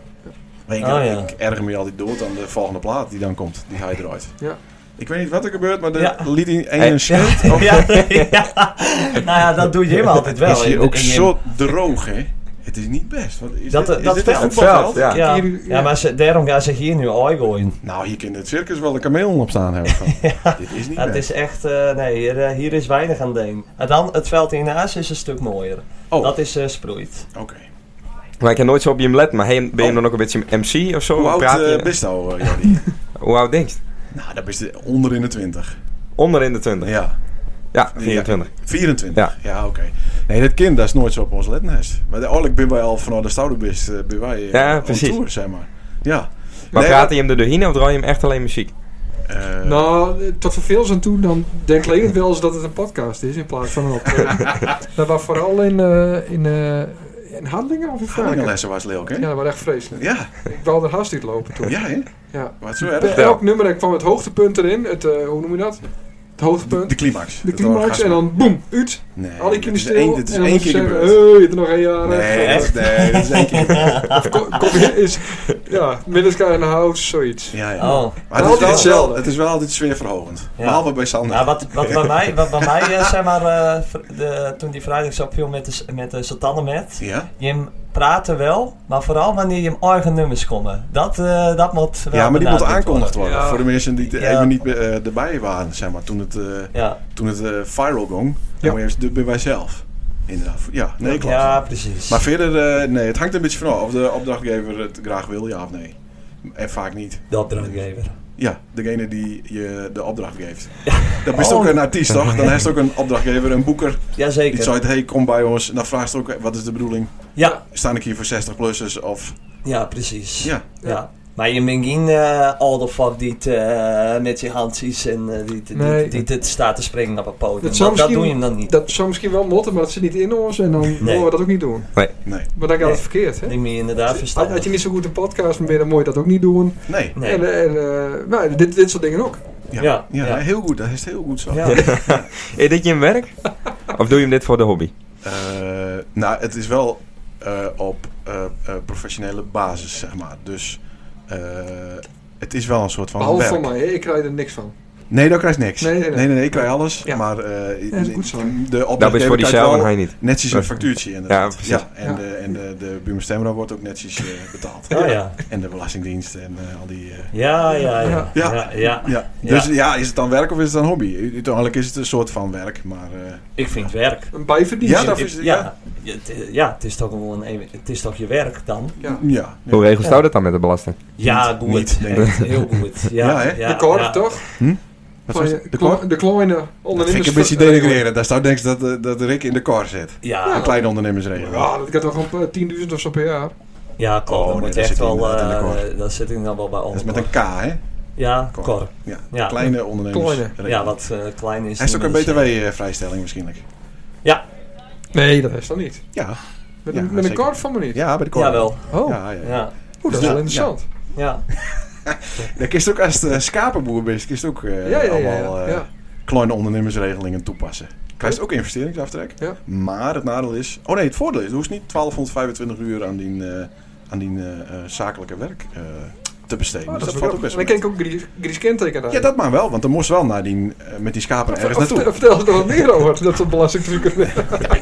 [SPEAKER 14] Maar ik,
[SPEAKER 15] Oh, ja.
[SPEAKER 14] ik erger me altijd dood aan de volgende plaat die dan komt. Die hij eruit.
[SPEAKER 15] Ja.
[SPEAKER 14] Ik weet niet wat er gebeurt, maar de
[SPEAKER 3] Ja.
[SPEAKER 14] liet hij een
[SPEAKER 3] Hey.
[SPEAKER 14] en schild.
[SPEAKER 3] Ja, ja. Nou ja, dat doe je hem altijd wel.
[SPEAKER 14] Het is hier
[SPEAKER 3] In-
[SPEAKER 14] ook
[SPEAKER 3] in-
[SPEAKER 14] zo droog, hè? Het is niet best. Wat, is
[SPEAKER 3] Dat,
[SPEAKER 14] dit,
[SPEAKER 3] dat,
[SPEAKER 14] is
[SPEAKER 3] dat
[SPEAKER 14] dit
[SPEAKER 3] veld.
[SPEAKER 14] een voetbalveld?
[SPEAKER 3] ja. Ja. maar ze, daarom gaan ze hier nu gooien.
[SPEAKER 14] Nou, hier kan het circus wel een kameel op staan hebben. Van. Dit is niet
[SPEAKER 3] Het
[SPEAKER 14] best.
[SPEAKER 3] is echt, eh, nee, hier, eh, hier is weinig aan deen. En dan, het veld hiernaast is een stuk mooier. Dat is eh sproeit.
[SPEAKER 14] Oh. Oké.
[SPEAKER 2] Maar ik heb nooit zo op je hem let, maar hey, ben je dan ook een beetje MC of zo?
[SPEAKER 14] Oh. Hoe oud
[SPEAKER 2] Praat je-
[SPEAKER 14] eh, bist nou, eh, Jordi?
[SPEAKER 2] Hoe oud denk je?
[SPEAKER 14] nou, dat bist je onder in de twintig.
[SPEAKER 2] Onder in de 20.
[SPEAKER 14] Ja.
[SPEAKER 2] Ja, 24.
[SPEAKER 14] 24? Ja, oké. Nee, dat kind dat is nooit zo op ons letnest. Maar eigenlijk ben wij al vanaf de stouderbist eh, ben wij eh,
[SPEAKER 2] Ja,
[SPEAKER 14] on
[SPEAKER 2] precies.
[SPEAKER 14] tour, zeg maar. Ja.
[SPEAKER 2] Maar
[SPEAKER 14] Nee,
[SPEAKER 2] praat je hem er doorheen of draai je hem echt alleen muziek?
[SPEAKER 14] Eh,
[SPEAKER 15] Nou, eh, tot verveels aan toe, dan denkt Lenin wel eens dat het een podcast is in plaats van een optreden. dat was vooral in, eh in, eh, in Handelingen of in Fraken.
[SPEAKER 14] Handelinglessen was leuk, hè?
[SPEAKER 15] Ja, dat was echt vreselijk.
[SPEAKER 14] Ja.
[SPEAKER 15] Ik wou er haast niet lopen toen.
[SPEAKER 14] Ja, hè?
[SPEAKER 15] Ja.
[SPEAKER 14] Wat zo erg. Nou.
[SPEAKER 15] Bij Elk nummer kwam het hoogtepunt erin, het, eh, hoe noem je dat? Het hoogtepunt.
[SPEAKER 14] De climax.
[SPEAKER 15] De climax en dan boem, uit.
[SPEAKER 14] Nee,
[SPEAKER 15] Alle
[SPEAKER 14] dit
[SPEAKER 15] kinderen
[SPEAKER 14] is
[SPEAKER 15] stil.
[SPEAKER 14] één- dit is
[SPEAKER 15] en dan
[SPEAKER 14] één
[SPEAKER 15] moet je
[SPEAKER 14] keer
[SPEAKER 15] zeggen,
[SPEAKER 14] gebeurd.
[SPEAKER 15] hey, er nog een jaar.
[SPEAKER 14] Nee,
[SPEAKER 15] eh,
[SPEAKER 14] dat is- nee, dat is één keer.
[SPEAKER 15] Of kom, kom je eens, ja, Middelska in de house, zoiets.
[SPEAKER 14] Ja, ja.
[SPEAKER 3] Oh.
[SPEAKER 14] Maar het is,
[SPEAKER 15] Altijd
[SPEAKER 14] wel,
[SPEAKER 15] hetzelfde.
[SPEAKER 14] het is wel altijd sfeerverhogend.
[SPEAKER 3] Ja.
[SPEAKER 14] Behalve bij Sander.
[SPEAKER 3] Nou, wat, wat bij mij, wat bij mij eh, zeg maar, eh, vr- de, toen die vrijdag opviel met de, s- met de Satannemet,
[SPEAKER 14] Ja.
[SPEAKER 3] je hem praatte wel, maar vooral wanneer je hem eigen nummers komen. Dat, eh, dat moet wel
[SPEAKER 14] Ja, maar die moet
[SPEAKER 3] benadrukt
[SPEAKER 14] aangekondigd worden.
[SPEAKER 3] Ja.
[SPEAKER 14] Voor de mensen die er
[SPEAKER 3] Ja.
[SPEAKER 14] even niet eh, erbij waren, zeg maar. Toen het, eh,
[SPEAKER 3] Ja.
[SPEAKER 14] toen het eh, viral ging, dan moet je eerst bij mijzelf. Inderdaad. Ja, nee, klopt.
[SPEAKER 3] Ja, precies.
[SPEAKER 14] Maar verder, eh, nee, het hangt er een beetje vanaf of de opdrachtgever het graag wil, ja of nee. En vaak niet.
[SPEAKER 3] De opdrachtgever.
[SPEAKER 14] Ja, degene die je de opdracht geeft. Dat is
[SPEAKER 3] Oh.
[SPEAKER 14] ook een artiest, toch? Dan heeft het ook een opdrachtgever, een boeker.
[SPEAKER 3] Jazeker.
[SPEAKER 14] Die zegt, hey, kom bij ons. En dan vraagt ze ook, eh, wat is de bedoeling?
[SPEAKER 3] Ja.
[SPEAKER 14] Staan ik hier voor 60-plussers of...
[SPEAKER 3] Ja, precies.
[SPEAKER 14] Ja.
[SPEAKER 3] ja. Maar je bent geen eh all the fuck die het, eh, met zijn handjes en eh, die, die,
[SPEAKER 15] Nee.
[SPEAKER 3] die, die het staat te springen op een podium.
[SPEAKER 15] Dat
[SPEAKER 3] Dat,
[SPEAKER 15] zou
[SPEAKER 3] dat,
[SPEAKER 15] misschien-
[SPEAKER 3] doe je hem dan niet.
[SPEAKER 15] Dat zou misschien wel motten, maar dat zit niet in ons en dan mogen we dat ook niet doen.
[SPEAKER 2] Nee.
[SPEAKER 14] Nee.
[SPEAKER 15] Maar dan gaat het
[SPEAKER 3] Nee.
[SPEAKER 15] verkeerd, hè?
[SPEAKER 3] Ik moet je inderdaad
[SPEAKER 15] Had,
[SPEAKER 3] verstaan.
[SPEAKER 15] had je niet zo goed een podcast bent, dan moet je dat ook niet doen.
[SPEAKER 14] Nee.
[SPEAKER 3] Nee.
[SPEAKER 15] En, eh, en, eh, nou, dit, dit soort dingen ook.
[SPEAKER 14] Ja,
[SPEAKER 3] Ja,
[SPEAKER 14] ja,
[SPEAKER 3] ja.
[SPEAKER 14] heel goed. Dat is heel goed zo.
[SPEAKER 2] is dit je hem werk? Of doe je hem dit voor de hobby?
[SPEAKER 14] Eh, nou, het is wel eh, op eh, eh, professionele basis, zeg maar. Dus eh, het is wel een soort van
[SPEAKER 15] Behalve
[SPEAKER 14] werk.
[SPEAKER 15] van mij, hè, ik krijg er niks van.
[SPEAKER 14] Nee, dat krijgt niks.
[SPEAKER 15] Nee, nee,
[SPEAKER 14] Nee,
[SPEAKER 15] nee.
[SPEAKER 14] nee, nee, ik krijg alles. Maar eh,
[SPEAKER 15] Ja, dat is goed zo.
[SPEAKER 14] de
[SPEAKER 2] Dat Nou, is voor die
[SPEAKER 14] krijgt
[SPEAKER 2] zaal en
[SPEAKER 14] wel
[SPEAKER 2] hij niet.
[SPEAKER 14] Netjes een
[SPEAKER 2] Dat-
[SPEAKER 14] factuurtje inderdaad.
[SPEAKER 2] Ja, precies.
[SPEAKER 14] en de, en de, de Buurman Stemra wordt ook netjes eh, betaald.
[SPEAKER 3] Oh, ja.
[SPEAKER 14] En de Belastingdienst en eh, al die... eh,
[SPEAKER 3] Ja, ja, ja.
[SPEAKER 14] Ja.
[SPEAKER 3] Ja, ja.
[SPEAKER 14] ja.
[SPEAKER 3] Ja.
[SPEAKER 14] Dus ja, is het dan werk of is het dan hobby? Uiteindelijk is het een soort van werk, maar... eh,
[SPEAKER 3] Ik vind het werk.
[SPEAKER 15] Een bijverdienst.
[SPEAKER 14] Ja, dat
[SPEAKER 3] Ik-
[SPEAKER 14] is-
[SPEAKER 3] ja. Ja, het- eh, ja, het is toch gewoon een, het is toch je werk dan?
[SPEAKER 15] Ja.
[SPEAKER 14] Ja. Hm?
[SPEAKER 2] Hoe regelt
[SPEAKER 3] Ja.
[SPEAKER 2] jou dat dan met de belasting?
[SPEAKER 3] Ja,
[SPEAKER 2] Niet,
[SPEAKER 3] goed.
[SPEAKER 2] niet, denk ik.
[SPEAKER 3] Echt heel goed. Ja,
[SPEAKER 14] Ja, hè?
[SPEAKER 3] ja,
[SPEAKER 15] de korf,
[SPEAKER 3] ja.
[SPEAKER 15] toch?
[SPEAKER 2] Hm?
[SPEAKER 14] Wat
[SPEAKER 15] Van
[SPEAKER 14] was
[SPEAKER 15] je
[SPEAKER 14] het? De
[SPEAKER 15] klo-
[SPEAKER 14] kor?
[SPEAKER 15] de kleine
[SPEAKER 14] Dat vind ik
[SPEAKER 15] ondernemers...
[SPEAKER 14] een beetje denigreren. Daar staat denk ik dat, eh, dat Rick in de kar zit.
[SPEAKER 3] Ja.
[SPEAKER 14] Een kleine ondernemersregel.
[SPEAKER 15] Ja, dat gaat toch op eh, 10.000 of zo per jaar?
[SPEAKER 3] Ja, klopt.
[SPEAKER 14] Oh,
[SPEAKER 3] dat
[SPEAKER 14] nee,
[SPEAKER 3] moet
[SPEAKER 14] daar
[SPEAKER 3] echt
[SPEAKER 14] zit hij
[SPEAKER 3] wel,
[SPEAKER 14] inderdaad in de
[SPEAKER 3] eh,
[SPEAKER 14] korf.
[SPEAKER 3] daar zit ik dan wel bij
[SPEAKER 14] Dat is
[SPEAKER 3] onder.
[SPEAKER 14] met een K, hè?
[SPEAKER 3] Ja,
[SPEAKER 14] Cor.
[SPEAKER 3] Cor.
[SPEAKER 14] Ja, kleine ondernemers. Kleine.
[SPEAKER 3] Ja, wat eh, klein is.
[SPEAKER 14] Hij is ook een
[SPEAKER 3] dus, eh,
[SPEAKER 14] btw-vrijstelling misschien.
[SPEAKER 3] Ja.
[SPEAKER 15] Nee, dat is dan niet.
[SPEAKER 14] Ja.
[SPEAKER 15] Met,
[SPEAKER 14] Ja,
[SPEAKER 15] een, met een
[SPEAKER 14] zeker.
[SPEAKER 15] kort van me niet.
[SPEAKER 14] Ja, bij de kort.
[SPEAKER 3] Jawel.
[SPEAKER 15] Oh.
[SPEAKER 14] Ja, ja, ja.
[SPEAKER 15] Oeh, dat is
[SPEAKER 14] Ja,
[SPEAKER 15] wel interessant. Oh,
[SPEAKER 3] Ja.
[SPEAKER 14] Dan kun je ook als de schapenboer bent, kun je ook eh,
[SPEAKER 15] Ja, ja, ja,
[SPEAKER 14] allemaal
[SPEAKER 15] ja,
[SPEAKER 14] eh,
[SPEAKER 15] ja.
[SPEAKER 14] kleine ondernemersregelingen toepassen. Krijg je ook investeringsaftrek. Maar het nadeel is... Oh nee, het voordeel is, je hoeft niet 1225 uur aan die, eh, aan die eh, eh, zakelijke werk eh, te besteden.
[SPEAKER 15] Oh,
[SPEAKER 14] dus
[SPEAKER 15] dat
[SPEAKER 14] dat
[SPEAKER 15] is
[SPEAKER 14] valt
[SPEAKER 15] wel
[SPEAKER 14] ook best
[SPEAKER 15] Dan ken
[SPEAKER 14] wel.
[SPEAKER 15] ik ook Gries Gries kenteken daar.
[SPEAKER 14] Ja, dat maar wel, want dan moest wel naar die, eh, met die schapen ergens
[SPEAKER 15] Vertel-
[SPEAKER 14] naartoe.
[SPEAKER 15] Vertel eens er wat meer over, dat soort belastingtrucken.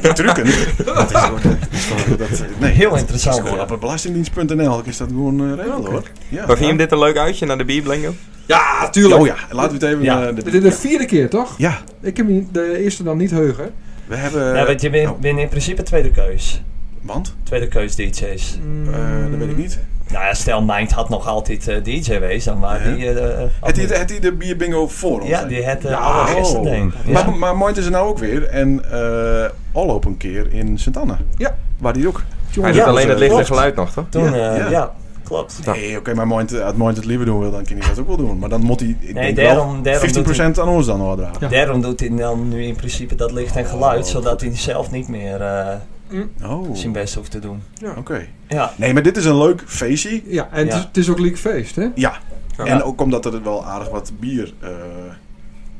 [SPEAKER 14] Die trucken. dat is gewoon, dat is gewoon- dat- nee,
[SPEAKER 3] Heel
[SPEAKER 14] dat
[SPEAKER 3] interessant,
[SPEAKER 14] is gewoon
[SPEAKER 3] ja.
[SPEAKER 14] op belastingdienst.nl is dat gewoon eh regel hoor. Ja,
[SPEAKER 2] Maar vind je hem dit een leuk uitje naar de bierblingo?
[SPEAKER 15] Ja,
[SPEAKER 14] tuurlijk. Oh ja, laten we het even... eh,
[SPEAKER 15] Dit is de vierde keer, toch?
[SPEAKER 14] Ja.
[SPEAKER 15] Ik heb me de eerste dan niet heugen.
[SPEAKER 14] We hebben... Oh.
[SPEAKER 3] ja, want je bent, bent in principe tweede keus.
[SPEAKER 14] Want? Eh,
[SPEAKER 3] Tweede keus DJ's.
[SPEAKER 14] dat weet ik niet.
[SPEAKER 3] Nou ja, stel Mind had nog altijd eh, DJ wees, dan waren die... eh, eh,
[SPEAKER 14] Had hij, had hij de bierbingo voor ons? Oh.
[SPEAKER 3] Ja, die had, eh, allergisteren, denk ik. Ja.
[SPEAKER 14] Maar, maar Moit is er nou ook weer. En eh al op een keer in Sint Anne.
[SPEAKER 15] Ja.
[SPEAKER 14] Waar die ook.
[SPEAKER 2] Hij doet alleen het licht en geluid nog, toch?
[SPEAKER 3] Toen, eh, ja, klopt.
[SPEAKER 14] Nee, oké, maar Moit, als Moit het liever doen wil, dan kan hij dat ook wel doen. Maar dan moet hij, ik
[SPEAKER 3] Nee,
[SPEAKER 14] denk
[SPEAKER 3] daarom-
[SPEAKER 14] wel,
[SPEAKER 3] daarom
[SPEAKER 14] 15% aan ons dan overdragen.
[SPEAKER 3] Daarom doet hij dan nu in principe dat licht en geluid, zodat hij zelf niet meer eh,
[SPEAKER 14] Oh.
[SPEAKER 3] zijn best hoeft te doen.
[SPEAKER 15] Ja.
[SPEAKER 14] Oké.
[SPEAKER 3] Ja.
[SPEAKER 14] Nee, maar dit is een leuk feestje.
[SPEAKER 15] Ja, en het is- het is ook leak feest, hè?
[SPEAKER 14] Ja.
[SPEAKER 15] Ja.
[SPEAKER 14] En ook omdat er wel aardig wat bier eh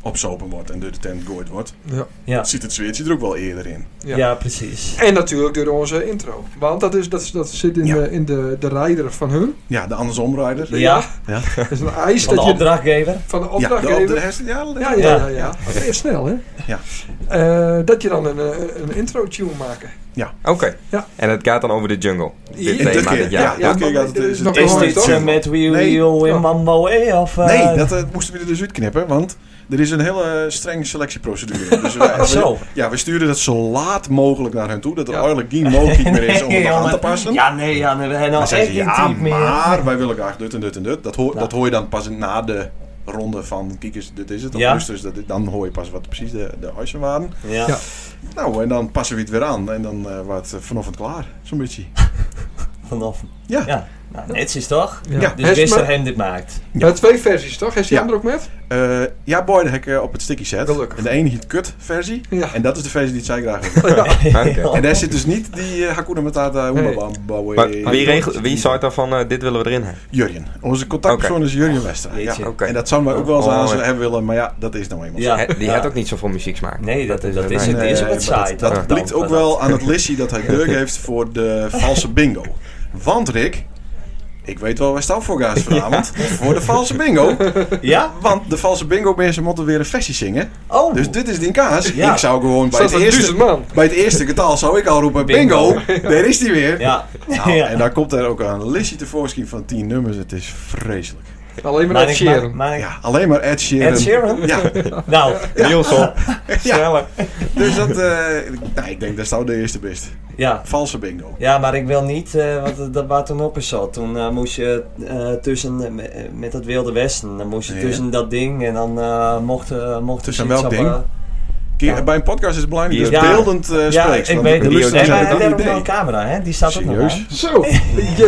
[SPEAKER 14] opzopen wordt en door de tent gooid wordt.
[SPEAKER 15] Ja.
[SPEAKER 3] Ja.
[SPEAKER 14] Ziet het zweertje er ook wel eerder in.
[SPEAKER 15] Ja.
[SPEAKER 3] precies.
[SPEAKER 15] En natuurlijk door onze intro. Want dat, is, dat, is, dat zit in, de, in de, de rijder van hun.
[SPEAKER 14] Ja, de andersomrijder.
[SPEAKER 15] Ja.
[SPEAKER 14] ja.
[SPEAKER 15] Dat is een eis
[SPEAKER 3] Van de
[SPEAKER 15] dat je-
[SPEAKER 3] opdrachtgever.
[SPEAKER 15] Van de
[SPEAKER 14] Ja, de
[SPEAKER 15] opdrachtgever.
[SPEAKER 14] opdra- heeft- ja, dat-
[SPEAKER 15] ja, ja, ja.
[SPEAKER 14] Ja.
[SPEAKER 15] ja. Dat is snel, hè?
[SPEAKER 14] Ja.
[SPEAKER 15] Eh, dat je dan een, eh, een intro-tune maken.
[SPEAKER 14] Ja.
[SPEAKER 2] Oké.
[SPEAKER 15] Ja.
[SPEAKER 2] En het gaat dan over de jungle. Dit
[SPEAKER 15] Ja,
[SPEAKER 2] thema
[SPEAKER 15] dit
[SPEAKER 2] dit
[SPEAKER 15] keer.
[SPEAKER 2] jaar.
[SPEAKER 15] Ja, dit keer gaat het- is het- Is dit,
[SPEAKER 3] eh, met Wee Wee Wee Mambo eh, of... eh,
[SPEAKER 14] Nee, dat eh, moesten we er dus uitknippen, want er is een hele eh, strenge selectieprocedure. Dus wij,
[SPEAKER 3] Ach, zo.
[SPEAKER 14] we- ja, we sturen dat zo laat mogelijk naar hen toe, dat er eigenlijk geen mogelijkheid meer is om
[SPEAKER 3] Nee,
[SPEAKER 14] het aan
[SPEAKER 3] jongen.
[SPEAKER 14] te passen.
[SPEAKER 3] Ja, nee, ja, nee, we hebben
[SPEAKER 14] Dan
[SPEAKER 3] al
[SPEAKER 14] zeggen
[SPEAKER 3] echt
[SPEAKER 14] ze,
[SPEAKER 3] geen
[SPEAKER 14] ja,
[SPEAKER 3] type meer.
[SPEAKER 14] maar wij willen graag dit en dit en dit. Dat hoor, dat hoor je dan pas na de ronde van kiekers, dit is het, of
[SPEAKER 3] Ja.
[SPEAKER 14] luisteraars, dat is- dan hoor je pas wat precies de, de eisen waren.
[SPEAKER 3] Ja. Ja.
[SPEAKER 14] Nou, en dan passen we het weer aan en dan eh wordt het vanochtend klaar, zo'n beetje.
[SPEAKER 3] Vanaf.
[SPEAKER 14] Ja.
[SPEAKER 3] ja. Nou, netjes toch?
[SPEAKER 14] Ja. Ja.
[SPEAKER 3] Dus
[SPEAKER 14] Hij is
[SPEAKER 3] wist er
[SPEAKER 14] maar-
[SPEAKER 3] hem dit maakt.
[SPEAKER 15] Ja. Eh, twee versies, toch? Heeft die
[SPEAKER 14] Ja.
[SPEAKER 15] andere ook met?
[SPEAKER 14] Eh, ja, boy, dat heb ik eh, op het sticky set. En de ene heet kut versie. En dat is de versie die zij graag willen.
[SPEAKER 2] Oké.
[SPEAKER 14] En daar zit dus niet die eh, Hakuna Matata Huma Bam, Bowie.
[SPEAKER 2] Maar wie, regelt, wie zei dan van eh, dit willen we erin hebben?
[SPEAKER 14] Jurjen. Onze contactpersoon
[SPEAKER 2] Oké.
[SPEAKER 14] is Jurjen Westra. Ja.
[SPEAKER 2] Jeetje. Oké.
[SPEAKER 14] En dat zouden wij ook wel eens
[SPEAKER 2] Oh,
[SPEAKER 14] aan ze
[SPEAKER 2] ja.
[SPEAKER 14] hebben willen, maar ja, dat is nou eenmaal
[SPEAKER 2] Ja.
[SPEAKER 14] zo.
[SPEAKER 2] die had ook niet zoveel muziek smaak.
[SPEAKER 3] Nee, dat, dat,
[SPEAKER 2] nee.
[SPEAKER 3] is, het
[SPEAKER 14] Nee,
[SPEAKER 3] is
[SPEAKER 14] maar
[SPEAKER 3] wat saai.
[SPEAKER 14] dat, dat
[SPEAKER 3] toch?
[SPEAKER 14] blijkt
[SPEAKER 3] Dan-
[SPEAKER 14] ook wel aan het lissie dat hij deuk heeft voor de valse bingo. Want Rick, ik weet wel waar staan voor gaas vanavond. Voor de valse bingo.
[SPEAKER 3] Ja?
[SPEAKER 14] Want de valse bingo mensen moeten weer een versie zingen.
[SPEAKER 3] Oh.
[SPEAKER 14] Dus dit is die kaas.
[SPEAKER 3] Ja.
[SPEAKER 14] Ik zou gewoon bij
[SPEAKER 15] Staat
[SPEAKER 14] het,
[SPEAKER 15] er
[SPEAKER 14] eerste,
[SPEAKER 15] duizend man.
[SPEAKER 14] bij het eerste getal zou ik al roepen bingo. Daar is die weer.
[SPEAKER 3] Ja.
[SPEAKER 14] Nou,
[SPEAKER 3] Ja.
[SPEAKER 14] En dan komt er ook een lissie tevoorschijn van 10 nummers. Het is vreselijk.
[SPEAKER 15] Alleen maar
[SPEAKER 3] Maar
[SPEAKER 15] Ed
[SPEAKER 3] ik- maar-
[SPEAKER 15] Sheeran.
[SPEAKER 3] maar ik-
[SPEAKER 14] Ja, alleen maar Ed Sheeran.
[SPEAKER 3] Ed Sheeran?
[SPEAKER 14] Ja.
[SPEAKER 3] Nou,
[SPEAKER 2] Niels op.
[SPEAKER 3] Sneller.
[SPEAKER 14] Dus dat, eh, nou, ik denk dat zou de eerste best.
[SPEAKER 3] Ja.
[SPEAKER 14] Valse bingo.
[SPEAKER 3] Ja, maar ik wil niet, eh, want dat- dat was toen ook eens zo. Toen eh, moest je eh, tussen, eh, me- eh, met dat Wilde Westen, dan moest je
[SPEAKER 14] Ja.
[SPEAKER 3] tussen dat ding en dan eh, mocht, eh mocht
[SPEAKER 14] Tussen
[SPEAKER 3] zoiets
[SPEAKER 14] welk
[SPEAKER 3] op,
[SPEAKER 14] ding?
[SPEAKER 3] eh,
[SPEAKER 14] Kijk,
[SPEAKER 3] Ja.
[SPEAKER 14] Bij een podcast is het belangrijk dat je
[SPEAKER 3] Ja.
[SPEAKER 14] beeldend eh
[SPEAKER 3] Ja,
[SPEAKER 14] spreekt.
[SPEAKER 3] ik
[SPEAKER 14] want
[SPEAKER 3] weet
[SPEAKER 14] de
[SPEAKER 3] het.
[SPEAKER 14] luisteraars
[SPEAKER 3] Nee, maar
[SPEAKER 14] hebben
[SPEAKER 3] hij
[SPEAKER 14] dat
[SPEAKER 3] heeft ook wel een
[SPEAKER 14] idee.
[SPEAKER 3] camera, hè? Die staat ook nog
[SPEAKER 14] Serieus?
[SPEAKER 3] aan.
[SPEAKER 15] Zo,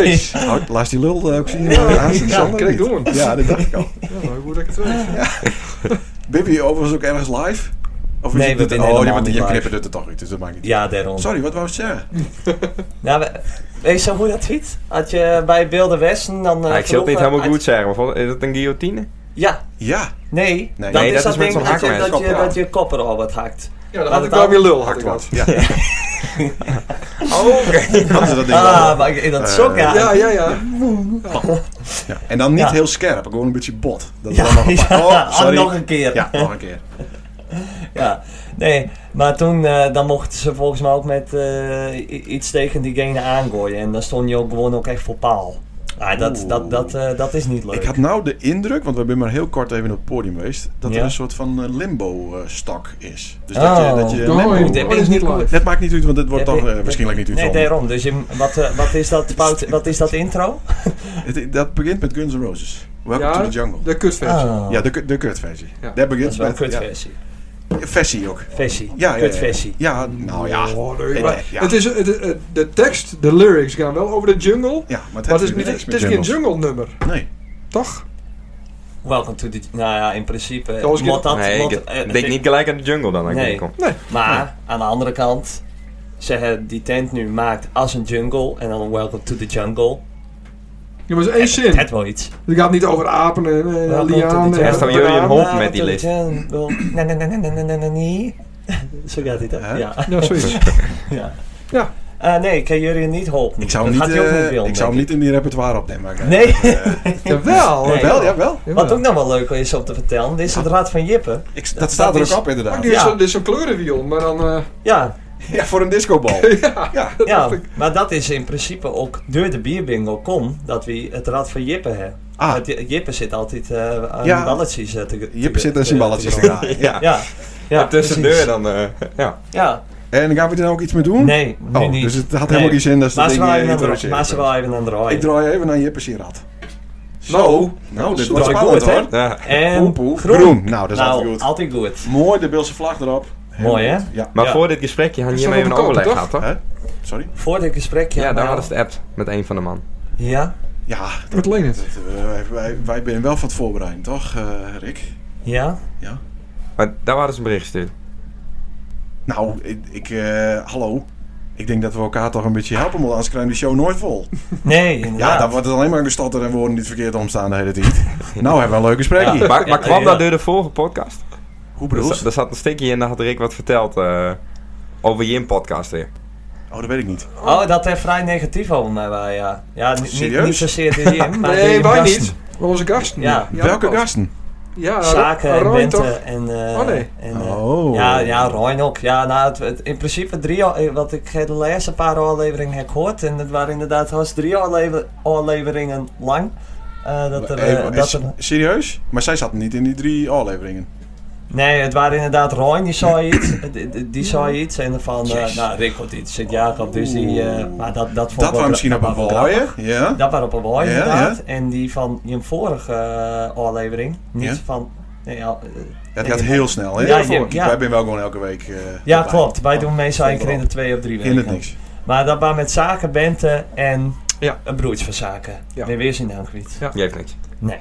[SPEAKER 15] jezus.
[SPEAKER 14] Houd- Laat die lul eh, ook zien.
[SPEAKER 15] Ja,
[SPEAKER 14] Ja,
[SPEAKER 15] ja, kijk door.
[SPEAKER 14] Ja, dat dacht ik al.
[SPEAKER 15] Ja, maar hoe dat ik het weet.
[SPEAKER 14] Bibi, overigens ook ergens live? Of is
[SPEAKER 3] Nee, we zijn
[SPEAKER 14] het dit- Oh,
[SPEAKER 3] helemaal
[SPEAKER 14] ja, want
[SPEAKER 3] niet
[SPEAKER 14] je
[SPEAKER 3] live.
[SPEAKER 14] knippen het er toch uit, dus dat maakt niet
[SPEAKER 3] Ja, daarom.
[SPEAKER 14] Sorry, wat wou je zeggen?
[SPEAKER 3] Nou, we- weet je zo hoe dat heet? Had je bij Wilde Westen dan... eh,
[SPEAKER 2] Nou, ik zal het niet
[SPEAKER 3] vroeger-
[SPEAKER 2] helemaal
[SPEAKER 3] had-
[SPEAKER 2] goed zeggen, maar vol- is dat een guillotine?
[SPEAKER 3] Ja.
[SPEAKER 14] Ja.
[SPEAKER 3] Nee,
[SPEAKER 2] Nee,
[SPEAKER 3] dat
[SPEAKER 2] nee,
[SPEAKER 3] is
[SPEAKER 2] dat
[SPEAKER 3] dat
[SPEAKER 2] is met
[SPEAKER 3] ding
[SPEAKER 2] zo'n
[SPEAKER 3] dat je,
[SPEAKER 2] hakmes.
[SPEAKER 3] dat, je,
[SPEAKER 2] Kop, ja.
[SPEAKER 3] dat je kopper al wat hakt.
[SPEAKER 15] Ja, dan
[SPEAKER 3] Want
[SPEAKER 15] had ik
[SPEAKER 3] het
[SPEAKER 15] wel weer
[SPEAKER 3] had-
[SPEAKER 15] lul hakt wat.
[SPEAKER 14] Ja.
[SPEAKER 3] Oh, oké.
[SPEAKER 14] Hadden ze dat ding wel?
[SPEAKER 3] Ah, maar ik- dat
[SPEAKER 14] Eh,
[SPEAKER 3] sok aan.
[SPEAKER 15] Ja, ja, ja.
[SPEAKER 14] Ja, En dan niet
[SPEAKER 3] Ja.
[SPEAKER 14] heel scherp, gewoon een beetje bot. Dat is
[SPEAKER 3] Ja,
[SPEAKER 14] dan nog een paar-
[SPEAKER 3] ja.
[SPEAKER 14] Oh, sorry.
[SPEAKER 3] Ah, nog een keer.
[SPEAKER 14] Ja, nog een keer.
[SPEAKER 3] Ja, nee, maar toen eh, dan mochten ze volgens mij ook met eh, i- iets tegen diegene aangooien. En dan stond je ook gewoon ook echt voor paal. Ah, dat,
[SPEAKER 14] Oeh.
[SPEAKER 3] dat, dat, eh, dat is niet leuk.
[SPEAKER 14] Ik had nou de indruk, want we zijn maar heel kort even op het podium geweest, dat
[SPEAKER 3] Ja.
[SPEAKER 14] er een soort van eh, limbo eh, stak is. Dus dat
[SPEAKER 3] Oh.
[SPEAKER 14] je, dat je
[SPEAKER 15] Oh,
[SPEAKER 14] limbo...
[SPEAKER 15] dat ben ik niet live.
[SPEAKER 14] Dat maakt niet uit, want dit wordt
[SPEAKER 3] Ja,
[SPEAKER 14] toch
[SPEAKER 3] dit-
[SPEAKER 14] eh, waarschijnlijk niet
[SPEAKER 3] Nee,
[SPEAKER 14] uitgezonden.
[SPEAKER 3] daarom. Dus je, wat, eh, wat, is dat, fout, wat is dat intro?
[SPEAKER 14] Het- Dat begint met Guns N' Roses. Welcome
[SPEAKER 15] Ja,
[SPEAKER 14] to the Jungle.
[SPEAKER 15] de kutversie.
[SPEAKER 3] Oh.
[SPEAKER 14] Ah. Ja, de, ku- de kutversie.
[SPEAKER 15] Ja.
[SPEAKER 14] Dat
[SPEAKER 3] Dat
[SPEAKER 14] begint
[SPEAKER 3] is wel een
[SPEAKER 14] met... ja.
[SPEAKER 3] kutversie.
[SPEAKER 14] Versie ook.
[SPEAKER 3] Ah. Versie.
[SPEAKER 14] Ja, ja, ja,
[SPEAKER 3] Kutversie.
[SPEAKER 14] ja, nou ja.
[SPEAKER 15] Oh,
[SPEAKER 14] Eh,
[SPEAKER 15] nee, maar
[SPEAKER 14] ja.
[SPEAKER 15] Het is, het, het- de tekst, de lyrics gaan wel over de jungle.
[SPEAKER 14] Ja, maar het
[SPEAKER 15] maar het
[SPEAKER 14] heeft
[SPEAKER 15] is, niet,
[SPEAKER 14] niks
[SPEAKER 15] het
[SPEAKER 14] met
[SPEAKER 15] is geen
[SPEAKER 14] jungles.
[SPEAKER 15] jungle nummer.
[SPEAKER 14] Nee.
[SPEAKER 15] Toch?
[SPEAKER 3] Welcome to the... Nou ja, in principe... eh,
[SPEAKER 2] Zoals ik-
[SPEAKER 3] moet dat,
[SPEAKER 2] Nee,
[SPEAKER 3] moet-
[SPEAKER 2] ik
[SPEAKER 3] eh,
[SPEAKER 2] denk niet gelijk aan de jungle dan, als ik
[SPEAKER 3] Nee.
[SPEAKER 2] binnenkom.
[SPEAKER 3] Maar aan de andere kant... Zeggen die tent nu maakt als een jungle en dan een welcome to the jungle.
[SPEAKER 15] Ja, maar dat is één zin.
[SPEAKER 3] Het wel iets.
[SPEAKER 15] Het gaat niet over apen en,
[SPEAKER 3] Welcome
[SPEAKER 15] en
[SPEAKER 3] to the
[SPEAKER 15] lianen.
[SPEAKER 3] jungle.
[SPEAKER 15] en-
[SPEAKER 3] Welcome to the jungle. Na, na, na, na, na, na, na, na, nee. Zo gaat hij toch? Ja.
[SPEAKER 15] Ja, zoiets.
[SPEAKER 3] ja. Eh, nee, ik kan jullie niet helpen.
[SPEAKER 14] Ik zou hem,
[SPEAKER 3] Dat
[SPEAKER 14] niet,
[SPEAKER 3] gaat hij ook
[SPEAKER 14] eh,
[SPEAKER 3] niet willen,
[SPEAKER 14] ik zou hem
[SPEAKER 3] denk
[SPEAKER 14] niet in die repertoire opnemen. maar ik-
[SPEAKER 3] Nee.
[SPEAKER 14] Jawel, jawel, jawel.
[SPEAKER 3] Wat ook nog wel leuk is om te vertellen, dit is het Rad van Jippen.
[SPEAKER 14] dat staat er ook op, inderdaad.
[SPEAKER 15] Dit Oh, is,
[SPEAKER 3] Ja.
[SPEAKER 15] zo- dit is zo'n kleurenwiel, maar dan... eh,
[SPEAKER 3] Ja.
[SPEAKER 14] Ja, voor een discobal.
[SPEAKER 15] ja,
[SPEAKER 3] Ja, maar dat is in principe ook door de bierbingo kom dat we het Rad van Jippen hebben.
[SPEAKER 14] Ah.
[SPEAKER 3] Want J- Jippen zit altijd eh aan
[SPEAKER 2] Ja.
[SPEAKER 3] balletjes eh, te,
[SPEAKER 14] Jippen zit aan zijn balletjes te
[SPEAKER 3] ja.
[SPEAKER 14] draaien,
[SPEAKER 3] ja.
[SPEAKER 14] ja.
[SPEAKER 3] ja.
[SPEAKER 2] En tussendoor
[SPEAKER 3] precies.
[SPEAKER 2] dan, eh, ja.
[SPEAKER 3] Ja.
[SPEAKER 14] En gaan we er dan ook iets mee doen?
[SPEAKER 3] Nee, nu
[SPEAKER 14] oh,
[SPEAKER 3] niet.
[SPEAKER 14] Dus het had
[SPEAKER 3] Nee.
[SPEAKER 14] helemaal geen zin dat ze
[SPEAKER 3] Maar
[SPEAKER 14] dat
[SPEAKER 3] ze
[SPEAKER 14] ding
[SPEAKER 3] wel
[SPEAKER 14] eh,
[SPEAKER 3] even aan de-
[SPEAKER 14] introduceren.
[SPEAKER 3] maar ze wel even aan de draaien.
[SPEAKER 14] Ik draai even naar Jippe Sierad.
[SPEAKER 3] Nou,
[SPEAKER 14] nou, dit
[SPEAKER 3] zo,
[SPEAKER 14] wordt
[SPEAKER 3] dat
[SPEAKER 14] spannend
[SPEAKER 3] goed, hè?
[SPEAKER 14] hoor.
[SPEAKER 3] Ja. En
[SPEAKER 14] Poe, poe.
[SPEAKER 3] groen.
[SPEAKER 14] Nou, dat is
[SPEAKER 3] Nou,
[SPEAKER 14] altijd goed.
[SPEAKER 3] altijd goed.
[SPEAKER 14] Mooi, de Bilse vlag erop. Heel
[SPEAKER 3] Mooi, hè?
[SPEAKER 14] goed. Ja.
[SPEAKER 2] Maar voor dit gesprekje hadden jullie even een overleg gehad, toch?
[SPEAKER 14] Sorry?
[SPEAKER 3] Voor dit gesprek, ja.
[SPEAKER 2] Ja, daar
[SPEAKER 3] nou,
[SPEAKER 2] hadden ze de app met een van de man.
[SPEAKER 3] Ja?
[SPEAKER 14] Ja.
[SPEAKER 15] Wat leent het?
[SPEAKER 14] Eh, wij, wij, wij zijn wel van het voorbereiden, toch, eh, Rick?
[SPEAKER 3] Ja?
[SPEAKER 14] Ja.
[SPEAKER 2] Maar daar waren ze een bericht gestuurd.
[SPEAKER 14] Nou, ik, ik, eh, hallo. Ik denk dat we elkaar toch een beetje helpen moeten, anders krijgen we de show nooit vol.
[SPEAKER 3] Nee,
[SPEAKER 14] Ja,
[SPEAKER 3] inderdaad.
[SPEAKER 14] dan wordt het alleen maar gestotterd en woorden die verkeerd omstaan de hele tijd. nou, hebben we een leuk
[SPEAKER 2] Ja.
[SPEAKER 14] gesprekje.
[SPEAKER 2] Maar, maar kwam dat door de vorige podcast? Dus
[SPEAKER 14] Hoe
[SPEAKER 2] Er,
[SPEAKER 14] bedoel
[SPEAKER 2] zat-
[SPEAKER 14] je?
[SPEAKER 2] er zat een stukje in, daar had Rick wat verteld eh, over je podcast weer.
[SPEAKER 14] Oh, dat weet ik niet.
[SPEAKER 3] Oh, dat heeft vrij negatief over mij wel, ja. Ja, ni- niet,
[SPEAKER 14] Serieus?
[SPEAKER 3] niet zozeer de Jim, maar
[SPEAKER 15] nee,
[SPEAKER 3] de
[SPEAKER 15] wij
[SPEAKER 3] gasten.
[SPEAKER 15] niet. Maar onze gasten.
[SPEAKER 3] Ja.
[SPEAKER 14] Welke gasten?
[SPEAKER 15] Ja,
[SPEAKER 3] Zaken en
[SPEAKER 15] Roy
[SPEAKER 3] Bente
[SPEAKER 15] toch?
[SPEAKER 3] en... eh,
[SPEAKER 15] Oh, nee.
[SPEAKER 3] en, eh,
[SPEAKER 14] Oh.
[SPEAKER 3] Ja, ja, Roin ook. Ja, nou, het, het- in principe drie... al- eh, Want ik heb de laatste paar afleveringen heb gehoord. En het waren inderdaad was drie aflever- afleveringen lang. eh, dat er, eh,
[SPEAKER 14] Hey,
[SPEAKER 3] dat
[SPEAKER 14] is-
[SPEAKER 3] er-
[SPEAKER 14] serieus? Maar zij zat niet in die drie afleveringen.
[SPEAKER 3] nee, het waren inderdaad Roin die zei iets. eh, die- die- Die zei iets. En van, eh, nou, Rick had iets. Sint Jacob, dus die... eh, maar dat, dat vond
[SPEAKER 14] Dat
[SPEAKER 3] ik wel-
[SPEAKER 14] was misschien op
[SPEAKER 3] dat
[SPEAKER 14] een
[SPEAKER 3] was wel
[SPEAKER 14] waaien.
[SPEAKER 3] grappig.
[SPEAKER 14] Ja.
[SPEAKER 3] Dat waren op een waai
[SPEAKER 14] Ja,
[SPEAKER 3] inderdaad. En die van je vorige eh, aflevering. Niet
[SPEAKER 14] Ja.
[SPEAKER 3] van... Nee, ja, eh,
[SPEAKER 14] Dat
[SPEAKER 3] nee,
[SPEAKER 14] gaat heel snel, hè?
[SPEAKER 3] Ja, ja, ja.
[SPEAKER 14] Wij zijn wel gewoon elke week. eh,
[SPEAKER 3] Ja,
[SPEAKER 14] erbij.
[SPEAKER 3] klopt. Wij doen meestal één keer in de
[SPEAKER 14] Overal.
[SPEAKER 3] twee of drie weken.
[SPEAKER 14] In het niks.
[SPEAKER 3] Maar dat waren met zaken, Bente en een broertje van zaken. Ja. Nee, weer zijn naam kwijt.
[SPEAKER 15] Ja.
[SPEAKER 2] Geeft niks.
[SPEAKER 3] Nee.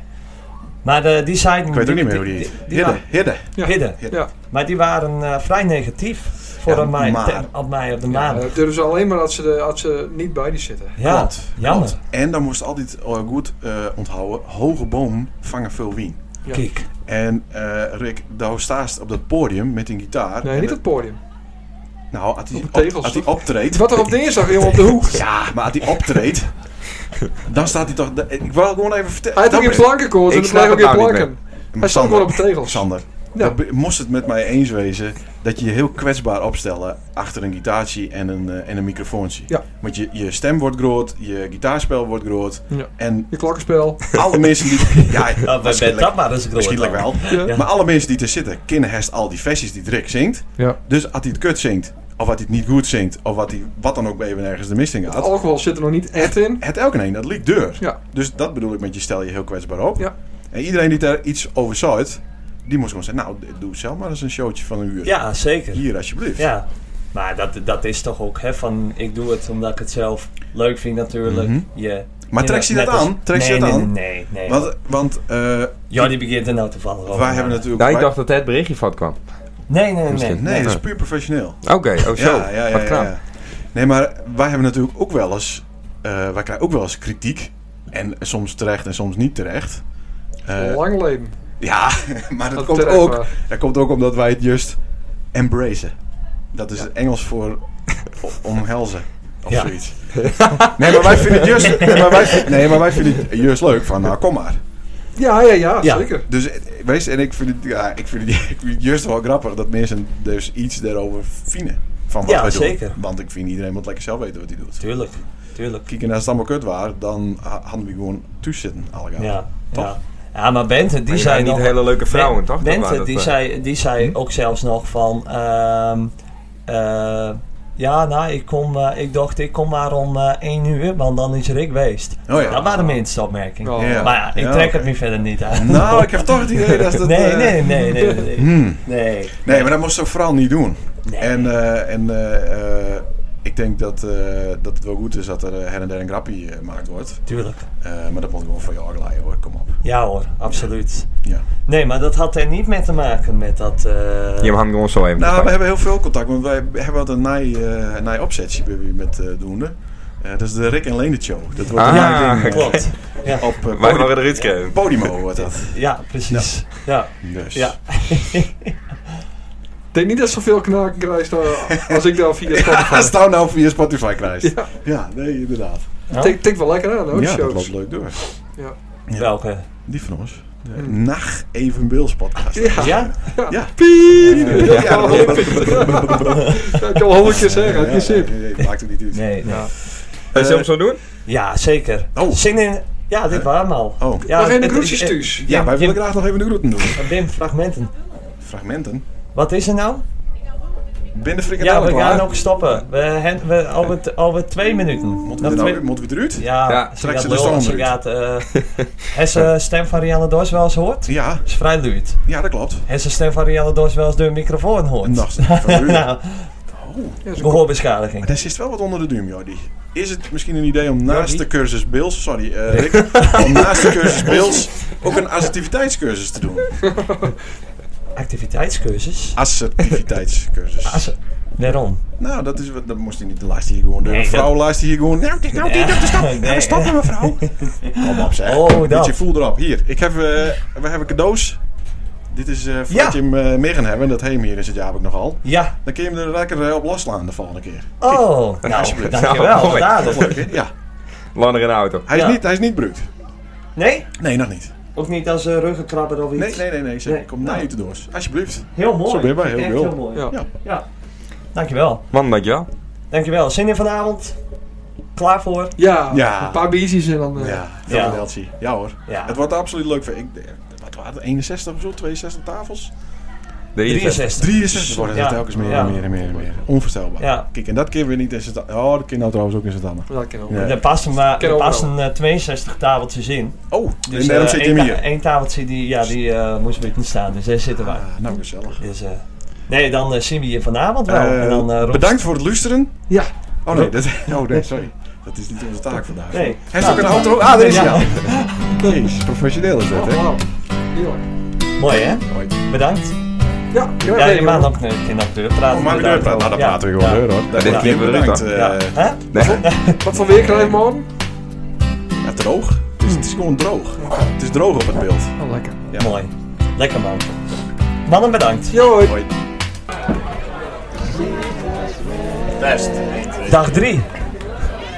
[SPEAKER 3] Maar de, die zeiden...
[SPEAKER 14] Ik weet ook niet meer hoe die heet. Hidde, Hidde.
[SPEAKER 3] Ja. Hidde.
[SPEAKER 15] Ja.
[SPEAKER 3] Maar die waren eh, vrij negatief voor
[SPEAKER 14] Ja,
[SPEAKER 3] een mij,
[SPEAKER 14] maar-
[SPEAKER 3] te- op mij op de
[SPEAKER 15] Ja,
[SPEAKER 3] maan.
[SPEAKER 15] dat durven ze alleen maar als ze, de, als ze niet bij die zitten.
[SPEAKER 3] Ja,
[SPEAKER 14] Klopt,
[SPEAKER 3] jammer.
[SPEAKER 14] klopt. En dan moest altijd eh, goed eh, onthouden: hoge boom vangen veel wien.
[SPEAKER 15] Ja.
[SPEAKER 3] Kijk.
[SPEAKER 14] En eh, Rick, daar staast op dat podium met een gitaar.
[SPEAKER 15] Nee,
[SPEAKER 14] En
[SPEAKER 15] niet
[SPEAKER 14] dat-
[SPEAKER 15] het podium.
[SPEAKER 14] Nou, als hij
[SPEAKER 15] Op de
[SPEAKER 14] op-
[SPEAKER 15] tegels,
[SPEAKER 14] als hij
[SPEAKER 15] toch?
[SPEAKER 14] optreedt.
[SPEAKER 15] Wat er op dinsdag, jongen, op de hoek.
[SPEAKER 14] Ja, maar als hij optreedt. dan staat hij toch. Ik wil gewoon even vertellen.
[SPEAKER 15] Hij had ook in plankenkoord en
[SPEAKER 14] Ik
[SPEAKER 15] er
[SPEAKER 14] snap
[SPEAKER 15] bleef ook
[SPEAKER 14] het
[SPEAKER 15] in
[SPEAKER 14] nou niet
[SPEAKER 15] planken.
[SPEAKER 14] meer.
[SPEAKER 15] Hij stond
[SPEAKER 14] Sander,
[SPEAKER 15] gewoon op de tegels.
[SPEAKER 14] Sander,
[SPEAKER 15] Ja.
[SPEAKER 14] dat be- moest het met mij eens wezen dat je je heel kwetsbaar opstellen achter een gitaartje en een, eh, en een microfoontje.
[SPEAKER 15] Ja.
[SPEAKER 14] Want je, je stem wordt groot, je gitaarspel wordt groot
[SPEAKER 15] Ja.
[SPEAKER 14] en
[SPEAKER 15] Je klokkenspel.
[SPEAKER 14] alle mensen die... Ja,
[SPEAKER 3] ben
[SPEAKER 14] waarschijnlijk-
[SPEAKER 3] dat maar eens groot
[SPEAKER 14] Waarschijnlijk wel.
[SPEAKER 15] dan. Ja.
[SPEAKER 14] Maar alle mensen die er zitten kennen herst al die versies die Rick zingt.
[SPEAKER 15] Ja.
[SPEAKER 14] Dus als hij het kut zingt, of als hij het niet goed zingt, of wat hij wat dan ook even ergens de mist in
[SPEAKER 15] Het
[SPEAKER 14] gaat.
[SPEAKER 15] alcohol zit er nog niet echt in.
[SPEAKER 14] Het elke een, dat liep deur.
[SPEAKER 15] Ja.
[SPEAKER 14] Dus dat bedoel ik met je stel je heel kwetsbaar op.
[SPEAKER 15] Ja.
[SPEAKER 14] En iedereen die daar iets over zegt, die moest gewoon zeggen, nou, doe zelf maar eens een showtje van een uur.
[SPEAKER 3] Ja, zeker.
[SPEAKER 14] Hier, alsjeblieft.
[SPEAKER 3] Ja, maar dat, dat is toch ook hè, van ik doe het omdat ik het zelf leuk vind natuurlijk.
[SPEAKER 14] Mhm.
[SPEAKER 3] je,
[SPEAKER 14] Maar
[SPEAKER 3] je-
[SPEAKER 14] trekt hij
[SPEAKER 3] net
[SPEAKER 14] dat
[SPEAKER 3] als-
[SPEAKER 14] aan? Trekt
[SPEAKER 3] nee,
[SPEAKER 14] hij dat
[SPEAKER 3] nee,
[SPEAKER 14] aan?
[SPEAKER 3] Nee, nee, nee.
[SPEAKER 14] Want, want eh,
[SPEAKER 3] Ja, die begint er nou toevallig over.
[SPEAKER 14] wij hebben natuurlijk...
[SPEAKER 2] Nou, ik
[SPEAKER 14] wij-
[SPEAKER 2] dacht dat het berichtje van kwam.
[SPEAKER 3] Nee, nee, nee.
[SPEAKER 2] Misschien.
[SPEAKER 3] nee.
[SPEAKER 14] Nee, dat is puur professioneel.
[SPEAKER 2] Oké, oh zo.
[SPEAKER 14] Ja, ja, ja,
[SPEAKER 2] Wat
[SPEAKER 14] ja,
[SPEAKER 2] knap.
[SPEAKER 14] ja. Nee, maar wij hebben natuurlijk ook wel eens... eh, wij krijgen ook wel eens kritiek. En soms terecht en soms niet terecht. Eh,
[SPEAKER 15] Lang leven.
[SPEAKER 14] Ja, maar dat,
[SPEAKER 15] Dat
[SPEAKER 14] komt
[SPEAKER 15] terecht,
[SPEAKER 14] ook,
[SPEAKER 15] waar.
[SPEAKER 14] dat komt ook omdat wij het just embracen. Dat is het Engels voor o- omhelzen. Of
[SPEAKER 3] Ja.
[SPEAKER 14] zoiets. Nee, maar wij vinden het just, nee, maar wij, nee, maar wij vinden het just leuk. Van, nou, kom maar.
[SPEAKER 15] Ja, ja, ja,
[SPEAKER 3] Ja.
[SPEAKER 15] zeker.
[SPEAKER 14] Dus, eh, weet je, en ik vind, het, ja, ik, vind het, ik vind het juist wel grappig dat mensen dus iets daarover vinden. Van wat
[SPEAKER 3] Ja,
[SPEAKER 14] wij doen.
[SPEAKER 3] zeker.
[SPEAKER 14] Want ik vind iedereen moet lekker zelf weten wat hij doet.
[SPEAKER 3] Tuurlijk, tuurlijk.
[SPEAKER 14] Kijk, en als het allemaal kut was, dan ha- hadden we gewoon thuis zitten, allegaar.
[SPEAKER 3] Ja,
[SPEAKER 14] Toch?
[SPEAKER 3] ja. Ja, maar Bente, die
[SPEAKER 2] Maar je
[SPEAKER 3] zei
[SPEAKER 2] bent niet
[SPEAKER 3] nog-
[SPEAKER 2] hele leuke vrouwen,
[SPEAKER 3] Ben-
[SPEAKER 2] toch? Dat waren
[SPEAKER 3] Bente,
[SPEAKER 2] dat,
[SPEAKER 3] die
[SPEAKER 2] eh.
[SPEAKER 3] zei, die zei ook zelfs nog van... ehm, eh, ja, nou, ik, kom, eh, ik dacht, ik kom maar om eh één uur, want dan is Rick geweest.
[SPEAKER 14] Oh ja.
[SPEAKER 3] Dat waren mijn eerste opmerkingen.
[SPEAKER 15] Oh. Ja.
[SPEAKER 3] Maar ja, ik
[SPEAKER 14] Ja,
[SPEAKER 3] trek
[SPEAKER 14] oké.
[SPEAKER 3] het me verder niet aan.
[SPEAKER 14] Nou, ik heb toch het idee dat dat...
[SPEAKER 3] nee,
[SPEAKER 14] eh,
[SPEAKER 3] nee, nee, nee, nee. nee.
[SPEAKER 2] Hm.
[SPEAKER 14] Hmm.
[SPEAKER 3] Nee.
[SPEAKER 14] Nee, maar dat moest ze vooral niet doen. En, eh, en eh, eh, Ik denk dat, eh, dat het wel goed is dat er eh, her en der een grappie eh, gemaakt wordt.
[SPEAKER 3] Tuurlijk.
[SPEAKER 14] Eh, maar dat moet gewoon voor jou glijden hoor, kom op.
[SPEAKER 3] Ja hoor, absoluut.
[SPEAKER 14] Ja.
[SPEAKER 3] Nee, maar dat had er niet mee te maken met dat... eh,
[SPEAKER 2] Je hangt gewoon zo
[SPEAKER 14] Nou, we
[SPEAKER 2] even. te pakken.
[SPEAKER 14] hebben heel veel contact, want wij hebben wat een naai, eh, naai opzetje bij wie met eh doende. Eh, dat is de Rick en Lene show. Dat wordt
[SPEAKER 2] Ah,
[SPEAKER 14] een naai ding, eh,
[SPEAKER 2] klopt.
[SPEAKER 3] Ja.
[SPEAKER 14] Op, eh,
[SPEAKER 2] Wij
[SPEAKER 14] Podi-
[SPEAKER 2] waren eruit gekomen.
[SPEAKER 14] Podimo wordt dat.
[SPEAKER 3] Ja, precies. Ja.
[SPEAKER 14] Dus.
[SPEAKER 3] Ja.
[SPEAKER 15] Ik denk niet dat zoveel knaken krijgt eh, als ik daar via Spotify...
[SPEAKER 14] Als nou nou via Spotify krijgt. Ja, nee, inderdaad.
[SPEAKER 15] Het Tik, tikt wel lekker aan hoor, die
[SPEAKER 14] Ja, dat
[SPEAKER 15] shows.
[SPEAKER 14] loopt leuk door.
[SPEAKER 15] Ja.
[SPEAKER 3] Welke? Hmm.
[SPEAKER 14] Die van ons. De Nacht Even Bils podcast.
[SPEAKER 15] Ja.
[SPEAKER 3] Ja?
[SPEAKER 14] Ja.
[SPEAKER 15] Piep!
[SPEAKER 14] Ja.
[SPEAKER 15] Ja. Dat kan wel honderd keer zeggen, het is zin.
[SPEAKER 14] Nee, nee, nee, maakt het niet uit.
[SPEAKER 3] Nee, nee.
[SPEAKER 2] Zullen we hem zo doen?
[SPEAKER 3] Ja, zeker. Zin in... Ja, dit waren we al.
[SPEAKER 14] Oh.
[SPEAKER 3] Ja,
[SPEAKER 15] Nog even de
[SPEAKER 3] het-
[SPEAKER 15] groetjes,
[SPEAKER 3] het-
[SPEAKER 15] Thuis.
[SPEAKER 14] Ja, wij willen
[SPEAKER 3] Jim-
[SPEAKER 14] graag nog even de groeten doen.
[SPEAKER 3] Wim, fragmenten.
[SPEAKER 14] Fragmenten.
[SPEAKER 3] Wat is er nou?
[SPEAKER 14] Binnen
[SPEAKER 3] Ja,
[SPEAKER 14] frikadellen
[SPEAKER 3] we
[SPEAKER 14] klaar.
[SPEAKER 3] gaan ook stoppen. We, hen- we, alweer, t- alweer twee minuten.
[SPEAKER 14] Moeten we, er nou, moeten we eruit?
[SPEAKER 3] Ja,
[SPEAKER 2] Ja,
[SPEAKER 3] ze
[SPEAKER 14] trek
[SPEAKER 3] gaat
[SPEAKER 14] ze dus de
[SPEAKER 3] lullen,
[SPEAKER 14] storm
[SPEAKER 3] ze
[SPEAKER 14] uit.
[SPEAKER 3] gaat... eh, Heb ze stem van Rianne Dors wel eens hoort?
[SPEAKER 14] Ja.
[SPEAKER 3] is vrij luid.
[SPEAKER 14] Ja, dat klopt.
[SPEAKER 3] Heb ze stem van Rianne Dors wel eens door een microfoon hoort?
[SPEAKER 14] Nacht van Ruud.
[SPEAKER 3] nou,
[SPEAKER 14] Oh.
[SPEAKER 3] gehoorbeschadiging.
[SPEAKER 14] Maar daar zit wel wat onder de duim, Jordi. Is het misschien een idee om naast de cursus Bills, sorry eh, Rick, om naast de cursus Bills ook een assertiviteitscursus te doen?
[SPEAKER 3] Activiteitscursus?
[SPEAKER 14] Assertiviteitscursus.
[SPEAKER 3] Asse- Waarom?
[SPEAKER 14] nou, dat, is, wat- dat moest hij niet. De laatste hier gewoon. De
[SPEAKER 3] Nee,
[SPEAKER 14] vrouw
[SPEAKER 3] dat-
[SPEAKER 14] laatste hier gewoon. Nou, het is nou niet op de stap.
[SPEAKER 3] Nee.
[SPEAKER 14] Nou, we stoppen, mevrouw. Kom op, zeg.
[SPEAKER 3] Oh,
[SPEAKER 14] Beetje
[SPEAKER 3] dat.
[SPEAKER 14] voel erop. Hier, ik heb, eh, we hebben cadeaus. Dit is eh voordat
[SPEAKER 3] Ja.
[SPEAKER 14] je hem eh, mee gaan hebben. Dat heem hier is het jaar heb ik nogal.
[SPEAKER 3] Ja.
[SPEAKER 14] Dan kun je hem er lekker eh, op loslaan de volgende keer.
[SPEAKER 3] Oh, nou,
[SPEAKER 14] Alsjeblieft.
[SPEAKER 3] dankjewel.
[SPEAKER 2] Nou, mooi.
[SPEAKER 3] Wat aardig.
[SPEAKER 14] Leuk, hè? Ja.
[SPEAKER 2] Lander in de auto.
[SPEAKER 14] Hij,
[SPEAKER 3] Ja.
[SPEAKER 14] is niet, hij is niet bruut.
[SPEAKER 3] Nee?
[SPEAKER 14] Nee, nog niet.
[SPEAKER 3] Ook niet als eh, ruggenkrabber of iets? Nou.
[SPEAKER 14] Nee, nee, nee, nee. Zeker. Kom naar je te doors. Alsjeblieft.
[SPEAKER 3] Heel mooi.
[SPEAKER 14] Zo ben je bij, heel
[SPEAKER 3] Echt
[SPEAKER 14] wel.
[SPEAKER 3] heel mooi.
[SPEAKER 14] Ja.
[SPEAKER 3] Ja. Dankjewel.
[SPEAKER 2] Man, dankjewel.
[SPEAKER 3] Dankjewel. Zin in vanavond? Klaar voor?
[SPEAKER 15] Ja,
[SPEAKER 14] Ja.
[SPEAKER 15] een paar biertjes en dan... eh,
[SPEAKER 14] Ja,
[SPEAKER 3] Ja.
[SPEAKER 14] ja. Elsie. Ja hoor.
[SPEAKER 3] Ja.
[SPEAKER 14] Het wordt absoluut leuk. voor- Ik, eh, wat waren het? 61 of zo? 62 tafels?
[SPEAKER 3] 63.
[SPEAKER 14] 63 worden
[SPEAKER 3] Ja.
[SPEAKER 14] het telkens meer
[SPEAKER 3] Ja.
[SPEAKER 14] en meer en meer en meer. Onvoorstelbaar.
[SPEAKER 3] Ja.
[SPEAKER 14] Kijk, en dat keer weer niet in z'n Oh, dat keer nou trouwens ook in z'n tanden.
[SPEAKER 15] Dat kan ook.
[SPEAKER 14] Ja.
[SPEAKER 3] Er passen, maar,
[SPEAKER 15] Ken
[SPEAKER 3] er
[SPEAKER 15] overal.
[SPEAKER 3] passen eh, 62 tafeltjes in.
[SPEAKER 14] Oh,
[SPEAKER 3] Dus,
[SPEAKER 14] en daarom zit je hem hier.
[SPEAKER 3] Eén tafeltje die, ja, die eh, moest weer niet staan, dus daar zitten wij.
[SPEAKER 14] Ah, nou, gezellig.
[SPEAKER 3] Dus, eh, nee, dan eh, zien we je vanavond wel.
[SPEAKER 14] Eh,
[SPEAKER 3] en dan, eh, Rob-
[SPEAKER 14] bedankt voor het luisteren.
[SPEAKER 15] Ja.
[SPEAKER 14] Oh nee, dat, oh, nee sorry. Dat is niet onze taak vandaag.
[SPEAKER 3] Nee.
[SPEAKER 14] Hij is ook
[SPEAKER 3] Nou,
[SPEAKER 14] een
[SPEAKER 3] dan-
[SPEAKER 14] auto. Ah, daar is hij
[SPEAKER 3] Ja.
[SPEAKER 14] al. Jeez, professioneel is dat, hè?
[SPEAKER 15] Wauw. Heel erg.
[SPEAKER 3] Mooi hè?
[SPEAKER 14] Mooi.
[SPEAKER 3] Bedankt.
[SPEAKER 15] Ja, heel erg
[SPEAKER 3] Ja, je
[SPEAKER 15] leuk,
[SPEAKER 3] mag
[SPEAKER 15] hoor.
[SPEAKER 3] ook een keer naar de deur praten.
[SPEAKER 14] Oh, maar we deur praten. Nou, dan praten we gewoon deur, hoor.
[SPEAKER 2] dit
[SPEAKER 14] Ja,
[SPEAKER 2] klinkt wel leuk,
[SPEAKER 14] bedankt,
[SPEAKER 2] hoor.
[SPEAKER 14] eh,
[SPEAKER 3] Ja. Hè?
[SPEAKER 2] Nee.
[SPEAKER 15] Wat voor weer krijg je morgen?
[SPEAKER 14] ja, droog. Het is, het is gewoon droog. Het is droog op het beeld.
[SPEAKER 15] Oh, lekker.
[SPEAKER 14] Ja.
[SPEAKER 3] Mooi. Lekker man. Mannen bedankt.
[SPEAKER 15] Ja, hoi.
[SPEAKER 14] Hoi.
[SPEAKER 13] Best.
[SPEAKER 3] Dag 3.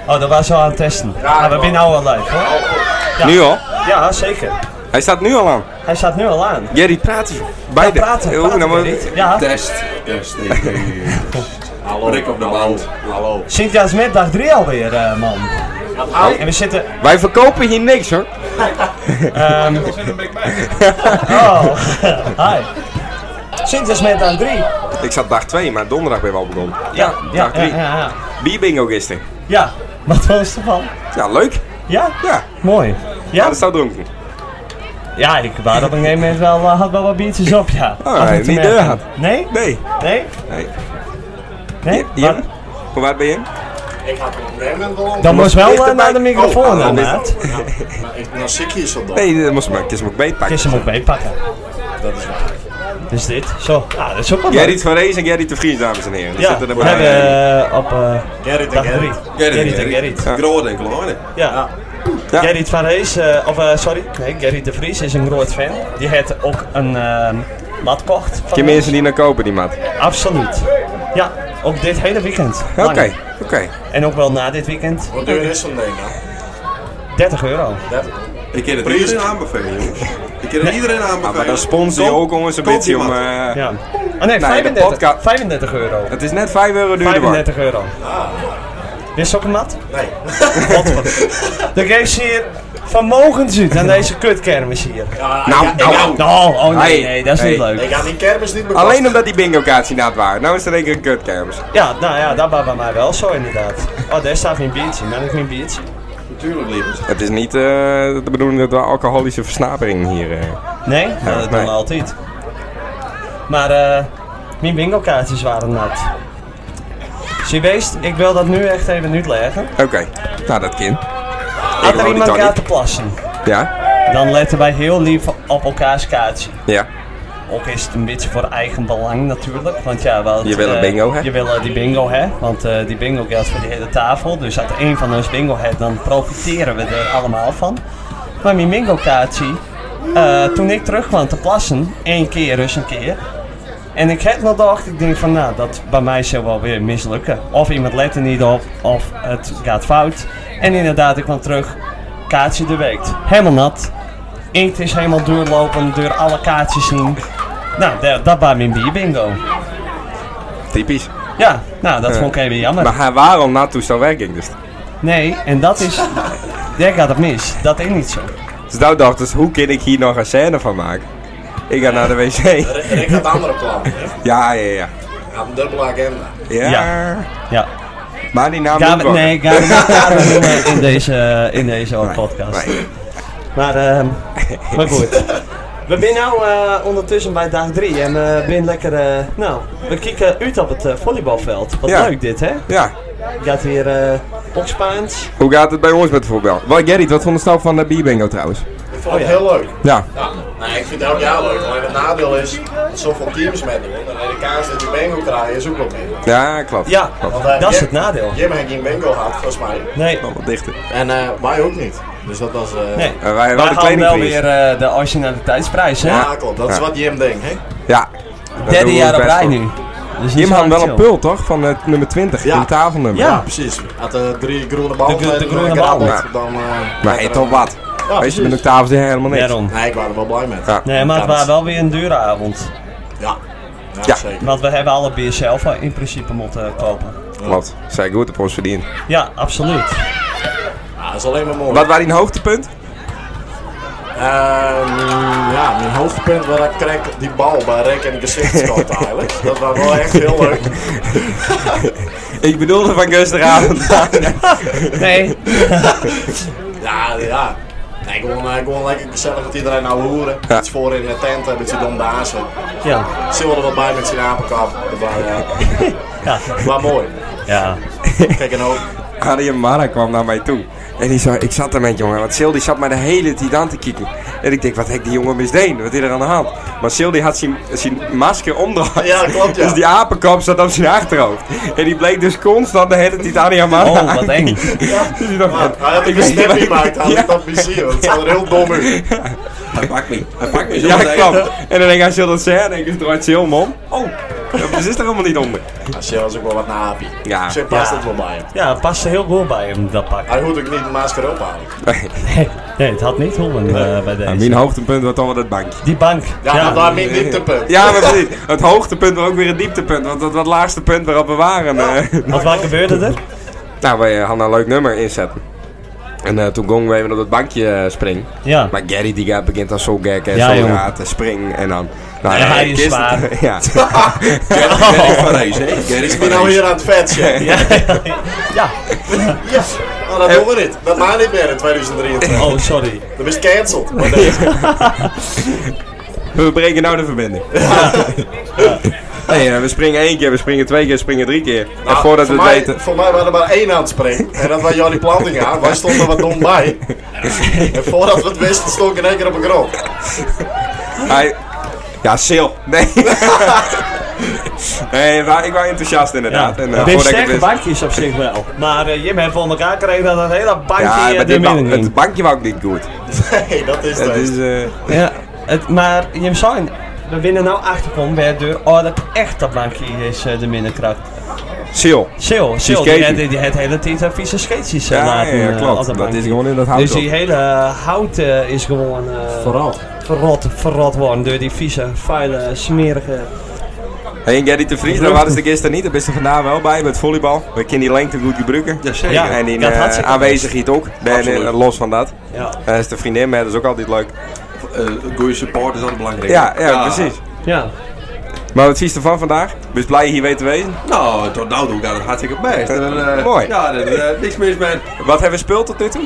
[SPEAKER 3] Oh, dat was zo aan het testen. Ah, we zijn nou al live hoor. Ja.
[SPEAKER 2] Nu al?
[SPEAKER 3] Ja, zeker.
[SPEAKER 2] Hij staat nu al aan.
[SPEAKER 3] Hij staat nu al aan.
[SPEAKER 2] Jerry, praat eens. Beide.
[SPEAKER 3] Ja, praten,
[SPEAKER 2] Oh,
[SPEAKER 3] praten
[SPEAKER 2] nou, maar-
[SPEAKER 3] we niet. Ja.
[SPEAKER 13] Test. Test. Hallo. Rick op de band. Hallo.
[SPEAKER 3] Sint-Jaans met dag 3 alweer, eh, man.
[SPEAKER 13] hou-
[SPEAKER 3] En we zitten...
[SPEAKER 2] Wij verkopen hier niks hoor.
[SPEAKER 3] ehm, oh, hi. Sint-Jaans met dag 3.
[SPEAKER 2] Ik zat dag 2, maar donderdag ben ik al begonnen.
[SPEAKER 3] Ja, ja,
[SPEAKER 2] dag
[SPEAKER 3] ja,
[SPEAKER 2] drie.
[SPEAKER 3] ja, ja.
[SPEAKER 2] Bierbingo gisteren.
[SPEAKER 3] Ja, wat was het ervan?
[SPEAKER 2] Ja, leuk.
[SPEAKER 3] Ja?
[SPEAKER 2] Ja.
[SPEAKER 3] Mooi.
[SPEAKER 2] Ja? Dat staat dronken.
[SPEAKER 3] Ja, ik was op een gegeven moment wel, eh, had wel wat biertjes op, ja.
[SPEAKER 2] Oh,
[SPEAKER 3] Af en
[SPEAKER 2] hij
[SPEAKER 3] toe
[SPEAKER 2] niet
[SPEAKER 3] merken.
[SPEAKER 2] deur had.
[SPEAKER 3] Nee?
[SPEAKER 2] Nee.
[SPEAKER 3] Nee?
[SPEAKER 2] Nee.
[SPEAKER 3] Nee?
[SPEAKER 2] Jim? Hoe waar ben je?
[SPEAKER 13] Ik had een remmen beloond.
[SPEAKER 3] Dan moest wel eh,
[SPEAKER 2] Dichterbij-
[SPEAKER 3] naar de microfoon,
[SPEAKER 2] Oh,
[SPEAKER 3] hè,
[SPEAKER 2] dan is-
[SPEAKER 3] maat.
[SPEAKER 13] Maar ik ben ziekje zo dan.
[SPEAKER 2] Nee, dat moest maar. Ik is hem ook
[SPEAKER 3] Het is
[SPEAKER 2] beetpakken.
[SPEAKER 3] hem ook meepakken.
[SPEAKER 13] Dat is waar.
[SPEAKER 3] Dus dit, zo. Ah, dat is ook wel leuk.
[SPEAKER 2] Gerrit van Rees en Gerrit de Vries, dames en heren. Die
[SPEAKER 3] Ja,
[SPEAKER 2] zitten
[SPEAKER 3] we
[SPEAKER 2] erbij.
[SPEAKER 3] hebben eh, op eh,
[SPEAKER 13] Gerrit en
[SPEAKER 3] dag
[SPEAKER 13] Gerrit.
[SPEAKER 3] drie. Gerrit en Gerrit.
[SPEAKER 13] Grote en kleine.
[SPEAKER 3] Ja.
[SPEAKER 2] Ja.
[SPEAKER 3] Gerrit van Rees, eh, of eh, sorry, nee, Gerrit de Vries is een groot fan. Die heeft ook een ehm mat kocht.
[SPEAKER 2] Je mensen die naar kopen, die maat. Oké,
[SPEAKER 3] Absoluut. Ja, ook dit hele weekend.
[SPEAKER 2] oké.
[SPEAKER 3] Lang. En ook wel na dit weekend.
[SPEAKER 13] Wat duur is zo'n ding nou?
[SPEAKER 3] 30 euro.
[SPEAKER 13] Ik ken het
[SPEAKER 7] Iedereen aanbevelen, jongens. Ik kan het iedereen
[SPEAKER 2] Ah, maar
[SPEAKER 7] aanbevelen.
[SPEAKER 2] dan sponsor je
[SPEAKER 7] Koop-
[SPEAKER 2] ook ons een
[SPEAKER 7] koop
[SPEAKER 2] beetje
[SPEAKER 7] die
[SPEAKER 2] om...
[SPEAKER 7] mat.
[SPEAKER 2] eh,
[SPEAKER 3] Ja. Oh nee,
[SPEAKER 2] de
[SPEAKER 3] 35,
[SPEAKER 2] podcast-
[SPEAKER 3] 35 euro.
[SPEAKER 2] Het is net 5 euro duurder. man.
[SPEAKER 3] 35 euro. Dit is ook een mat?
[SPEAKER 13] Ah. Nee.
[SPEAKER 3] Dan geeft ze hier vermogens uit aan deze kutkermis hier.
[SPEAKER 13] Ja,
[SPEAKER 2] Nou,
[SPEAKER 13] ik- ik-
[SPEAKER 2] nou,
[SPEAKER 13] ik-
[SPEAKER 3] Nou, oh nee,
[SPEAKER 2] Hey,
[SPEAKER 3] nee, dat is niet
[SPEAKER 2] hey.
[SPEAKER 3] leuk.
[SPEAKER 13] Ik had die kermis niet bekost.
[SPEAKER 2] Alleen omdat die bingo-kaartjes niet waren. Nou is er één keer een kutkermis.
[SPEAKER 3] Ja, nou ja, dat was bij mij wel zo inderdaad. Oh, daar staat mijn biertje. Ben ik mijn biertje?
[SPEAKER 13] Natuurlijk, lieverd.
[SPEAKER 2] Het is niet eh, de bedoeling dat we alcoholische versnapering hier... eh.
[SPEAKER 3] Nee? Nou, dat doen
[SPEAKER 2] nee.
[SPEAKER 3] we altijd. Maar eh, mijn bingo kaartjes waren nat. Zie wees, ik wil dat nu echt even uitleggen.
[SPEAKER 2] Oké, nou dat kind.
[SPEAKER 3] Als er iemand gaat te plassen,
[SPEAKER 2] Ja,
[SPEAKER 3] dan letten wij heel lief op elkaars kaartje.
[SPEAKER 2] ja.
[SPEAKER 3] Ook is het een beetje voor eigen belang natuurlijk, want ja, wel.
[SPEAKER 2] Je wil een bingo, hè?
[SPEAKER 3] Je wil eh, die bingo, hè? Want eh, die bingo geldt voor de hele tafel. Dus als één van ons bingo heeft, dan profiteren we er allemaal van. Maar mijn bingo kaartje, eh, toen ik terug kwam te plassen, één keer dus een keer. En ik heb nog dacht, ik denk van nou, dat bij mij zou wel weer mislukken. Of iemand let er niet op, of het gaat fout. En inderdaad, ik kwam terug, kaartje de week. Helemaal nat. Inkt is helemaal doorlopen, door alle kaartjes heen. Nou, da- dat bij mijn bier bingo.
[SPEAKER 2] Typisch.
[SPEAKER 3] Ja, nou, dat
[SPEAKER 2] Eh,
[SPEAKER 3] vond ik even jammer.
[SPEAKER 2] Maar hij waarom na toestand werking dus?
[SPEAKER 3] Nee, en dat is... daar gaat het mis. Dat is niet zo.
[SPEAKER 2] Dus nou dacht dus, hoe kan ik hier nog een scène van maken? Ik ga naar de wc.
[SPEAKER 7] Rick had andere plannen. hè?
[SPEAKER 2] Ja, ja, ja.
[SPEAKER 7] Hij had een dubbele agenda.
[SPEAKER 2] Ja. Ja. Maar die naam
[SPEAKER 3] Gaan
[SPEAKER 2] moet
[SPEAKER 3] we,
[SPEAKER 2] wel.
[SPEAKER 3] nee, gaan we niet kader noemen in deze, eh, in deze podcast. Maar, ehm, maar goed. We zijn nu ondertussen bij dag 3 en we zijn lekker. eh, nou, we kijken uit op het eh, volleybalveld. Wat
[SPEAKER 2] Ja.
[SPEAKER 3] leuk dit, hè?
[SPEAKER 2] Ja.
[SPEAKER 3] Gaat hier eh Okspaans.
[SPEAKER 2] Hoe gaat het bij ons met de voetbal? Wat, Gerrit, wat vond je nou van de bierbingo trouwens?
[SPEAKER 7] Ik vond het heel leuk.
[SPEAKER 2] Ja.
[SPEAKER 7] Ja, nee, ik vind het elk jaar leuk. Alleen het nadeel is dat zoveel teams meedoen. En de kaas dat je bingo krijgt is ook nog meer.
[SPEAKER 2] Ja, klopt.
[SPEAKER 3] Ja,
[SPEAKER 7] Want, eh, Jim- Jim
[SPEAKER 2] Ja.
[SPEAKER 7] heeft geen bingo gehad, volgens mij.
[SPEAKER 3] Nee.
[SPEAKER 2] Nog wat dichter.
[SPEAKER 7] En eh wij ook niet. Dus dat was... eh
[SPEAKER 3] Nee,
[SPEAKER 2] wij hadden
[SPEAKER 3] we gaan wel
[SPEAKER 2] kledingprijs.
[SPEAKER 3] weer eh, de originaliteitsprijs, hè?
[SPEAKER 7] Ja, klopt. Dat is wat Jim denkt, hè?
[SPEAKER 2] ja.
[SPEAKER 3] Derde jaar op rij nu. Dus
[SPEAKER 2] Jim
[SPEAKER 3] is
[SPEAKER 2] had
[SPEAKER 3] wel
[SPEAKER 2] wel een
[SPEAKER 3] chill.
[SPEAKER 2] pul, toch? Van het nummer 20,
[SPEAKER 7] Ja.
[SPEAKER 2] in tafelnummer.
[SPEAKER 7] Ja, precies. Had de drie groene ballen.
[SPEAKER 2] De gro- de
[SPEAKER 7] en
[SPEAKER 2] groene
[SPEAKER 7] gerabbeld,
[SPEAKER 2] ballen.
[SPEAKER 7] Dan, eh
[SPEAKER 2] Maar heet toch wat?
[SPEAKER 7] Ja,
[SPEAKER 2] Weet je,
[SPEAKER 7] precies.
[SPEAKER 2] met de tafel zit helemaal niks.
[SPEAKER 3] Daarom.
[SPEAKER 7] Nee, ik was er wel blij met.
[SPEAKER 2] Ja.
[SPEAKER 3] Nee, maar het
[SPEAKER 7] Dat-
[SPEAKER 3] was wel weer een dure avond.
[SPEAKER 7] Ja. Ja,
[SPEAKER 2] Ja.
[SPEAKER 7] zeker.
[SPEAKER 3] Want we hebben alle bier zelf eh, in principe moeten kopen.
[SPEAKER 2] Klopt. Zij goed op ons verdiend.
[SPEAKER 3] Ja, absoluut.
[SPEAKER 7] Ja, dat is alleen maar mooi.
[SPEAKER 2] Wat waren die hoogtepunt?
[SPEAKER 7] Ehm, ja, mijn hoofdpunt was dat ik kreeg die bal bij Rick en de gezichtskant eigenlijk. Dat was wel echt heel leuk.
[SPEAKER 2] Ik bedoelde van gisteravond.
[SPEAKER 3] nee.
[SPEAKER 7] ja, ja. Nee, gewoon, eh, gewoon lekker gezellig met iedereen nou hoeren. Het is voor in de tent eh, met z'n dom bazen.
[SPEAKER 3] Ja.
[SPEAKER 7] Ze wilden wat bij met zijn apenkap. Dat was, eh,
[SPEAKER 3] Ja.
[SPEAKER 7] was mooi.
[SPEAKER 3] Ja.
[SPEAKER 7] Kijk en ook.
[SPEAKER 2] Arie Mara kwam naar mij toe. En die zei, ik zat er met jongen. Want Sil die zat mij de hele tijd aan te kijken. En ik denk, wat heb die jongen misdeen? Wat is er aan de hand? Maar Sil die had zijn, zijn masker omdraaid.
[SPEAKER 7] Ja, dat klopt, ja.
[SPEAKER 2] Dus die apenkap zat op zijn achterhoofd. En die bleek dus constant de hele tijd Arie Mara
[SPEAKER 3] Oh, wat eng.
[SPEAKER 2] Dus ik dacht,
[SPEAKER 7] Maar hij had
[SPEAKER 2] ik weet
[SPEAKER 7] ik een
[SPEAKER 2] niet
[SPEAKER 7] snap
[SPEAKER 2] waar-
[SPEAKER 7] gemaakt, hij
[SPEAKER 2] Ja.
[SPEAKER 7] had dat niet zien, want het zou er heel dom uit.
[SPEAKER 2] Hij pakt me. Hij pakt
[SPEAKER 7] me zo
[SPEAKER 2] Ja,
[SPEAKER 7] meteen.
[SPEAKER 2] klopt. En dan denk ik, hij Sil dat zei. En ik draait Sil hem om. Oh, dat is er helemaal niet onder.
[SPEAKER 7] Als je was ook wel wat naapie.
[SPEAKER 2] Ja.
[SPEAKER 7] Dus hij past
[SPEAKER 2] Ja.
[SPEAKER 7] het wel bij hem.
[SPEAKER 3] Ja, het paste heel goed bij hem, Ehm, dat pak.
[SPEAKER 7] Hij hoort ook niet de masker ophalen.
[SPEAKER 3] Nee, het had niet horen eh, bij deze.
[SPEAKER 2] Ja, mijn hoogtepunt was toch wel dat bankje.
[SPEAKER 3] Die bank.
[SPEAKER 7] Ja, dat was mijn dieptepunt.
[SPEAKER 2] Ja, maar precies. Het hoogtepunt was ook weer het dieptepunt. Want dat was het laagste punt waarop we waren. eh.
[SPEAKER 3] Wat, wat gebeurde er?
[SPEAKER 2] Nou, wij eh, hadden een leuk nummer inzetten. En eh, toen gongen we even op het bankje eh, springen.
[SPEAKER 3] Ja.
[SPEAKER 2] Maar Gary die gaat, begint dan zo gek en
[SPEAKER 3] Ja,
[SPEAKER 2] zo
[SPEAKER 3] jongen.
[SPEAKER 2] raar te springen. En dan... Nou,
[SPEAKER 3] Ja, hij is
[SPEAKER 2] kist-
[SPEAKER 3] zwaar.
[SPEAKER 2] ja.
[SPEAKER 7] Gary
[SPEAKER 2] van Rees, hè? Gary
[SPEAKER 7] Ik
[SPEAKER 2] van
[SPEAKER 7] ben nou
[SPEAKER 2] Rees.
[SPEAKER 7] hier aan het vet, zeg.
[SPEAKER 2] Ja.
[SPEAKER 3] Ja.
[SPEAKER 7] Ja. Nou, dat doen we niet. Dat mag niet meer in 2023.
[SPEAKER 3] Oh, sorry.
[SPEAKER 7] Dat is cancelled. Maar dat is-
[SPEAKER 2] We breken nou de verbinding. Nee, eh, we springen één keer, we springen twee keer, we springen drie keer. en
[SPEAKER 7] Nou,
[SPEAKER 2] voordat we
[SPEAKER 7] voor
[SPEAKER 2] het
[SPEAKER 7] mij,
[SPEAKER 2] weten...
[SPEAKER 7] Voor mij waren er maar één aan het springen. En dat was Johnny Plantinga. Wij stonden wat dom bij. En voordat we het wisten, stond ik in één keer op een grond.
[SPEAKER 2] Hij... Ja, Sil. Nee. nee, maar ik was enthousiast inderdaad. En, eh,
[SPEAKER 3] Ja, dit
[SPEAKER 2] voordat ik het
[SPEAKER 3] sterke
[SPEAKER 2] wist-
[SPEAKER 3] bankje is op zich wel. Maar eh, Jim heeft voor elkaar gekregen dat het hele bankje
[SPEAKER 2] Ja,
[SPEAKER 3] eh, de
[SPEAKER 2] maar dit
[SPEAKER 3] midden
[SPEAKER 2] ba-
[SPEAKER 3] ging.
[SPEAKER 2] het bankje was ook niet goed.
[SPEAKER 7] Nee, dat is
[SPEAKER 2] Het
[SPEAKER 7] het.
[SPEAKER 2] is... eh,
[SPEAKER 3] Ja, het, maar Jim zijn, we winnen nou achterkomen bij de deur. Oh, dat echt dat bankje is eh, de minnenkracht.
[SPEAKER 2] Sil.
[SPEAKER 3] Sil,
[SPEAKER 2] Die
[SPEAKER 3] Sil, die,
[SPEAKER 2] skaten.
[SPEAKER 3] het- die het hele tijd eh, vieze skates eh,
[SPEAKER 2] Ja,
[SPEAKER 3] laten.
[SPEAKER 2] ja,
[SPEAKER 3] eh,
[SPEAKER 2] klopt.
[SPEAKER 3] op
[SPEAKER 2] Dat
[SPEAKER 3] bankje.
[SPEAKER 2] is gewoon in dat hout
[SPEAKER 3] Dus die
[SPEAKER 2] ook.
[SPEAKER 3] hele eh, hout eh, is gewoon... eh,
[SPEAKER 7] Verrot.
[SPEAKER 3] Verrot, verrot worden door die vieze, vuile, smerige...
[SPEAKER 2] Hey, en Gerrit de Vries, daar waren ze gisteren niet. Daar ben je vandaag wel bij met volleybal. We kunnen die lengte goed gebruiken. Ja,
[SPEAKER 3] zeker. Ja,
[SPEAKER 2] en die
[SPEAKER 3] dat
[SPEAKER 2] eh,
[SPEAKER 3] had ze-
[SPEAKER 2] aanwezigheid ook. En, eh,
[SPEAKER 3] Absoluut.
[SPEAKER 2] los van dat.
[SPEAKER 3] Ja.
[SPEAKER 2] Eh, is de vriendin, maar dat is ook altijd leuk.
[SPEAKER 14] Eh,
[SPEAKER 16] goede support is altijd belangrijk.
[SPEAKER 2] Ja, ja, precies.
[SPEAKER 3] Ja.
[SPEAKER 2] Maar wat vies ervan vandaag? Ben je blij hier weer te wezen?
[SPEAKER 16] Nou, tot nou toe gaat het hartstikke best. En, eh,
[SPEAKER 2] Mooi.
[SPEAKER 16] Ja, er is niks mis met.
[SPEAKER 2] Wat hebben we gespeeld tot nu toe?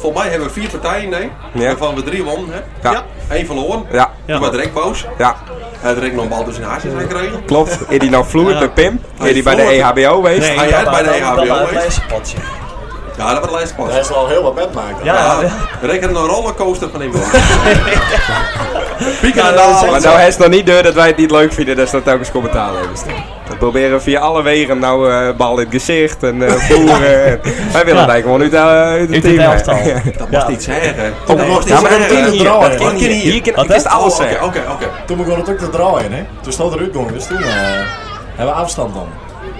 [SPEAKER 16] volgens mij hebben we vier partijen, nee.
[SPEAKER 2] Ja.
[SPEAKER 16] Waarvan we drie wonnen, hè?
[SPEAKER 2] Ja.
[SPEAKER 16] Eén verloren.
[SPEAKER 2] Ja.
[SPEAKER 16] Toen was Drek boos.
[SPEAKER 2] Ja.
[SPEAKER 16] Hij had Drek nog een bal tussen haar zijn gekregen.
[SPEAKER 2] Klopt. Is die nou vloeiend
[SPEAKER 16] Ja.
[SPEAKER 2] met Pim?
[SPEAKER 16] Hij
[SPEAKER 2] Is die bij de E
[SPEAKER 16] vloeit.
[SPEAKER 2] EHBO geweest?
[SPEAKER 16] Nee, Hij dat had bij de E wel- dat EHBO wel uit geweest.
[SPEAKER 3] potje.
[SPEAKER 16] Ja, dat was het lijstpas.
[SPEAKER 7] Hij is al heel wat met maken.
[SPEAKER 16] Ja. Rek had een rollercoaster van iemand. Pieken
[SPEAKER 2] Ja,
[SPEAKER 16] en
[SPEAKER 2] dat is
[SPEAKER 16] dalen.
[SPEAKER 2] echt Maar nou is nog niet deur dat wij het niet leuk vinden dat ze dat telkens commentaar hebben staan. We proberen via alle wegen nou eh, bal in het gezicht en eh, voeren. en- wij willen het eigenlijk gewoon uit, eh, uit het
[SPEAKER 16] Uit
[SPEAKER 2] team.
[SPEAKER 16] het
[SPEAKER 2] hè.
[SPEAKER 16] elftal.
[SPEAKER 2] Ja.
[SPEAKER 16] Dat mocht iets zeggen.
[SPEAKER 2] Dat
[SPEAKER 7] Nee,
[SPEAKER 2] mocht
[SPEAKER 7] dat
[SPEAKER 2] iets zeggen.
[SPEAKER 7] mocht niet
[SPEAKER 2] Dat
[SPEAKER 7] hier.
[SPEAKER 2] kan
[SPEAKER 7] Dat
[SPEAKER 2] hier.
[SPEAKER 7] kan hier.
[SPEAKER 2] Hier kan-
[SPEAKER 7] Wat,
[SPEAKER 2] ik wist
[SPEAKER 7] hè?
[SPEAKER 2] alles
[SPEAKER 7] Oh, oké,
[SPEAKER 2] zeggen.
[SPEAKER 7] Oké, oké. Toen begon het ook te draaien, hè. Toen stond eruit gong, dus toen eh, hebben we afstand dan.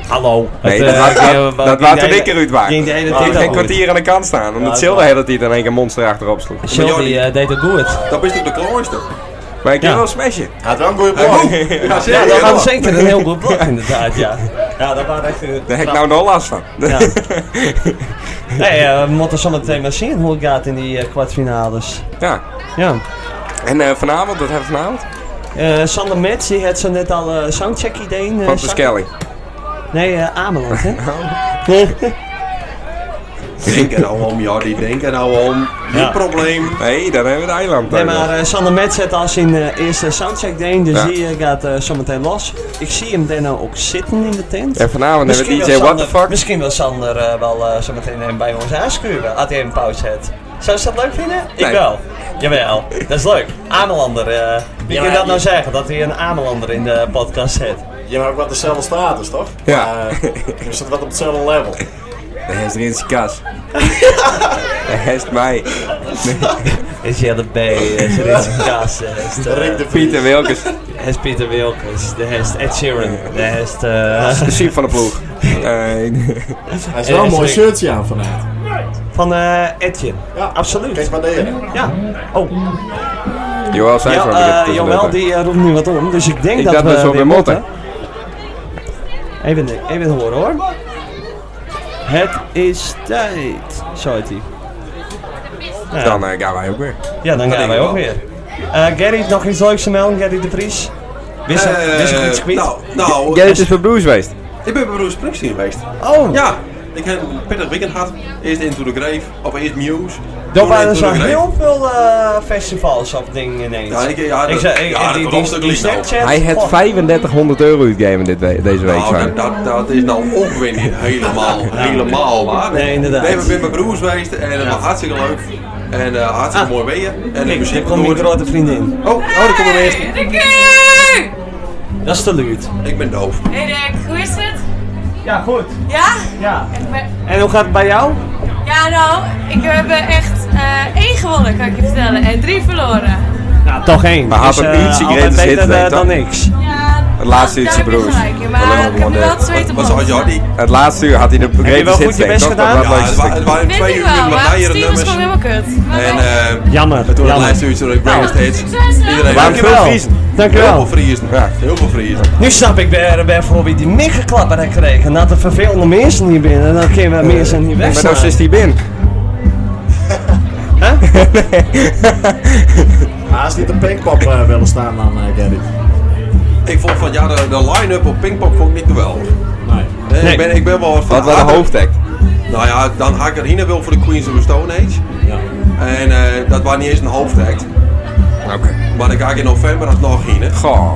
[SPEAKER 3] Hallo.
[SPEAKER 2] Nee, dat laat- dat- dat laat toen ik eruit waren.
[SPEAKER 3] Ging de hele
[SPEAKER 2] Ik
[SPEAKER 3] tijd
[SPEAKER 2] ging
[SPEAKER 3] al
[SPEAKER 2] geen
[SPEAKER 3] goed.
[SPEAKER 2] kwartier aan de kant staan,
[SPEAKER 3] Ja,
[SPEAKER 2] omdat
[SPEAKER 3] dat
[SPEAKER 2] Silde
[SPEAKER 3] is
[SPEAKER 2] heel dat tijd in één keer monster achterop sloeg.
[SPEAKER 3] Sylvie eh, deed het goed.
[SPEAKER 16] Dat is toch de klooster?
[SPEAKER 2] Maar ik kan
[SPEAKER 3] Ja.
[SPEAKER 2] wel smashen.
[SPEAKER 7] Hij had wel een goede
[SPEAKER 2] blok.
[SPEAKER 3] Ja, dat was zeker een heel goed blok inderdaad, ja. Ja, dat waren echt... eh,
[SPEAKER 2] Daar heb ik
[SPEAKER 3] knap.
[SPEAKER 2] nou nog last van.
[SPEAKER 3] Ja. Nee, eh, we moeten zometeen maar zien hoe het gaat in die eh, kwartfinales.
[SPEAKER 2] Ja.
[SPEAKER 3] Ja.
[SPEAKER 2] En eh, vanavond, wat hebben we vanavond?
[SPEAKER 3] Eh, Sander Metz, die had zo net al eh, soundcheck idee. eh,
[SPEAKER 2] Van
[SPEAKER 3] zag-
[SPEAKER 2] Pascali. Oh.
[SPEAKER 3] Nee, eh, Ameland, hè?
[SPEAKER 16] Denk er nou om, Jordi. Denk er nou om. Niet
[SPEAKER 3] Ja.
[SPEAKER 16] probleem.
[SPEAKER 2] Nee, dan hebben we het eiland.
[SPEAKER 3] Nee, maar eh, Sander Metz had al zijn eh, eerste soundcheck deen, dus
[SPEAKER 2] Ja.
[SPEAKER 3] die eh, gaat eh, zometeen los. Ik zie hem daarna ook zitten in de tent.
[SPEAKER 2] En vanavond hebben we
[SPEAKER 3] Misschien
[SPEAKER 2] DJ
[SPEAKER 3] wil
[SPEAKER 2] What the
[SPEAKER 3] Sander-
[SPEAKER 2] Fuck.
[SPEAKER 3] Misschien wil Sander eh, wel eh, zometeen hem bij ons aanschuren, als hij een pauze heeft. Zou je dat leuk vinden? Ik
[SPEAKER 2] Nee.
[SPEAKER 3] wel. Jawel, dat is leuk. Amelander, eh, wie kan
[SPEAKER 7] Ja, maar
[SPEAKER 3] dat nou
[SPEAKER 7] je-
[SPEAKER 3] zeggen, dat hij een Amelander in de podcast zet?
[SPEAKER 7] Je hebt ook wat dezelfde status, toch?
[SPEAKER 2] Ja.
[SPEAKER 7] Je zit wat op hetzelfde level.
[SPEAKER 2] Hij is erin zijn kas. Hij is mij.
[SPEAKER 3] Is jij erbij? eh, Is er iets kaas? Is er, eh,
[SPEAKER 2] Pieter Wilkes.
[SPEAKER 3] Hij is Peter Wilkins, de hest Ed Sheeran, de hest...
[SPEAKER 2] De Siem van de ploeg.
[SPEAKER 7] Hij is wel een mooi shirtje aan vandaag.
[SPEAKER 3] Eh, Van eh Etienne. Ja, absoluut. Kijk
[SPEAKER 7] maar
[SPEAKER 3] Ja. Oh.
[SPEAKER 2] Joël zei van
[SPEAKER 3] ja, eh, Joël die eh, roept nu wat om, dus ik denk
[SPEAKER 2] Ik
[SPEAKER 3] dat
[SPEAKER 2] dacht
[SPEAKER 3] we
[SPEAKER 2] dat ze op
[SPEAKER 3] weer
[SPEAKER 2] de motten.
[SPEAKER 3] Even, even horen hoor. Het is tijd, zou het hier. Ja.
[SPEAKER 2] Dan eh, gaan wij ook weer.
[SPEAKER 3] Ja, dan
[SPEAKER 2] Dat
[SPEAKER 3] gaan wij
[SPEAKER 2] denk ik
[SPEAKER 3] ook
[SPEAKER 2] wel.
[SPEAKER 3] weer. Eh Gerrit, nog iets leuks te melden, Gerrit de Vries? Wist
[SPEAKER 16] Eh,
[SPEAKER 3] je iets kwijt?
[SPEAKER 16] Nou, nou.
[SPEAKER 2] Gerrit is voor Blues geweest.
[SPEAKER 16] Ik ben bij Bruce Springsteen geweest.
[SPEAKER 3] Oh!
[SPEAKER 16] Ja, ik heb een pittig weekend gehad. Eerst Into the Grave, of eerst Muse.
[SPEAKER 3] Er
[SPEAKER 16] toen
[SPEAKER 3] waren
[SPEAKER 16] Into
[SPEAKER 3] zo
[SPEAKER 16] the Grave.
[SPEAKER 3] heel veel eh, festivals of dingen ineens.
[SPEAKER 16] Ja, ik- ja, dat-
[SPEAKER 3] zei- ik-
[SPEAKER 16] ja, dat
[SPEAKER 3] die,
[SPEAKER 16] kon
[SPEAKER 3] die,
[SPEAKER 16] ons
[SPEAKER 3] die,
[SPEAKER 16] natuurlijk niet, nou.
[SPEAKER 3] Snapchat,
[SPEAKER 2] Hij had
[SPEAKER 3] oh.
[SPEAKER 2] 3500 euro uitgegeven dit we- deze week.
[SPEAKER 16] Nou,
[SPEAKER 2] zijn.
[SPEAKER 16] dat, dat, dat is nou ongeveer niet helemaal, helemaal waar.
[SPEAKER 3] Nee, inderdaad.
[SPEAKER 16] Nee, we zijn bij mijn broers geweest en het was hartstikke leuk. En eh, hartstikke mooi weer. En de
[SPEAKER 3] Ah. Kijk,
[SPEAKER 16] muziek
[SPEAKER 3] daar komt mijn
[SPEAKER 16] door.
[SPEAKER 3] grote vriendin.
[SPEAKER 16] Oh, oh, daar komt er eerst.
[SPEAKER 3] Dat is te luid.
[SPEAKER 16] Ik ben doof.
[SPEAKER 1] Hey Rick, hoe is het?
[SPEAKER 3] Ja, goed.
[SPEAKER 1] Ja?
[SPEAKER 3] Ja.
[SPEAKER 1] Echt waar-
[SPEAKER 3] En hoe gaat het bij jou?
[SPEAKER 1] Ja, nou, ik heb eh, echt eh één gewonnen, kan ik je vertellen, en drie verloren.
[SPEAKER 3] Nou, toch één.
[SPEAKER 2] Maar had
[SPEAKER 3] Dus,
[SPEAKER 2] een
[SPEAKER 3] eh,
[SPEAKER 2] uurtje
[SPEAKER 3] altijd
[SPEAKER 2] Gretus
[SPEAKER 3] beter
[SPEAKER 2] hit,
[SPEAKER 3] eh,
[SPEAKER 2] denk ik,
[SPEAKER 3] dan
[SPEAKER 2] toch?
[SPEAKER 3] niks.
[SPEAKER 2] Het laatste uurtje
[SPEAKER 1] Daar heb je
[SPEAKER 2] broers.
[SPEAKER 1] gelijk in, maar ik heb nu wel twee te
[SPEAKER 16] Wat zou Jordi?
[SPEAKER 2] Het laatste uur had hij de
[SPEAKER 3] je wel
[SPEAKER 2] greep
[SPEAKER 3] goed je best gedaan?
[SPEAKER 16] Ja, het wa- het waren
[SPEAKER 1] Vind
[SPEAKER 16] twee
[SPEAKER 1] ik
[SPEAKER 16] uur
[SPEAKER 1] wel,
[SPEAKER 16] met
[SPEAKER 1] maar
[SPEAKER 16] leidere
[SPEAKER 1] Steve is
[SPEAKER 16] nummers.
[SPEAKER 1] gewoon helemaal kut. Maar
[SPEAKER 16] En
[SPEAKER 1] wij-
[SPEAKER 16] eh,
[SPEAKER 3] Jammer.
[SPEAKER 16] toen het
[SPEAKER 3] jammer.
[SPEAKER 16] laatste uurtje ik Breakfast Hits.
[SPEAKER 1] Succes, hè?
[SPEAKER 16] Iedereen
[SPEAKER 3] Dankjewel. Dankjewel.
[SPEAKER 16] Heel veel vriezen. Heel veel vriezen.
[SPEAKER 3] Nu snap ik weer, bijvoorbeeld die miggenklapper heb gekregen. Dat er vervelende mensen hier binnen. Dan
[SPEAKER 16] Eh,
[SPEAKER 3] kunnen we mensen niet
[SPEAKER 2] Maar
[SPEAKER 3] weg.
[SPEAKER 2] nou zit hij binnen.
[SPEAKER 7] Haast niet een pinkpop eh, willen staan dan, eh Gerrit.
[SPEAKER 16] Ik vond van ja, de, de line-up op Pinkpop vond ik niet geweldig. Nee.
[SPEAKER 7] Nee.
[SPEAKER 16] Ik, ben, ik ben wel wat van
[SPEAKER 2] Wat was de
[SPEAKER 16] harde-
[SPEAKER 2] hoofdact?
[SPEAKER 16] Nou ja, dan had ik er Hina wil voor de Queens of the Stone Age. En eh, dat was niet eens een hoofdact.
[SPEAKER 2] Oké.
[SPEAKER 16] Maar dan ga ik in november alsnog heen.
[SPEAKER 2] Goh.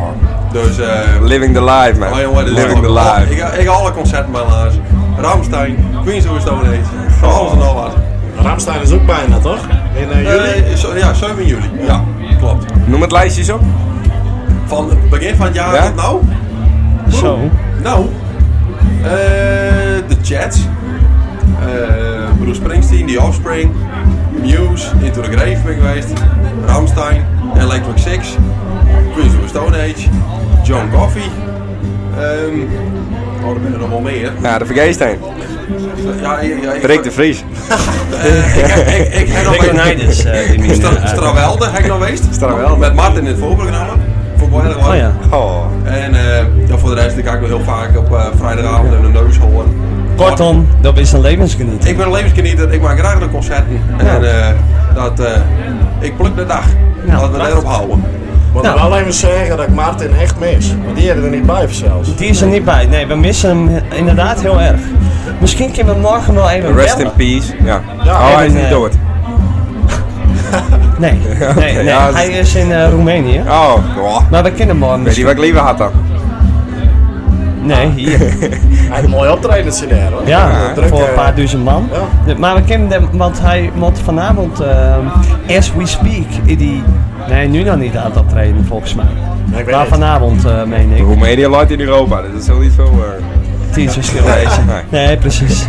[SPEAKER 16] Dus eh.
[SPEAKER 2] Living the life, man.
[SPEAKER 16] oh, jongen, dit is
[SPEAKER 2] Living the
[SPEAKER 16] wel-
[SPEAKER 2] life.
[SPEAKER 16] Ik, ga- ik ga alle concerten bij laars. Ramstein, Queens of the Stone Age. Van alles en al wat.
[SPEAKER 7] Ramstein is ook bijna, toch? In eh, juli?
[SPEAKER 16] Eh, zo- ja, 7 juli. Ja, klopt.
[SPEAKER 2] Noem het lijstje eens op.
[SPEAKER 16] Van het begin van het jaar
[SPEAKER 2] Ja?
[SPEAKER 16] tot nou?
[SPEAKER 3] Zo.
[SPEAKER 16] Nou, eh, de Chats, eh, Bruce Springsteen, The Offspring, Muse, Into the Grave ben ik geweest, Ramstein, Electric Six, Queens of the Stone Age, John Coffey, ehm, oh, er zijn er nog wel meer.
[SPEAKER 2] Ja, Nou, de vergeesteen.
[SPEAKER 16] Ja, ja, ja, ik-
[SPEAKER 2] Rick de Vries.
[SPEAKER 16] eh, ik heb- ik- ik heb nog
[SPEAKER 3] Rick
[SPEAKER 16] bij-
[SPEAKER 3] Leonidas, eh, die meneer.
[SPEAKER 16] Stra- Strawelde heb ik nog geweest.
[SPEAKER 2] Strawelde.
[SPEAKER 16] Met Martin in het voorprogramma. Vond ik wel heel erg
[SPEAKER 3] Oh
[SPEAKER 16] leuk.
[SPEAKER 3] ja.
[SPEAKER 2] Oh.
[SPEAKER 16] En eh, ja, voor de rest, ik kijk wel heel vaak op eh, vrijdagavond in de neushoorn.
[SPEAKER 3] Kortom, dat is een levensgeniet.
[SPEAKER 16] Ik ben een levensgenieter, ik maak graag de concerten. En eh, dat, eh, ik pluk de dag. Laten we daarop houden.
[SPEAKER 1] Nou.
[SPEAKER 7] Want ik
[SPEAKER 3] Nou.
[SPEAKER 7] wil even zeggen dat ik Martin echt mis. Want die hebben er niet bij zelfs.
[SPEAKER 3] Die is er niet bij. Nee, we missen hem inderdaad heel erg. Misschien kunnen we morgen wel even
[SPEAKER 2] Rest in
[SPEAKER 3] bellen.
[SPEAKER 2] peace. Ja.
[SPEAKER 3] Ja,
[SPEAKER 2] oh, hij is
[SPEAKER 3] en,
[SPEAKER 2] niet
[SPEAKER 3] eh,
[SPEAKER 2] dood.
[SPEAKER 3] Nee, nee, nee.
[SPEAKER 2] ja, dus-
[SPEAKER 3] hij is in eh, Roemenië.
[SPEAKER 2] Oh,
[SPEAKER 3] Maar we kennen hem al
[SPEAKER 2] Weet je
[SPEAKER 3] misschien.
[SPEAKER 2] wat ik liever had dan? Ah.
[SPEAKER 3] Nee, hier.
[SPEAKER 17] Hij heeft een mooi optreden CDR hoor.
[SPEAKER 3] Ja,
[SPEAKER 17] Druk,
[SPEAKER 3] voor
[SPEAKER 17] eh,
[SPEAKER 3] een paar duizend man. De- Maar we kennen hem, want hij moet vanavond, ehm, as we speak, in die... Nee, nu nog niet aan het optreden volgens mij.
[SPEAKER 2] weet
[SPEAKER 3] maar
[SPEAKER 2] het.
[SPEAKER 3] vanavond, eh meen ik.
[SPEAKER 2] Roemenië leidt in Europa, dus dat is wel niet veel. eh,
[SPEAKER 3] Het is verschil.
[SPEAKER 2] Nee,
[SPEAKER 3] Nee, precies.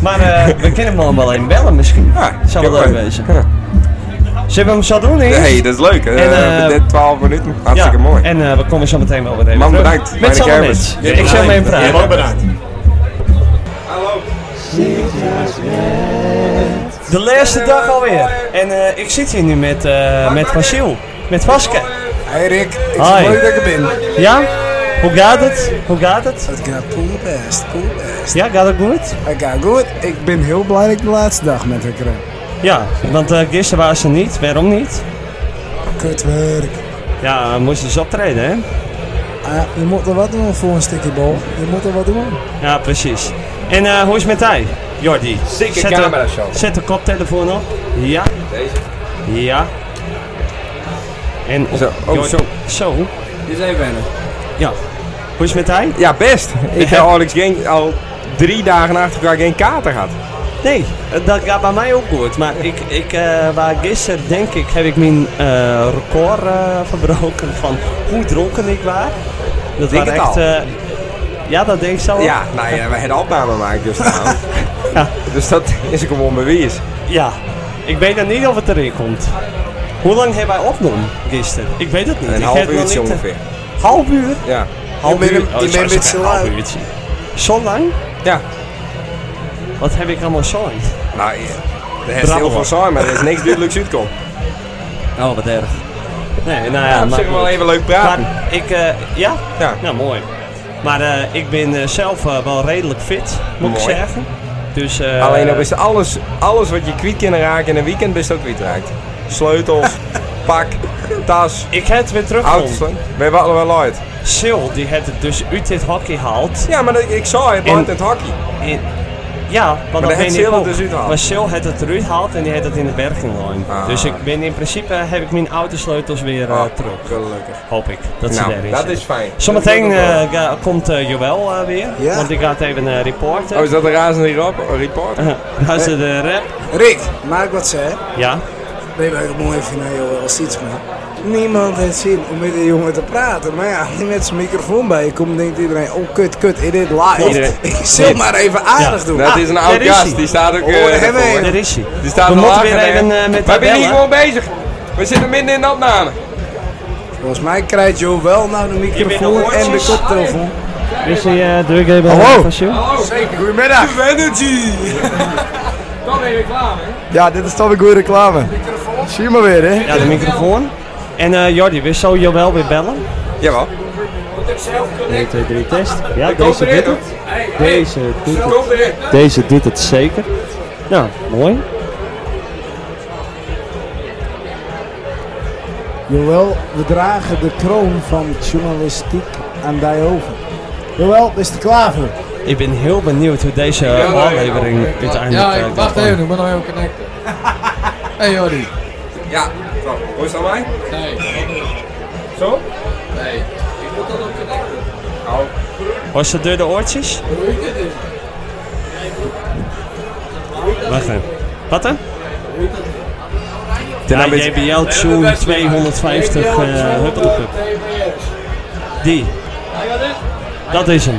[SPEAKER 3] Maar eh, we kennen hem wel in bellen misschien. Zou wel leuk
[SPEAKER 2] kan
[SPEAKER 3] wezen. Zullen we hem zo doen? eerst?
[SPEAKER 2] Nee, dat is leuk.
[SPEAKER 3] En, eh,
[SPEAKER 2] Eh, Net 12 minuten. Hartstikke
[SPEAKER 3] ja,
[SPEAKER 2] mooi.
[SPEAKER 3] En eh, we komen zo meteen wel weer even
[SPEAKER 2] Man,
[SPEAKER 3] terug.
[SPEAKER 2] bedankt. Fijne
[SPEAKER 3] Met z'n allen
[SPEAKER 2] kermis.
[SPEAKER 3] mensen. Ik zou hem even vragen.
[SPEAKER 17] Jij ook bedankt.
[SPEAKER 3] De laatste dag alweer. En eh, ik zit hier nu met, eh met Vasil. Met Vaske.
[SPEAKER 18] Hey Rick, ik ben
[SPEAKER 3] Hoi.
[SPEAKER 18] blij dat ik er ben.
[SPEAKER 3] Ja? Hoe gaat het? Hoe gaat het?
[SPEAKER 18] Het gaat poel best, poel best.
[SPEAKER 3] Ja, gaat het goed?
[SPEAKER 18] Het gaat goed. Ik ben heel blij dat ik de laatste dag met haar kreeg.
[SPEAKER 3] Ja, want eh, gisteren waren ze niet. Waarom niet?
[SPEAKER 18] Kutwerk.
[SPEAKER 3] Ja, we moesten dus optreden, hè?
[SPEAKER 18] Ah, je moet er wat doen voor een stukje bal. Je moet er wat doen.
[SPEAKER 3] Ja, precies. En eh, hoe is het met hij, Jordi?
[SPEAKER 18] Zieke
[SPEAKER 3] Zet de-
[SPEAKER 18] camera show.
[SPEAKER 3] Zet de koptelefoon op. Ja. Deze. Ja. En op,
[SPEAKER 2] Zo, oh,
[SPEAKER 3] Jordi-
[SPEAKER 2] zo.
[SPEAKER 3] Zo.
[SPEAKER 18] Dit is even wennen.
[SPEAKER 3] Ja. Hoe is het met hij?
[SPEAKER 2] Ja, best. Ik heb Alex geen, al drie dagen achter elkaar geen kater gehad.
[SPEAKER 3] Nee, dat gaat bij mij ook goed. Maar ik, ik eh, waar gisteren, denk ik, heb ik mijn eh, record eh, verbroken van hoe dronken ik was. Dat
[SPEAKER 2] Denk
[SPEAKER 3] was
[SPEAKER 2] het
[SPEAKER 3] echt...
[SPEAKER 2] al.
[SPEAKER 3] eh, ja, dat denk ik zelf.
[SPEAKER 2] Ja, nou ja, we hebben opname gemaakt dus nou. Dus dat is gewoon bewijs.
[SPEAKER 3] Ja, ik weet dan niet of het erin komt. Hoe lang hebben wij opgenomen gisteren? Ik weet het niet.
[SPEAKER 2] Een
[SPEAKER 3] Ik
[SPEAKER 2] half
[SPEAKER 3] heb nog
[SPEAKER 2] uurtje
[SPEAKER 3] niet, eh,
[SPEAKER 2] ongeveer.
[SPEAKER 3] Half uur?
[SPEAKER 2] Ja.
[SPEAKER 3] Half
[SPEAKER 2] Je
[SPEAKER 3] uur?
[SPEAKER 2] bent- je
[SPEAKER 3] Oh, ik
[SPEAKER 2] bent
[SPEAKER 3] zou
[SPEAKER 2] met
[SPEAKER 3] zeggen,
[SPEAKER 2] z'n
[SPEAKER 3] half
[SPEAKER 2] allen.
[SPEAKER 3] uurtje. Zo lang?
[SPEAKER 2] Ja.
[SPEAKER 3] Wat heb ik allemaal zo lang?
[SPEAKER 2] Nou, ja, er is heel veel saai, maar er is niks duidelijks uitkomt.
[SPEAKER 3] Oh, wat erg. Nee, nou ja,
[SPEAKER 2] Ja, op
[SPEAKER 3] maar
[SPEAKER 2] zich wel
[SPEAKER 3] goed.
[SPEAKER 2] even leuk praten.
[SPEAKER 3] Maar ik, eh, ja? Ja. Nou, mooi. Maar eh, ik ben eh, zelf eh, wel redelijk fit, moet
[SPEAKER 2] Mooi.
[SPEAKER 3] ik zeggen. Dus, eh,
[SPEAKER 2] Alleen dan is alles, alles wat je kwijt kan raken in een weekend, best ook kwijt raakt. Sleutels, pak, tas.
[SPEAKER 3] Ik heb het weer teruggevonden.
[SPEAKER 2] Auto's. We hebben allemaal wel uit.
[SPEAKER 3] Sil, die heeft het dus uit dit hockey haalt.
[SPEAKER 2] Ja, maar dat- ik zag het uit Oh, het hockey.
[SPEAKER 3] ja,
[SPEAKER 2] Maar
[SPEAKER 3] want
[SPEAKER 2] dan
[SPEAKER 3] dat
[SPEAKER 2] heeft
[SPEAKER 3] ben ik
[SPEAKER 2] Sil het
[SPEAKER 3] ook.
[SPEAKER 2] dus uitgehaald.
[SPEAKER 3] Maar Sil heeft het eruit gehaald en die heeft het in de berg gegooid. Dus ik ben in principe, eh, heb ik mijn autosleutels weer eh,
[SPEAKER 2] Ah,
[SPEAKER 3] terug.
[SPEAKER 2] Gelukkig.
[SPEAKER 3] Hoop ik, dat ze
[SPEAKER 2] Nou,
[SPEAKER 3] daarin
[SPEAKER 2] dat
[SPEAKER 3] zitten.
[SPEAKER 2] is fijn.
[SPEAKER 3] Zometeen
[SPEAKER 2] Dat is ook
[SPEAKER 3] eh, ga- komt eh, Joël eh, weer, want die gaat even eh, reporten.
[SPEAKER 2] Oh, is dat een razende rap- report?
[SPEAKER 3] Daar ze de rap.
[SPEAKER 18] Rick, mag ik wat zeggen?
[SPEAKER 3] Ja.
[SPEAKER 18] Ben je wel een mooi van jou als iets man. Niemand heeft zin om met die jongen te praten. Maar ja, met zijn microfoon bij je komt, denkt iedereen: oh kut, kut, in dit live.
[SPEAKER 2] Klopt.
[SPEAKER 18] Ik zal maar even aardig doen.
[SPEAKER 2] Dat Nou, Ah, is een
[SPEAKER 3] Ah,
[SPEAKER 2] oud gast, die staat ook...
[SPEAKER 18] Oh,
[SPEAKER 2] eh,
[SPEAKER 18] daar hebben we
[SPEAKER 2] ervoor.
[SPEAKER 18] hem. Daar
[SPEAKER 3] is hij.
[SPEAKER 2] Die staat
[SPEAKER 18] We
[SPEAKER 2] al
[SPEAKER 18] moeten
[SPEAKER 2] lager,
[SPEAKER 18] weer
[SPEAKER 2] hè.
[SPEAKER 18] even, eh, met
[SPEAKER 2] We
[SPEAKER 18] haar
[SPEAKER 2] zijn hier
[SPEAKER 18] bellen.
[SPEAKER 2] gewoon bezig. We zitten midden in de opname.
[SPEAKER 18] Volgens mij krijgt Joe wel nou de microfoon en de koptelefoon.
[SPEAKER 3] Is hij uh, doorgegeven
[SPEAKER 18] Hallo.
[SPEAKER 3] van Sil?
[SPEAKER 18] Zeker, goedemiddag.
[SPEAKER 2] Energy!
[SPEAKER 1] Dan ben je klaar, hè?
[SPEAKER 18] Ja, dit is toch een goede reclame. Zie je maar weer, hè?
[SPEAKER 3] Ja, de microfoon. En eh Jordi, we zullen Joël weer bellen.
[SPEAKER 2] Jawel.
[SPEAKER 3] 1, 2, 3, test. Ja,
[SPEAKER 1] Ik
[SPEAKER 3] deze
[SPEAKER 1] hoop erin,
[SPEAKER 3] doet het.
[SPEAKER 1] hoor.
[SPEAKER 3] Deze doet
[SPEAKER 1] Ik hoop erin.
[SPEAKER 3] het. Deze doet het zeker. Nou, mooi.
[SPEAKER 18] Jawel, we dragen de kroon van journalistiek aan die over. Jawel, is de klaar voor?
[SPEAKER 3] Ik ben heel benieuwd hoe deze
[SPEAKER 18] Ja, nee,
[SPEAKER 3] aflevering uiteindelijk
[SPEAKER 15] Ja, ik
[SPEAKER 3] eh,
[SPEAKER 15] wacht
[SPEAKER 3] gaat
[SPEAKER 15] even, ik
[SPEAKER 3] worden.
[SPEAKER 15] ben nou even connecten. hey Jordi.
[SPEAKER 2] Ja, zo. Hoe is dat mij?
[SPEAKER 15] Nee.
[SPEAKER 2] Zo? Oh.
[SPEAKER 15] Nee. Ik moet dat ook connecten.
[SPEAKER 3] Was het door de oortjes? Wacht even. Wat hè?
[SPEAKER 2] Ja,
[SPEAKER 3] Ja,
[SPEAKER 2] een beetje-
[SPEAKER 3] JBL Tune 250 eh huppelpup. Die. Dat is hem.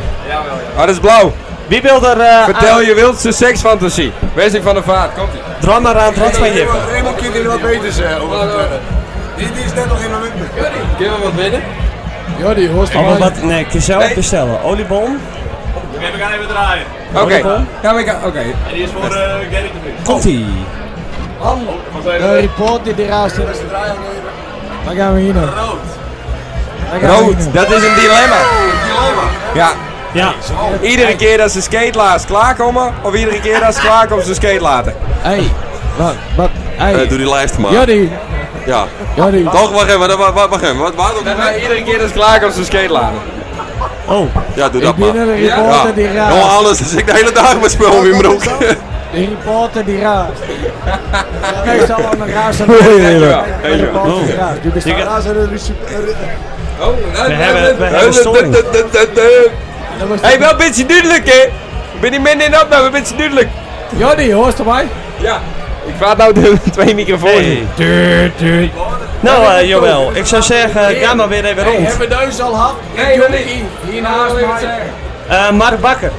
[SPEAKER 2] Ah, dat is blauw.
[SPEAKER 3] Wie wil er... eh,
[SPEAKER 2] Vertel
[SPEAKER 3] aan-
[SPEAKER 2] je wildste seksfantasie. Wesley van der Vaart, komt ie.
[SPEAKER 3] Dram maar aan het rad van Jippe.
[SPEAKER 18] Eenmaal kun je wat beter zeggen. Dit is net nog in mijn
[SPEAKER 15] Kunnen we wat winnen? Jordi, hoor
[SPEAKER 3] Oh, maar wat? Nee, kun je zelf bestellen. Oliebol.
[SPEAKER 7] We gaan even draaien.
[SPEAKER 2] Oké. Ja, maar ik ga- oké.
[SPEAKER 7] En die is voor eh Gerrit de Vries. Oh,
[SPEAKER 3] Komt-ie.
[SPEAKER 1] De report die die raast in.
[SPEAKER 18] Waar gaan we hier nou?
[SPEAKER 2] Rood, dat is een dilemma. Ja.
[SPEAKER 3] Ja.
[SPEAKER 2] Iedere keer dat ze skate laat klaarkomen, of iedere keer dat ze klaarkomen ze skate laten.
[SPEAKER 1] Hey, wat, wat, hey.
[SPEAKER 16] Eh, doe die lijst maar.
[SPEAKER 1] Jordi,
[SPEAKER 16] Ja.
[SPEAKER 1] Jordi.
[SPEAKER 16] Toch, wacht even, wacht, wacht, wacht even. Wat, waarom?
[SPEAKER 2] Iedere keer dus dat ze klaarkomen ze skate laten.
[SPEAKER 3] Oh.
[SPEAKER 16] Ja, doe dat
[SPEAKER 1] ben
[SPEAKER 16] maar.
[SPEAKER 1] een
[SPEAKER 16] ja.
[SPEAKER 1] reporter die raast.
[SPEAKER 16] Jongen, anders zit ik de hele dag met spul in mijn broek.
[SPEAKER 1] de reporter die raast. Nee, het zal wel een raar zijn.
[SPEAKER 2] Hey, hey,
[SPEAKER 1] Ja,
[SPEAKER 2] hey,
[SPEAKER 1] bij de
[SPEAKER 2] hey,
[SPEAKER 1] bal
[SPEAKER 2] oh.
[SPEAKER 1] is raar. Dit is
[SPEAKER 2] Je
[SPEAKER 1] een
[SPEAKER 2] gaat-
[SPEAKER 1] raar zijn en een super-
[SPEAKER 2] We
[SPEAKER 1] hebben- we hebben storing.
[SPEAKER 2] Hey, wel een beetje duidelijk, hè? Ben die minder in opname, een beetje duidelijk.
[SPEAKER 1] Jordi, hoorst erbij?
[SPEAKER 2] Ja. Ik praat nou de twee microfoons. in.
[SPEAKER 3] Nou, eh, Joël, ik zou zeggen,
[SPEAKER 2] eh,
[SPEAKER 3] ga maar weer even
[SPEAKER 1] Hey,
[SPEAKER 3] rond.
[SPEAKER 1] hebben we deus al gehad? Nee, Jordi, hiernaast mij.
[SPEAKER 3] Eh, Mark Bakker.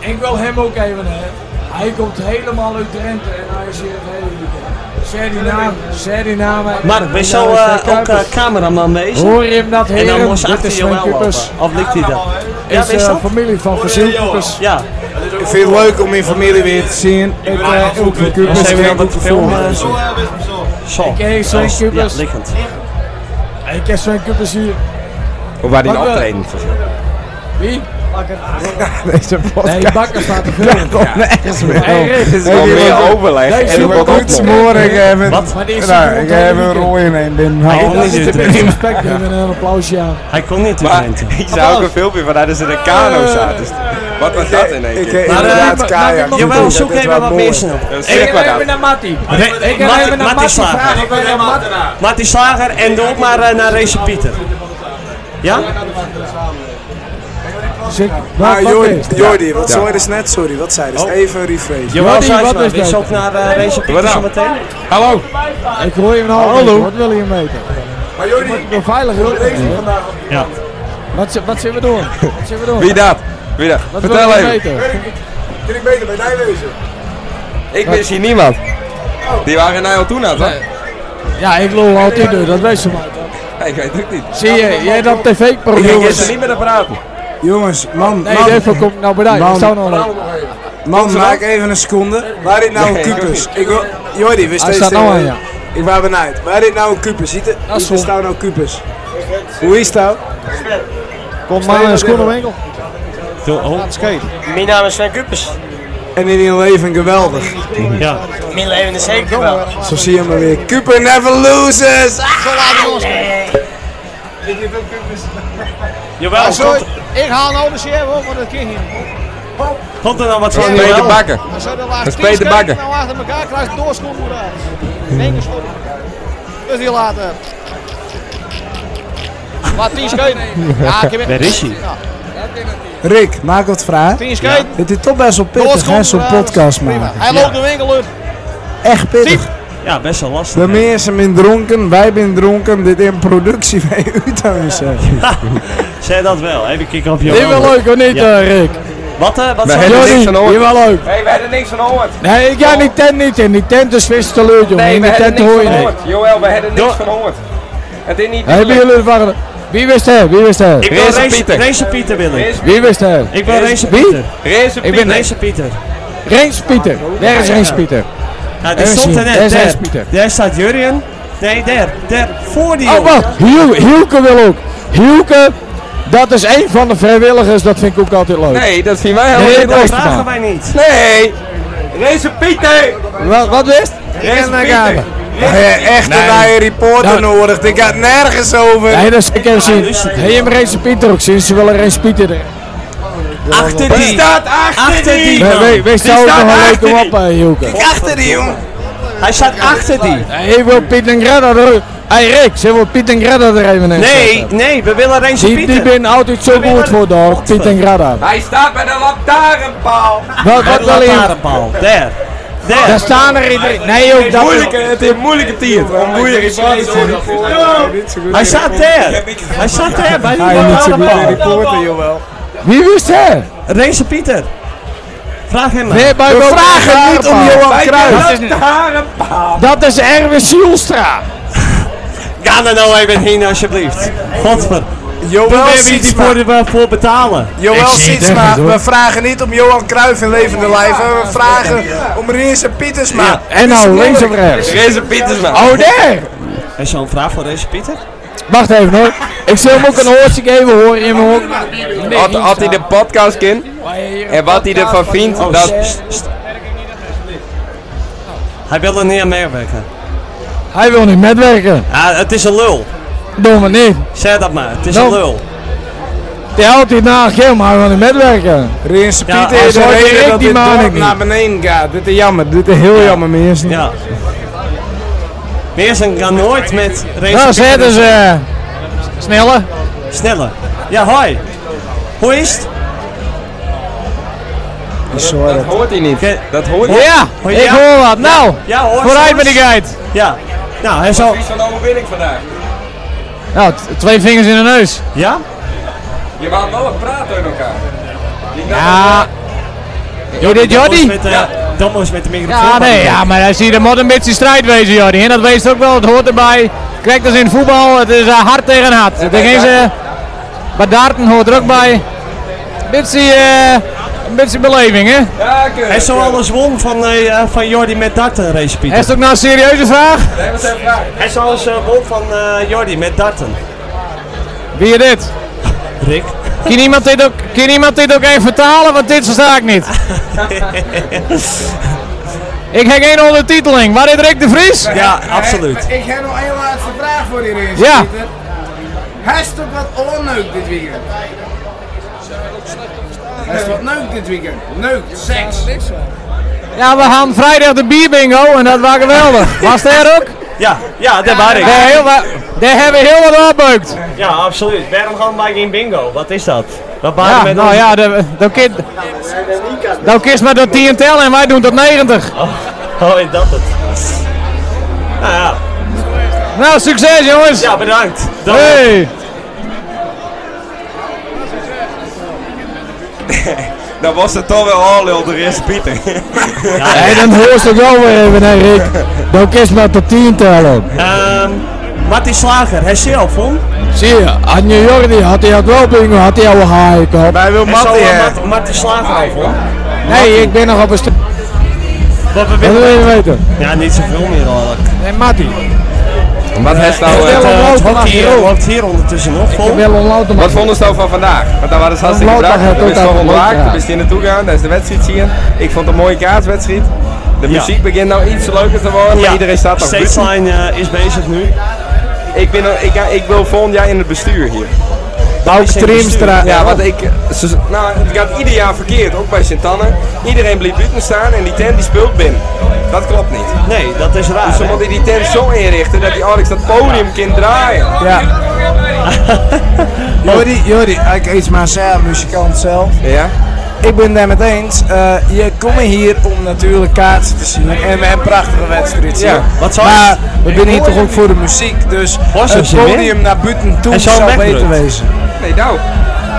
[SPEAKER 1] Ik wil hem ook even hebben. Hij komt helemaal uit Drenthe en hij is hier het hele weekend. Zeg die naam, zeg die naam.
[SPEAKER 3] Mark, ben
[SPEAKER 1] En
[SPEAKER 3] je zo
[SPEAKER 1] dan is
[SPEAKER 3] eh,
[SPEAKER 1] hij
[SPEAKER 3] ook eh,
[SPEAKER 1] Kuipers.
[SPEAKER 3] cameraman wezen?
[SPEAKER 1] Hoor je hem dat,
[SPEAKER 3] En dan
[SPEAKER 1] heren?
[SPEAKER 3] moest
[SPEAKER 1] Dit
[SPEAKER 3] achter
[SPEAKER 1] is
[SPEAKER 3] Joël
[SPEAKER 1] Sven
[SPEAKER 3] lopen.
[SPEAKER 1] Kuipers.
[SPEAKER 3] Of ligt hij dat?
[SPEAKER 1] Is
[SPEAKER 3] weet je
[SPEAKER 1] eh,
[SPEAKER 3] dat?
[SPEAKER 1] familie van Fasielkoekers.
[SPEAKER 3] Ja.
[SPEAKER 18] Ik vind het leuk om je familie weer te zien. Ik eh ook een
[SPEAKER 3] Dan
[SPEAKER 18] kubus
[SPEAKER 3] zijn we
[SPEAKER 18] weer
[SPEAKER 3] aan
[SPEAKER 18] goed
[SPEAKER 3] het
[SPEAKER 1] eh,
[SPEAKER 3] filmen.
[SPEAKER 18] gevonden.
[SPEAKER 3] Zo.
[SPEAKER 1] Ik heet
[SPEAKER 3] Eh,
[SPEAKER 1] Sven
[SPEAKER 3] s-
[SPEAKER 1] Kuipers.
[SPEAKER 3] Ja, liggend.
[SPEAKER 1] Ik heb Sven Kuipers hier.
[SPEAKER 2] Hoe waar die nou
[SPEAKER 1] Bakker.
[SPEAKER 2] optreden?
[SPEAKER 1] Wie? Bakker.
[SPEAKER 18] Deze podcast.
[SPEAKER 1] Nee, Bakker staat er
[SPEAKER 18] Ja, komt nergens meer.
[SPEAKER 1] Hey, Rick.
[SPEAKER 18] Dit
[SPEAKER 1] Dit is wel meer
[SPEAKER 2] overleg
[SPEAKER 1] en
[SPEAKER 18] Ik
[SPEAKER 1] er wordt
[SPEAKER 18] heb goed
[SPEAKER 1] opgelost.
[SPEAKER 18] smoren. Ik heb een,
[SPEAKER 1] Wat? Maar die eh, is
[SPEAKER 18] nou,
[SPEAKER 1] hier
[SPEAKER 18] ik
[SPEAKER 1] rond
[SPEAKER 18] heb
[SPEAKER 1] het
[SPEAKER 18] een
[SPEAKER 1] weekend.
[SPEAKER 18] rooie in een
[SPEAKER 3] Oh,
[SPEAKER 18] binnen.
[SPEAKER 1] Hey,
[SPEAKER 18] Nou,
[SPEAKER 1] dat
[SPEAKER 18] niet
[SPEAKER 1] is
[SPEAKER 18] uit
[SPEAKER 1] de
[SPEAKER 18] te
[SPEAKER 1] beste
[SPEAKER 18] nemen.
[SPEAKER 1] respect. Even een applausje aan.
[SPEAKER 3] Hij kon niet
[SPEAKER 2] Maar ik zag ook een filmpje van dat ze in een kano zaten. Wat was dat in één
[SPEAKER 18] ik
[SPEAKER 2] keer?
[SPEAKER 18] heb Maar, eh, inderdaad mag- kajak. mag ik nog-
[SPEAKER 3] Jawel, zoek
[SPEAKER 18] Dit is
[SPEAKER 3] even
[SPEAKER 18] wat
[SPEAKER 3] wat
[SPEAKER 18] mooi.
[SPEAKER 3] mensen op.
[SPEAKER 2] Eh,
[SPEAKER 1] Ik
[SPEAKER 2] Zeg
[SPEAKER 1] heb
[SPEAKER 2] maar dat.
[SPEAKER 1] even naar Matty.
[SPEAKER 3] Nee,
[SPEAKER 1] Ik heb
[SPEAKER 3] Mattie-
[SPEAKER 1] even naar
[SPEAKER 3] Mattie
[SPEAKER 1] Matty
[SPEAKER 3] Slager.
[SPEAKER 1] vragen. of hij Matty-
[SPEAKER 3] Martin Slager en doe ook maar eh, naar Race Pieter. Ja?
[SPEAKER 18] Maar
[SPEAKER 3] Wat- wat
[SPEAKER 18] Ah, Jordi,
[SPEAKER 3] is het?
[SPEAKER 18] Jordi, wat
[SPEAKER 3] Ja.
[SPEAKER 18] zei dus net? Sorry, wat zei dus? Even rephrase.
[SPEAKER 3] Jawel, Sijsma, we zoeken naar eh, Race Pieter
[SPEAKER 18] nou?
[SPEAKER 3] zometeen.
[SPEAKER 2] Hallo.
[SPEAKER 1] Ik hoor je een half
[SPEAKER 3] Hallo.
[SPEAKER 1] uur, Wat wil je meten? Maar jullie... Ik ben veilig hoor.
[SPEAKER 3] Ja.
[SPEAKER 1] Wat, zi- wat zullen we doen? Wat zullen we doen?
[SPEAKER 2] Wie dat? Wie dat?
[SPEAKER 1] Wat
[SPEAKER 2] Vertel
[SPEAKER 1] wil je
[SPEAKER 2] even.
[SPEAKER 1] weten?
[SPEAKER 18] Kun ik beter bij Nijwezen?
[SPEAKER 2] Ik wist hier niemand. Die waren in Nijl toen aan, toch?
[SPEAKER 1] Ja, ik loop altijd door, dat weet ze maar.
[SPEAKER 2] Nee, ik weet het ook niet.
[SPEAKER 1] Zie je, jij dat
[SPEAKER 2] Ik
[SPEAKER 1] tv-programma.
[SPEAKER 2] denk dat ze niet meer te praten.
[SPEAKER 18] Jongens, man,
[SPEAKER 1] Nee,
[SPEAKER 18] man.
[SPEAKER 1] daarvoor kom ik nou bij jou. Ik
[SPEAKER 18] Man.
[SPEAKER 1] zou nog wel.
[SPEAKER 18] Man, maak even een seconde. Waar dit nou
[SPEAKER 1] Nee,
[SPEAKER 18] een
[SPEAKER 1] ik
[SPEAKER 18] kubus?
[SPEAKER 1] ook niet.
[SPEAKER 18] Ik wil... Jordi, we
[SPEAKER 1] staat nou aan, ja.
[SPEAKER 18] Ik wou benijd. Waar dit nou een kubus? Ziet het? Hier
[SPEAKER 1] zo.
[SPEAKER 18] staat nou een kubus. Hoe is nou? dat?
[SPEAKER 1] Kom
[SPEAKER 18] maar een seconde
[SPEAKER 1] winkel.
[SPEAKER 3] Mijn naam is Sven Kuppers.
[SPEAKER 18] En in je leven geweldig.
[SPEAKER 3] Ja. Mijn leven is zeker wel.
[SPEAKER 18] Zo zie je maar weer. Cooper never loses!
[SPEAKER 3] Jawel,
[SPEAKER 18] Ah, sorry.
[SPEAKER 3] komt,
[SPEAKER 1] Ik haal nou de share hoor, want dat ging hier.
[SPEAKER 3] komt er nou wat van
[SPEAKER 2] Van Peter
[SPEAKER 3] Jawel?
[SPEAKER 2] Bakker.
[SPEAKER 1] Dat
[SPEAKER 2] is Peter Bakker.
[SPEAKER 1] Nou achter elkaar krijg ik doorschommel uit. Eén schop. Dus die later. Wat tien scheuten. Ja, ik heb
[SPEAKER 18] Waar is hij?
[SPEAKER 1] Ja.
[SPEAKER 18] Rick, maak wat vraag.
[SPEAKER 1] Tien scheuten.
[SPEAKER 18] Het is toch best wel pittig, hè, zo'n podcast maken.
[SPEAKER 1] Hij loopt de winkel uit.
[SPEAKER 18] Echt pittig.
[SPEAKER 3] Ja, best wel lastig.
[SPEAKER 18] De mensen zijn dronken, wij zijn dronken, dit in productie bij u thuis. hè.
[SPEAKER 3] Zeg dat wel, even kijken op
[SPEAKER 1] Dit
[SPEAKER 3] Joël.
[SPEAKER 1] is wel leuk hoor niet,
[SPEAKER 3] Ja.
[SPEAKER 1] eh, Rick?
[SPEAKER 3] Wat, eh, wat
[SPEAKER 1] We
[SPEAKER 3] zei
[SPEAKER 1] hebben
[SPEAKER 3] je?
[SPEAKER 1] niks van gehoord. Jawel, leuk.
[SPEAKER 2] Hey, we hebben niks van gehoord.
[SPEAKER 1] Nee, ik ga die tent niet in. Die tent is vis te leuk, jongen.
[SPEAKER 2] Nee,
[SPEAKER 1] in
[SPEAKER 2] we
[SPEAKER 1] die
[SPEAKER 2] hebben
[SPEAKER 1] tent
[SPEAKER 2] niks
[SPEAKER 1] hoor je
[SPEAKER 2] van
[SPEAKER 1] niet.
[SPEAKER 2] gehoord. Joël, we hebben niks van gehoord. Het is niet...
[SPEAKER 1] Hebben jullie het waren? Wie wist hij? Wie wist hij?
[SPEAKER 3] Ik wil
[SPEAKER 2] Race
[SPEAKER 3] Race
[SPEAKER 2] Pieter.
[SPEAKER 3] Race Pieter wil ik.
[SPEAKER 1] Wie wist hij?
[SPEAKER 3] Ik wil Race
[SPEAKER 1] Wie?
[SPEAKER 3] Pieter.
[SPEAKER 2] Race
[SPEAKER 3] Ik ben Race Pieter.
[SPEAKER 1] Reens Pieter. Daar is Reens Pieter.
[SPEAKER 3] Ja,
[SPEAKER 1] Daar
[SPEAKER 3] die
[SPEAKER 1] is
[SPEAKER 3] stond er
[SPEAKER 1] hij. Daar
[SPEAKER 3] net.
[SPEAKER 1] is Reens
[SPEAKER 3] Daar,
[SPEAKER 1] Pieter.
[SPEAKER 3] daar staat Jurien. Nee, daar. Daar. Voor die
[SPEAKER 1] Oh,
[SPEAKER 3] jongen.
[SPEAKER 1] wacht. Hiel- Hielke wil ook. Hielke, dat is één van de vrijwilligers. Dat vind ik ook altijd leuk.
[SPEAKER 2] Nee, dat zien wij helemaal
[SPEAKER 1] Nee,
[SPEAKER 2] niet
[SPEAKER 1] dat
[SPEAKER 2] leuk.
[SPEAKER 1] vragen
[SPEAKER 3] wij niet.
[SPEAKER 2] Nee. Race Pieter.
[SPEAKER 1] Wat, wat wist?
[SPEAKER 2] Race Pieter.
[SPEAKER 18] Oh, Echt een eigen reporter nodig, dit gaat nergens over.
[SPEAKER 1] Nou, Nee, dat is ik heb zien. Heb je hem Reens Pieter ook zien? Ze willen Reens Pieter.
[SPEAKER 3] Achter
[SPEAKER 1] Die
[SPEAKER 2] staat achter,
[SPEAKER 3] die.
[SPEAKER 1] We-
[SPEAKER 3] man.
[SPEAKER 1] we- Wees
[SPEAKER 3] Die
[SPEAKER 1] zou ook
[SPEAKER 3] staat
[SPEAKER 1] nog een
[SPEAKER 3] achter
[SPEAKER 1] leuke
[SPEAKER 3] die.
[SPEAKER 1] wap, eh, Hielke.
[SPEAKER 3] achter die, jongen. Hij staat achter die.
[SPEAKER 1] Hij wil Piet en Greta er... Hey Rick, ze wil Piet en Greta er even in
[SPEAKER 3] Nee,
[SPEAKER 1] zetten.
[SPEAKER 3] nee, we willen Race
[SPEAKER 1] Die, die
[SPEAKER 3] Pieter.
[SPEAKER 1] ben altijd zo goed voor door, Piet en Greta.
[SPEAKER 2] Hij staat bij de lantaarnpaal.
[SPEAKER 1] Wat, wat wil je?
[SPEAKER 3] Paal. Daar. Daar.
[SPEAKER 1] Daar staan er iedereen. Nee, ook dat
[SPEAKER 2] Moeilijke, het is een moeilijke tier. Een moeilijke
[SPEAKER 3] Hij staat daar. Hij staat daar bij die
[SPEAKER 18] Hij is niet zo goed in
[SPEAKER 3] lantaarnpaal.
[SPEAKER 18] reporter, jawel.
[SPEAKER 1] Wie wist hij?
[SPEAKER 3] Race Pieter. Vraag hem maar.
[SPEAKER 1] Nee, bij
[SPEAKER 18] We
[SPEAKER 1] Bob-
[SPEAKER 18] vragen niet om Johan
[SPEAKER 1] Dat
[SPEAKER 18] Cruijff.
[SPEAKER 1] is niet- Dat is Erwin Sielstra.
[SPEAKER 3] Ga er nou even heen alsjeblieft. Godver.
[SPEAKER 18] Joël
[SPEAKER 3] Probeer me iets
[SPEAKER 18] Sietsma.
[SPEAKER 3] voor, eh, voor betalen.
[SPEAKER 18] Joël Sietsma, we
[SPEAKER 3] maar.
[SPEAKER 18] vragen niet om Johan Cruijff in levende lijven. We vragen om Rinse Pietersma.
[SPEAKER 3] Ja,
[SPEAKER 1] En nou, links of rechts?
[SPEAKER 2] Race Pietersma.
[SPEAKER 1] Oh, daar!
[SPEAKER 3] Is zo'n vraag voor deze Pieter?
[SPEAKER 1] Wacht even hoor. Ik zal hem ook een oortje geven, hoor je hem ook?
[SPEAKER 2] Had, had hij de podcast in en wat hij ervan vindt,
[SPEAKER 3] Oh,
[SPEAKER 2] dat...
[SPEAKER 3] st- st- Hij wil er niet aan meewerken.
[SPEAKER 1] Hij wil niet metwerken.
[SPEAKER 3] Ja, het is een lul.
[SPEAKER 1] Doe maar niet.
[SPEAKER 3] Zeg dat maar, het is
[SPEAKER 1] Nou.
[SPEAKER 3] een lul.
[SPEAKER 15] Die helpt hier na Geel, maar hij wil niet meewerken.
[SPEAKER 18] Rinse
[SPEAKER 15] Ja,
[SPEAKER 18] Pieter
[SPEAKER 15] als
[SPEAKER 18] is de
[SPEAKER 15] hij
[SPEAKER 18] reden
[SPEAKER 15] direct
[SPEAKER 18] dat
[SPEAKER 15] die
[SPEAKER 18] dit
[SPEAKER 15] maan ik
[SPEAKER 18] dorp
[SPEAKER 15] niet.
[SPEAKER 18] naar beneden gaat. Dit is jammer. Dit is heel jammer, mensen. Ja.
[SPEAKER 3] Meersen kan nooit met race.
[SPEAKER 1] Nou, zetten ze.
[SPEAKER 3] Sneller. Sneller. Ja, hoi. Hoe is het?
[SPEAKER 2] Dat hoort hij niet. Dat hoort hij
[SPEAKER 3] Ja,
[SPEAKER 2] niet.
[SPEAKER 3] ik hoor wat. Nou,
[SPEAKER 2] Ja, hoor,
[SPEAKER 3] vooruit
[SPEAKER 2] jongens.
[SPEAKER 3] met die guide. Ja. Nou, hij zal...
[SPEAKER 2] Wie van de overwinning vandaag?
[SPEAKER 1] Nou, t- twee vingers in de neus.
[SPEAKER 3] Ja?
[SPEAKER 2] Je wou wel een praat uit elkaar. Die
[SPEAKER 1] Ja. Doe dit,
[SPEAKER 3] Jordi?
[SPEAKER 1] Jordi?
[SPEAKER 3] moest met de- Dan moest met de microfoon.
[SPEAKER 1] Ja, nee, ja, maar hij ziet er moet een beetje strijd wezen, Jordi. En dat wees ook wel, het hoort erbij. Kijk, dat is in voetbal, het is eh, hard tegen hard. Het is geen ze, maar Darten hoort er ook bij. Een beetje, eh, een beetje beleving, hè?
[SPEAKER 3] Hij is zo anders won van, eh, eh, van Jordi met darten, race Pieter.
[SPEAKER 1] Is het ook nou een serieuze vraag?
[SPEAKER 3] Hij is alles eh, won van eh, Jordi met darten.
[SPEAKER 1] Wie is dit?
[SPEAKER 3] Rick.
[SPEAKER 1] Kan iemand dit ook, kan iemand dit ook even vertalen? Want dit versta ik niet. ik heb geen ondertiteling. Waar is Rick de Vries?
[SPEAKER 18] Ik heb nog één laatste vraag voor die Rinse
[SPEAKER 1] Ja.
[SPEAKER 18] Pieter. Hij is toch wat onneuk dit weekend? Hij is wat neuk dit weekend. Neuk, seks.
[SPEAKER 1] Ja, we gaan vrijdag de bierbingo en dat was geweldig. Was daar ook?
[SPEAKER 3] Ja, ja, dat waar ik.
[SPEAKER 1] Daar, heel wa- daar hebben we heel wat opbeukt.
[SPEAKER 3] Ja, absoluut. Waarom gaan wij geen bingo? Wat is dat? Wat waren
[SPEAKER 1] Ja,
[SPEAKER 3] met
[SPEAKER 1] nou
[SPEAKER 3] ons-
[SPEAKER 1] ja, de- dan kind. Dan kist maar dat 10 tellen en wij doen tot 90.
[SPEAKER 3] Oh, is dat het? Nou ja.
[SPEAKER 1] Nou, succes jongens!
[SPEAKER 3] Ja, bedankt. Dan-
[SPEAKER 1] Hey.
[SPEAKER 2] Dan was het toch wel al op de eerste Pieter.
[SPEAKER 1] Hey, dan hoor ze wel weer even, hè Rick. Dan kist maar tot 10 tellen.
[SPEAKER 3] Ehm, Martin Slager, hij zelf, hoor.
[SPEAKER 1] Zie je, had je Jordi, had hij ook wel bingo, had hij oude haaien gehad. Wij
[SPEAKER 3] Hij zal wel Mart- Martin Slager af, hoor.
[SPEAKER 1] Nee, ik ben nog op een stuk.
[SPEAKER 3] Wat we
[SPEAKER 1] Dat wil je weten.
[SPEAKER 3] Ja, niet zoveel meer al.
[SPEAKER 1] Nee, Matti.
[SPEAKER 2] Wat heeft nou...
[SPEAKER 3] het,
[SPEAKER 2] eh,
[SPEAKER 3] eh,
[SPEAKER 2] eh,
[SPEAKER 3] het hockey hier, hoort hier ondertussen nog vol.
[SPEAKER 2] Wat vonden ze nou van vandaag? Want daar waren ze hartstikke
[SPEAKER 3] Lothar
[SPEAKER 2] braaf.
[SPEAKER 3] heeft
[SPEAKER 2] Daar
[SPEAKER 3] ook
[SPEAKER 2] is toch
[SPEAKER 3] altijd
[SPEAKER 2] ontwaakt,
[SPEAKER 3] leuk
[SPEAKER 2] daar is hij naartoe gegaan, daar is de wedstrijd zien. Ik vond het een mooie kaartwedstrijd. De
[SPEAKER 3] Ja.
[SPEAKER 2] muziek begint nou iets leuker te worden, maar iedereen staat nog buiten.
[SPEAKER 3] Stageline eh, is bezig nu.
[SPEAKER 2] Ik, ben, al- ik, ga- ik wil volgend jaar in het bestuur hier.
[SPEAKER 3] Bouke is in het Trimstra. bestuur.
[SPEAKER 2] Ja, want ik, ze- nou, het gaat ieder jaar verkeerd, ook bij Sint-Anne. Iedereen blijft buiten staan en die tent die speelt binnen. Dat klopt niet.
[SPEAKER 3] Nee, dat is raar.
[SPEAKER 2] Dus ze
[SPEAKER 3] hè?
[SPEAKER 2] moeten die tent zo inrichten dat die Alex dat podium kan draaien.
[SPEAKER 18] Ja. Jordi, Jordi, ik is maar dus zelf, muzikant zelf.
[SPEAKER 2] Ja?
[SPEAKER 18] Ik ben daar met eens. Eh, je komt hier om natuurlijk kaarten te zien en we hebben een prachtige wedstrijd. zien.
[SPEAKER 3] Ja, wat zou-
[SPEAKER 18] maar we zijn hier toch ook voor de muziek, dus
[SPEAKER 3] Was
[SPEAKER 18] het
[SPEAKER 3] er zin
[SPEAKER 18] podium
[SPEAKER 3] in?
[SPEAKER 18] naar buiten toe
[SPEAKER 3] En zo'n
[SPEAKER 18] zou
[SPEAKER 3] wegdruk.
[SPEAKER 18] beter wezen.
[SPEAKER 2] Nee, nou.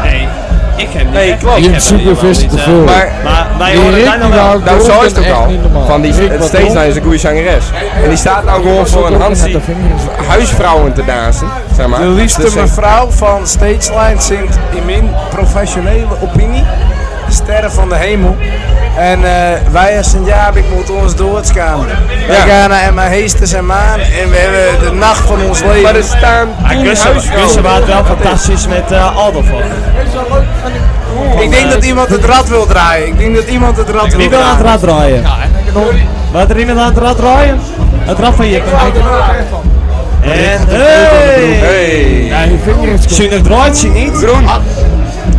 [SPEAKER 3] Nee, ik heb niet.
[SPEAKER 2] Nee,
[SPEAKER 3] echt-
[SPEAKER 2] klopt.
[SPEAKER 3] ik heb er helemaal niet, eh,
[SPEAKER 2] Maar,
[SPEAKER 3] maar wij horen daar nog wel.
[SPEAKER 2] Nou, zo is het ook al. Van die Steesna is een goede zangeres. En die staat nou gewoon voor een Hansie huisvrouwen te dansen. Zeg maar.
[SPEAKER 18] De liefste
[SPEAKER 2] Dus, eh,
[SPEAKER 18] mevrouw van Stageline zingt in mijn professionele opinie Sterren van de Hemel. En eh, wij als Sint-Jabik moeten ons doodskamen. Wij gaan naar mijn heesters en maan en we hebben de nacht van ons leven.
[SPEAKER 2] Maar er staan
[SPEAKER 3] Ah, Gussen- Gussen waard wel fantastisch met eh Aldo voor.
[SPEAKER 18] Ik denk dat iemand het rad wil draaien. Ik denk dat iemand het rad wil draaien.
[SPEAKER 3] Wie wil aan het rad draaien? Wat er iemand aan het rad draaien? Het rad van Jikke. En hey! Zien het draait ze niet?
[SPEAKER 2] Groen.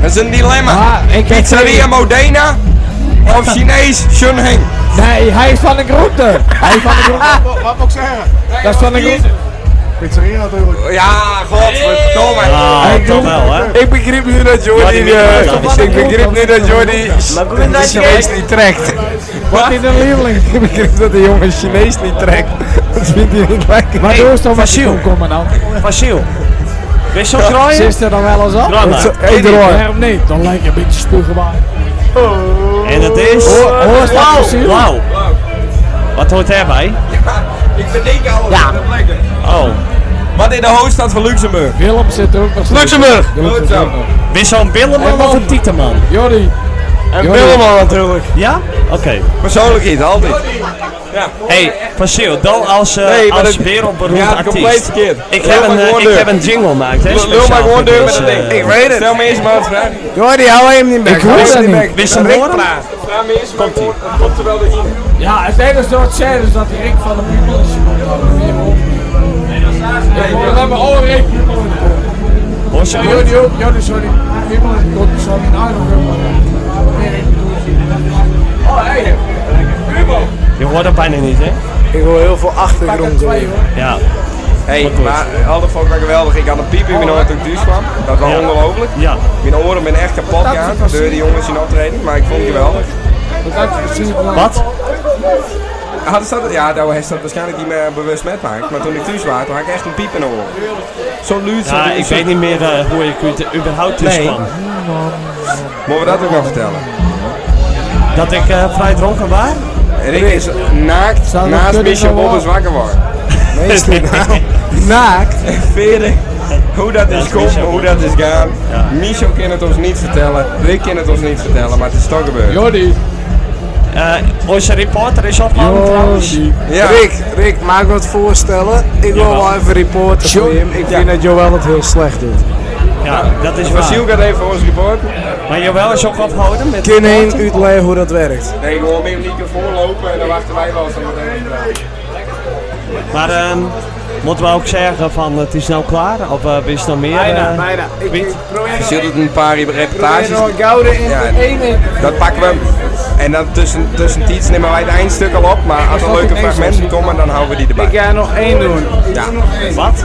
[SPEAKER 2] Dat is een dilemma.
[SPEAKER 1] Ah,
[SPEAKER 2] Pizzeria Modena of Chinees Shunheng.
[SPEAKER 1] Nee, hij is van de groente. Hij is van de groente.
[SPEAKER 19] Wat moet ik zeggen?
[SPEAKER 1] Dat is van de groente.
[SPEAKER 19] Pizzeria natuurlijk.
[SPEAKER 2] Ja, godverdomme.
[SPEAKER 3] Ah, toch wel, hè?
[SPEAKER 18] Ik begrijp nu dat Jordi. eh, ik begrijp nu dat Jordi. de
[SPEAKER 3] dat je-
[SPEAKER 18] Chinees niet trekt. Wat is een lieveling? Ik begrijp dat de jongen Chinees niet trekt. Dat vindt hij niet lekker.
[SPEAKER 1] Maar doe eens dan met die
[SPEAKER 3] Fasiel.
[SPEAKER 1] komkommer dan.
[SPEAKER 3] Fasiel. Wist je op draaien?
[SPEAKER 1] Zit er dan wel eens op?
[SPEAKER 3] Draai maar.
[SPEAKER 1] Het is- Ik draai. Waarom niet? Dan lijkt je een beetje spuugbaar.
[SPEAKER 3] En dat is...
[SPEAKER 1] Hoor- hoor eens wat je ziet.
[SPEAKER 3] Blauw. Wat hoort daarbij?
[SPEAKER 2] Ik bedenk alles ja. op plekken.
[SPEAKER 3] Oh.
[SPEAKER 2] Wat in de hoofdstad van Luxemburg?
[SPEAKER 1] Willem zit er ook nog steeds.
[SPEAKER 3] Luxemburg.
[SPEAKER 2] Goed zo.
[SPEAKER 3] Wist zo'n Billeman of een Tieteman?
[SPEAKER 1] Jordi.
[SPEAKER 3] Een
[SPEAKER 2] Jordi. Willeman natuurlijk.
[SPEAKER 3] Ja? Oké.
[SPEAKER 2] Persoonlijk iets, altijd.
[SPEAKER 3] Hey, Fasiel, dan als, eh
[SPEAKER 2] Nee, maar
[SPEAKER 3] als
[SPEAKER 2] dat-
[SPEAKER 3] wereldberoemd
[SPEAKER 2] Ja,
[SPEAKER 3] artiest.
[SPEAKER 2] compleet verkeerd.
[SPEAKER 3] Ik
[SPEAKER 2] Lul
[SPEAKER 3] heb,
[SPEAKER 2] maar
[SPEAKER 3] een, eh,
[SPEAKER 2] gewoon
[SPEAKER 3] ik
[SPEAKER 2] deur.
[SPEAKER 3] heb een jingle gemaakt, hè?
[SPEAKER 2] Lul- Lul
[SPEAKER 3] speciaal
[SPEAKER 2] maar
[SPEAKER 3] voor
[SPEAKER 2] gewoon deur met
[SPEAKER 3] deze,
[SPEAKER 2] dat ding.
[SPEAKER 3] eh,
[SPEAKER 2] Ik weet het. Stel me eens maar een vraag.
[SPEAKER 18] Jordi, hou hem niet back.
[SPEAKER 3] Ik hoor
[SPEAKER 18] Hou
[SPEAKER 3] dat
[SPEAKER 18] hem
[SPEAKER 3] niet.
[SPEAKER 18] back.
[SPEAKER 3] Wist hem
[SPEAKER 18] Rick
[SPEAKER 3] horen?
[SPEAKER 18] praat.
[SPEAKER 2] Vraag me eerst maar gewoon. Het komt er wel doorheen.
[SPEAKER 15] Ja, het enige dat het zei is dat Rick van de Piemel is. Ik hoor alleen maar, oh Rick.
[SPEAKER 3] Hoor ze
[SPEAKER 1] Ja, jullie ook. Jullie, sorry. Iemand komt zo in eh, Oh, hey. Kubo.
[SPEAKER 3] Je hoort hem bijna niet, hè?
[SPEAKER 18] Ik hoor heel veel achtergrond. eh,
[SPEAKER 3] Ja.
[SPEAKER 2] Hey, maar hadden vond ik wel geweldig. Ik had een piep in mijn oor toen ik thuis kwam. Dat was ongelooflijk.
[SPEAKER 3] Ja.
[SPEAKER 2] Mijn oren zijn echt kapot gegaan door die jongens in optreden, maar ik vond het geweldig.
[SPEAKER 3] Wat?
[SPEAKER 2] Hadden ze dat, ja, nou heeft ze dat waarschijnlijk niet meer bewust met gemaakt. Maar toen ik thuis was, toen had ik echt een piep in mijn oren. Zo luid. zo
[SPEAKER 3] Ja,
[SPEAKER 2] luid,
[SPEAKER 3] ik
[SPEAKER 2] zo-
[SPEAKER 3] weet niet meer eh, hoe ik u te- überhaupt thuis
[SPEAKER 2] Nee.
[SPEAKER 3] kwam.
[SPEAKER 2] Mogen we dat ook nog vertellen?
[SPEAKER 3] Dat ik eh, vrij dronken was?
[SPEAKER 2] Rick is naakt
[SPEAKER 3] Zou dat
[SPEAKER 2] naast
[SPEAKER 3] kunnen
[SPEAKER 2] Michel
[SPEAKER 3] dan wel?
[SPEAKER 2] Bobbes wakker worden. Meestal
[SPEAKER 18] naakt.
[SPEAKER 2] Veren. Hoe dat is komen, hoe dat is gaan. Michel kan het ons niet vertellen. Rick kan het ons niet vertellen, maar het is toch gebeurd.
[SPEAKER 1] Jordi.
[SPEAKER 3] Eh, onze reporter is opgehouden trouwens.
[SPEAKER 18] Rick, Rick, mag ik wat voorstellen? Ik wil wel even reporten voor hem. Ik vind dat Joël het heel slecht doet.
[SPEAKER 3] Ja, dat is waar.
[SPEAKER 2] Basiel gaat even voor ons report.
[SPEAKER 3] Maar Joël is ook opgehouden met...
[SPEAKER 18] Kun je een uitleggen hoe dat werkt?
[SPEAKER 2] Nee, gewoon meer microfoon lopen en dan wachten wij wel eens op het
[SPEAKER 3] Maar ehm, moeten we ook zeggen van het is nou klaar? Of eh is er nog meer? eh,
[SPEAKER 18] Ik, ik probeer
[SPEAKER 2] Je zult het een paar reportages.
[SPEAKER 18] Probeer nog een gouden in de ene.
[SPEAKER 2] Dat pakken we. En dan tussen, tussen tiets nemen wij het eindstuk al op. Maar als er leuke fragmenten komen, dan houden we die erbij.
[SPEAKER 18] Ik ga er nog één doen.
[SPEAKER 2] Ja.
[SPEAKER 3] Wat?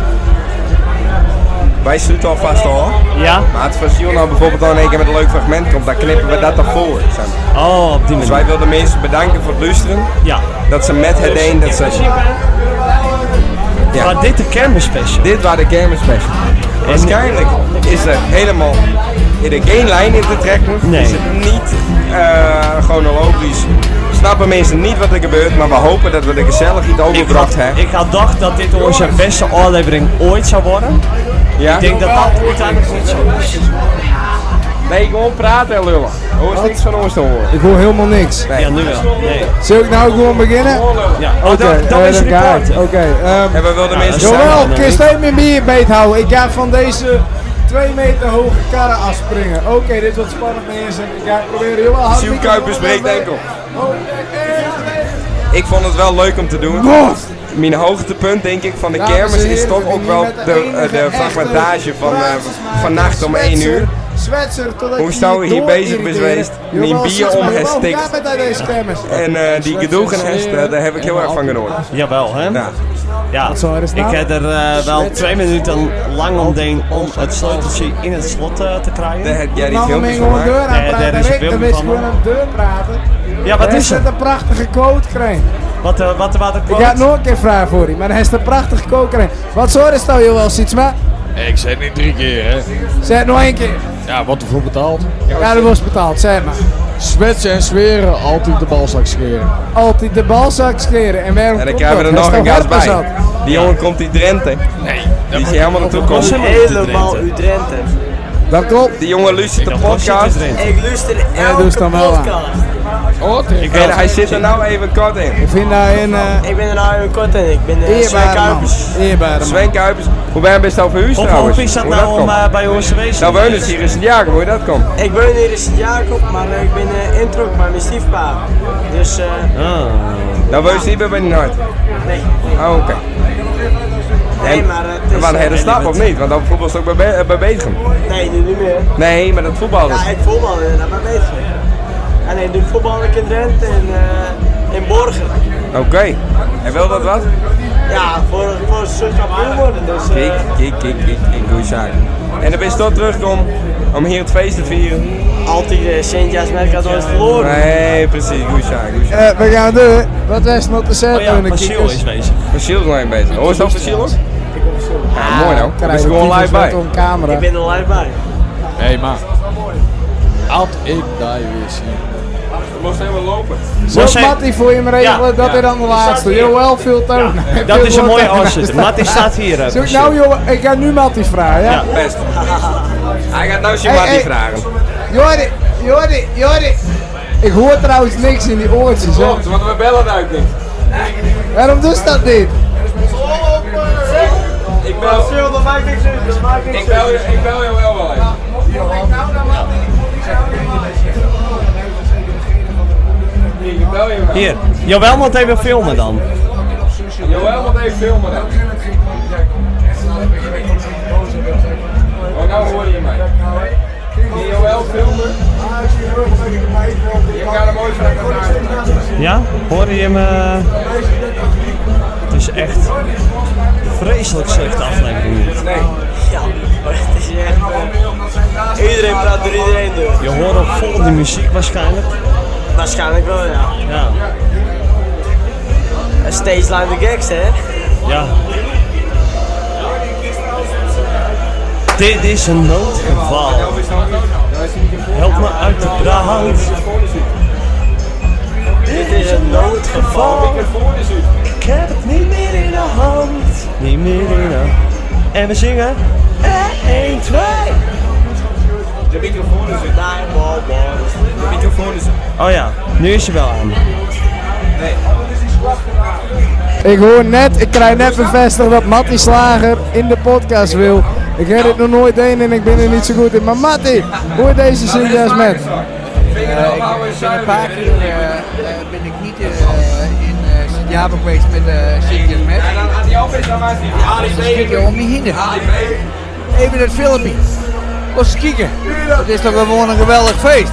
[SPEAKER 2] Wij sluiten alvast al.
[SPEAKER 3] Ja.
[SPEAKER 2] Maar het verschil nou bijvoorbeeld dan in één keer met een leuk fragment komt, dan knippen we dat ervoor. zeg maar.
[SPEAKER 3] Oh, op die
[SPEAKER 2] Dus wij willen de mensen bedanken voor het luisteren.
[SPEAKER 3] Ja.
[SPEAKER 2] Dat ze met
[SPEAKER 18] Dus
[SPEAKER 2] het een, dat ze... Ja.
[SPEAKER 3] Maar dit de kermisspecial?
[SPEAKER 2] Dit waren de kermisspecial. Waarschijnlijk is er helemaal in er geen lijn in te trekken.
[SPEAKER 3] Nee.
[SPEAKER 2] Is het niet eh, chronologisch. Snappen mensen niet wat er gebeurt, maar we hopen dat we er gezellig iets overgebracht hebben.
[SPEAKER 3] Ik had gedacht dat dit onze beste aflevering ooit zou worden.
[SPEAKER 2] Ja?
[SPEAKER 3] Ik denk dat dat uiteindelijk niet zo is.
[SPEAKER 2] Nee, gewoon praten en lullen. Hoor is niks van ons te horen.
[SPEAKER 18] Ik hoor helemaal niks.
[SPEAKER 3] Ja, nu wel. Nee.
[SPEAKER 18] Zul ik nou gewoon beginnen?
[SPEAKER 3] Ja. oh,
[SPEAKER 18] Oké, eh, dan ga ik. Oké. ehm,
[SPEAKER 2] Oh, En we wilden mensen
[SPEAKER 18] Jawel,
[SPEAKER 2] samen-
[SPEAKER 18] kun je meer meer beet houden? Ik ga van deze 2 meter hoge karren afspringen. Oké, dit wordt spannend mensen. Ik ga proberen heel hard...
[SPEAKER 2] Sjoerd Kuipers breekt enkel.
[SPEAKER 18] Oh,
[SPEAKER 2] Ik vond het wel leuk om te doen. Mijn hoogtepunt denk ik van de
[SPEAKER 18] Dames en
[SPEAKER 2] kermis is
[SPEAKER 18] heren,
[SPEAKER 2] toch
[SPEAKER 18] we
[SPEAKER 2] ook
[SPEAKER 18] doen
[SPEAKER 2] wel
[SPEAKER 18] met
[SPEAKER 2] de,
[SPEAKER 18] de enige
[SPEAKER 2] eh, de
[SPEAKER 18] echte
[SPEAKER 2] fragmentage van eh,
[SPEAKER 18] praatjesmaker.
[SPEAKER 2] vannacht om 1 uur.
[SPEAKER 18] Zwetser, totdat
[SPEAKER 2] Hoe
[SPEAKER 18] je
[SPEAKER 2] zou je hier
[SPEAKER 18] door
[SPEAKER 2] bezig bent
[SPEAKER 18] irriteren.
[SPEAKER 2] geweest?
[SPEAKER 18] Jawel,
[SPEAKER 2] Mijn bier
[SPEAKER 18] zeg maar,
[SPEAKER 2] om
[SPEAKER 18] jawel,
[SPEAKER 2] gestikt.
[SPEAKER 18] Ga met naar deze kermis.
[SPEAKER 2] En eh, die gedoegenhest, eh, daar heb ik heel erg van genoten.
[SPEAKER 3] Jawel, hè?
[SPEAKER 2] Ja.
[SPEAKER 3] Ja, ik heb er eh, wel twee minuten lang om deen om het sleuteltje in het slot eh, te krijgen.
[SPEAKER 2] Daar heb jij
[SPEAKER 18] Nou, we moeten gewoon deur
[SPEAKER 3] Ja,
[SPEAKER 18] aanpraten.
[SPEAKER 3] daar is een
[SPEAKER 18] Rick, dan
[SPEAKER 3] filmpje
[SPEAKER 18] wist
[SPEAKER 3] van.
[SPEAKER 18] gewoon aan de deur praten.
[SPEAKER 3] Ja, wat
[SPEAKER 18] Hij
[SPEAKER 3] is
[SPEAKER 18] zet
[SPEAKER 3] er?
[SPEAKER 18] een prachtige quote kreeg.
[SPEAKER 3] Wat, eh, wat, wat,
[SPEAKER 18] Ik ga het nog een keer vragen voor hem, maar hij is een prachtige quote kreeg. Wat zo is nou, Joël Sietsma?
[SPEAKER 11] Ik zei het niet drie keer, hè.
[SPEAKER 18] Zeg het nog één keer.
[SPEAKER 11] Ja, wat ervoor betaald.
[SPEAKER 18] Ja, dat wordt betaald, zeg maar.
[SPEAKER 1] Zwetsen en zweren, altijd de balzak scheren.
[SPEAKER 18] Altijd de balzak scheren. En waarom
[SPEAKER 2] En dan
[SPEAKER 18] komt
[SPEAKER 2] krijgen we er
[SPEAKER 18] dat?
[SPEAKER 2] nog
[SPEAKER 18] Hij
[SPEAKER 2] een
[SPEAKER 18] is
[SPEAKER 2] gast
[SPEAKER 18] toch
[SPEAKER 2] bij.
[SPEAKER 18] hardgezakt?
[SPEAKER 2] Die jongen komt uit Drenthe. Nee. Die is hier helemaal naartoe
[SPEAKER 18] Komt
[SPEAKER 2] komen.
[SPEAKER 18] helemaal
[SPEAKER 2] uit
[SPEAKER 18] Drenthe. Dat klopt.
[SPEAKER 2] Die jongen luistert de podcast.
[SPEAKER 20] Ik luister
[SPEAKER 18] Ja, doe het dan wel aan.
[SPEAKER 11] Oh,
[SPEAKER 2] En hij zit er nou even kort in.
[SPEAKER 18] Ik vind daar een... eh,
[SPEAKER 20] Ik ben er nou een kort en ik ben eh, Sven
[SPEAKER 18] Eerbare man.
[SPEAKER 20] Kuipers.
[SPEAKER 18] Eerbare man.
[SPEAKER 2] Sven Kuipers, hoe ben je best over huis
[SPEAKER 20] Of
[SPEAKER 2] trouwens?
[SPEAKER 20] hoe is dat nou om,
[SPEAKER 2] komt?
[SPEAKER 20] eh, bij ons te wezen?
[SPEAKER 2] Nou, wonen ze hier in Sint-Jacob, hoe dat komt.
[SPEAKER 20] Ik woon hier in Sint-Jacob, maar eh, ik ben eh introk bij mijn stiefpa. Dus eh,
[SPEAKER 2] Nou, wonen ze hier bij Ben Hart.
[SPEAKER 20] nee.
[SPEAKER 2] Oh, oké.
[SPEAKER 20] Nee, maar het is...
[SPEAKER 2] Dat was een hele
[SPEAKER 20] eh,
[SPEAKER 2] stap, of niet? Want dan voetbal is ook bij, Be- eh, bij Betegem.
[SPEAKER 20] Nee, nu niet meer.
[SPEAKER 2] Nee, maar dat voetbal is.
[SPEAKER 20] Ja, ik voetbal en dat ben ik bezig. En ik doe voetbal in Drenthe en eh, in Borgen.
[SPEAKER 2] Oké. En wil dat wat?
[SPEAKER 20] Ja, voor, voor zo'n kampioen worden. Dus, eh,
[SPEAKER 2] Kijk, kijk, kijk, kijk, kijk hoe je zaak. En dan ben je toch teruggekomen om hier het feest te vieren.
[SPEAKER 20] Altijd uh, Sint-Jasmerk had ooit verloren.
[SPEAKER 2] Nee, precies, hoe je zaak, hoe je zaak.
[SPEAKER 18] eh, we gaan door. Wat was er nog te
[SPEAKER 3] Oh
[SPEAKER 18] zeggen? in de kikkers?
[SPEAKER 3] bezig.
[SPEAKER 2] Verschil is nog een bezig. Hoor je dat verschil ook? Ja, mooi
[SPEAKER 11] Ah,
[SPEAKER 2] nou.
[SPEAKER 18] Krijg
[SPEAKER 2] Dan is
[SPEAKER 18] de
[SPEAKER 2] gewoon
[SPEAKER 18] kikkers
[SPEAKER 2] live bij.
[SPEAKER 18] met een camera.
[SPEAKER 20] Ik ben er live bij.
[SPEAKER 11] Hé, hey, maar. Had ik daar weer zien.
[SPEAKER 2] Mocht helemaal lopen.
[SPEAKER 18] Zoals Matty voor je me regelen, dat is dan de laatste. Joël veel toon.
[SPEAKER 3] Dat is een mooie afzitter. Matty staat hier. eh,
[SPEAKER 18] Zoek nou Joël, ik ga nu Matty vragen. Ja?
[SPEAKER 2] Ja, best. Hij gaat nou
[SPEAKER 18] Hey,
[SPEAKER 2] Shimati
[SPEAKER 18] hey.
[SPEAKER 2] vragen.
[SPEAKER 18] Jordi, Jordi, Jordi. Ik hoor trouwens niks in die oortjes. Hè.
[SPEAKER 2] want we bellen uit niet.
[SPEAKER 18] Waarom doet dat niet?
[SPEAKER 2] Ik bel...
[SPEAKER 20] dat maakt niks uit, dat maakt niks
[SPEAKER 2] Ik bel, je- ik bel jou wel wel even. Ik bel je wel.
[SPEAKER 3] Hier, Joël moet even filmen dan.
[SPEAKER 2] Ik
[SPEAKER 21] Joël moet even filmen. Dan begin ik geen contact. En dan begin ik niet boze wil zijn. Oh, nou hoor je mij. Die Joël filmen. Je gaat hem ooit van elkaar.
[SPEAKER 3] Ja? Hoorde je hem? eh, Het is echt vreselijk slechte aflevering. dit.
[SPEAKER 21] Nee.
[SPEAKER 15] Oh, Ja, maar het is echt... eh, iedereen praat door iedereen door.
[SPEAKER 3] Je hoort ook vol die muziek waarschijnlijk.
[SPEAKER 15] Waarschijnlijk wel, ja.
[SPEAKER 3] Ja.
[SPEAKER 15] En steeds line the gags, hè?
[SPEAKER 3] Ja. Dit is een noodgeval. Help me uit de brand.
[SPEAKER 15] Dit is een noodgeval. Ik heb het niet meer in de hand.
[SPEAKER 3] Niet meer in de- En we zingen.
[SPEAKER 15] 1, 2. De microfoon is er. De microfoon is er.
[SPEAKER 3] Oh ja, nu is je wel aan.
[SPEAKER 18] Ik hoor net, ik krijg net bevestigd dat Matty Slager in de podcast wil. Ik heb dit nog nooit één en ik ben er niet zo goed in. Maar Matty, hoe is deze Sint-Jas met?
[SPEAKER 1] Eh, ik ben een paar keer eh, eh, ben ik niet eh, in eh Sint-Japan geweest met eh Sint-Jas met. Ja, dan had hij op dan was hij. Ja, die kikken om die hinder. Even het filmpje. Los kikken. Het is toch gewoon een geweldig feest.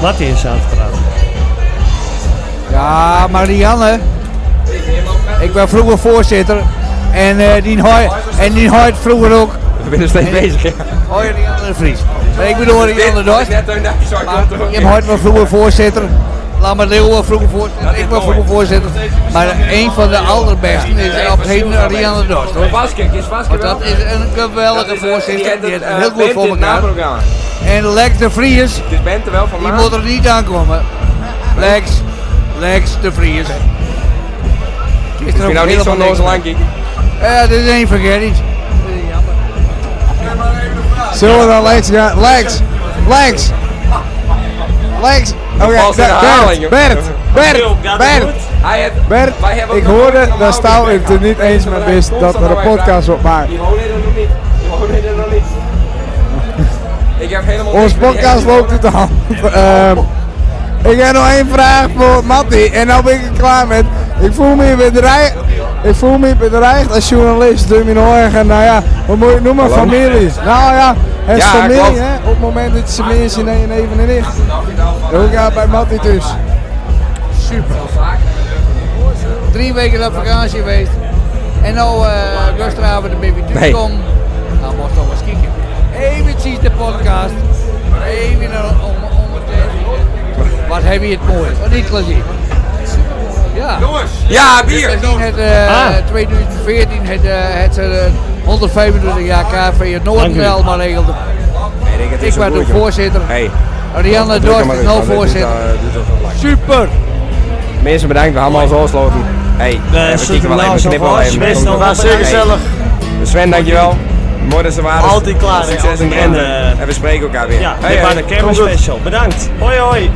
[SPEAKER 3] Wat is aan het praten?
[SPEAKER 1] Ja, Marianne. Ik ben vroeger voorzitter. En eh, die hoort en die hoort vroeger ook.
[SPEAKER 22] We zijn nog steeds bezig, ja.
[SPEAKER 1] Hoor je Rianne de Vries? Nee, ik bedoel Rianne Dorst. Maar
[SPEAKER 21] ook
[SPEAKER 1] Je
[SPEAKER 21] in.
[SPEAKER 1] hoort me vroeger voorzitter. Laat me Leeuwen vroeger voorzitter. Ik was vroeger voorzitter. Maar een van de allerbesten is op heden Rianne Dorst. hoor. Want dat is een geweldige voorzitter. Die heeft
[SPEAKER 2] eh,
[SPEAKER 1] het heel goed voor elkaar. En Lex de Vries. Die moet er niet aankomen. Lex, Lex de Vries.
[SPEAKER 2] Is
[SPEAKER 1] er
[SPEAKER 2] je nou niet zo'n noze lang
[SPEAKER 1] Ja, dit is één vergeet
[SPEAKER 18] Zullen we dan Lex gaan? Lex! Lex! Lex! Oké,
[SPEAKER 21] Vals in de herhaling,
[SPEAKER 18] Bert,
[SPEAKER 21] joh.
[SPEAKER 18] Bert, Bert,
[SPEAKER 21] Wil, gaat het
[SPEAKER 18] Bert,
[SPEAKER 21] goed? Hij heeft-
[SPEAKER 18] Bert,
[SPEAKER 21] wij hebben
[SPEAKER 18] ik
[SPEAKER 21] ook nog
[SPEAKER 18] hoorde,
[SPEAKER 21] een
[SPEAKER 18] daar Stouw
[SPEAKER 21] normaal
[SPEAKER 18] heeft het niet eens mee wist dat er een podcast op maakt.
[SPEAKER 2] Ik heb helemaal
[SPEAKER 18] Ons podcast loopt uit de hand. Ehm, ik heb nog één vraag voor Matti en dan ben ik er klaar met. Ik voel me bedreigd, ik voel me bedreigd als journalist door mijn oren. Nou ja, wat moet je het noemen?
[SPEAKER 2] Hallo?
[SPEAKER 18] Families. Nou ja, het is
[SPEAKER 2] Ja, klopt.
[SPEAKER 18] familie hè. Op het moment dat je ze mensen in even en nicht. Hoe gaat het bij Matti dus?
[SPEAKER 1] Super. Drie weken op vakantie geweest. En nou eh gisteravond ben ik
[SPEAKER 18] Nee.
[SPEAKER 1] thuis kom. Nou mocht toch eens kijken. Eventjes de podcast. Even naar- om, om het eh, Wat heb je het mooi. Wat ik klassiek. Ja. Jongens.
[SPEAKER 2] Ja, bier.
[SPEAKER 1] Het, eh,
[SPEAKER 2] Ah.
[SPEAKER 1] 2014 het, eh, het eh, 125 jaar KV het Noordmel maar regelde.
[SPEAKER 2] het is
[SPEAKER 1] Ik
[SPEAKER 2] zo
[SPEAKER 1] ben de
[SPEAKER 2] moeilijk, joh.
[SPEAKER 1] voorzitter.
[SPEAKER 2] Hey.
[SPEAKER 1] Rianne
[SPEAKER 2] Druk hem
[SPEAKER 1] Dorst
[SPEAKER 2] maar
[SPEAKER 1] is
[SPEAKER 2] in,
[SPEAKER 1] nou
[SPEAKER 2] want dit is,
[SPEAKER 1] voorzitter.
[SPEAKER 2] eh, dit is al te lang.
[SPEAKER 1] Super!
[SPEAKER 2] Mensen bedankt, we allemaal zo sloten. Hey, we
[SPEAKER 15] zitten
[SPEAKER 2] kieken wel even,
[SPEAKER 15] nou
[SPEAKER 2] we
[SPEAKER 15] zo
[SPEAKER 2] knippen wel
[SPEAKER 15] vast.
[SPEAKER 2] even.
[SPEAKER 15] Best nog wel
[SPEAKER 2] Hey.
[SPEAKER 15] gezellig.
[SPEAKER 2] Sven, dankjewel. Mooi dat ze waren.
[SPEAKER 15] Altijd klaar, hè,
[SPEAKER 2] Succes
[SPEAKER 15] altijd
[SPEAKER 2] en,
[SPEAKER 15] klaar.
[SPEAKER 2] en we spreken elkaar weer.
[SPEAKER 3] Ja,
[SPEAKER 2] Hey,
[SPEAKER 3] dit
[SPEAKER 2] eh,
[SPEAKER 3] was
[SPEAKER 2] hey.
[SPEAKER 3] de kermis special. Bedankt. Hoi hoi.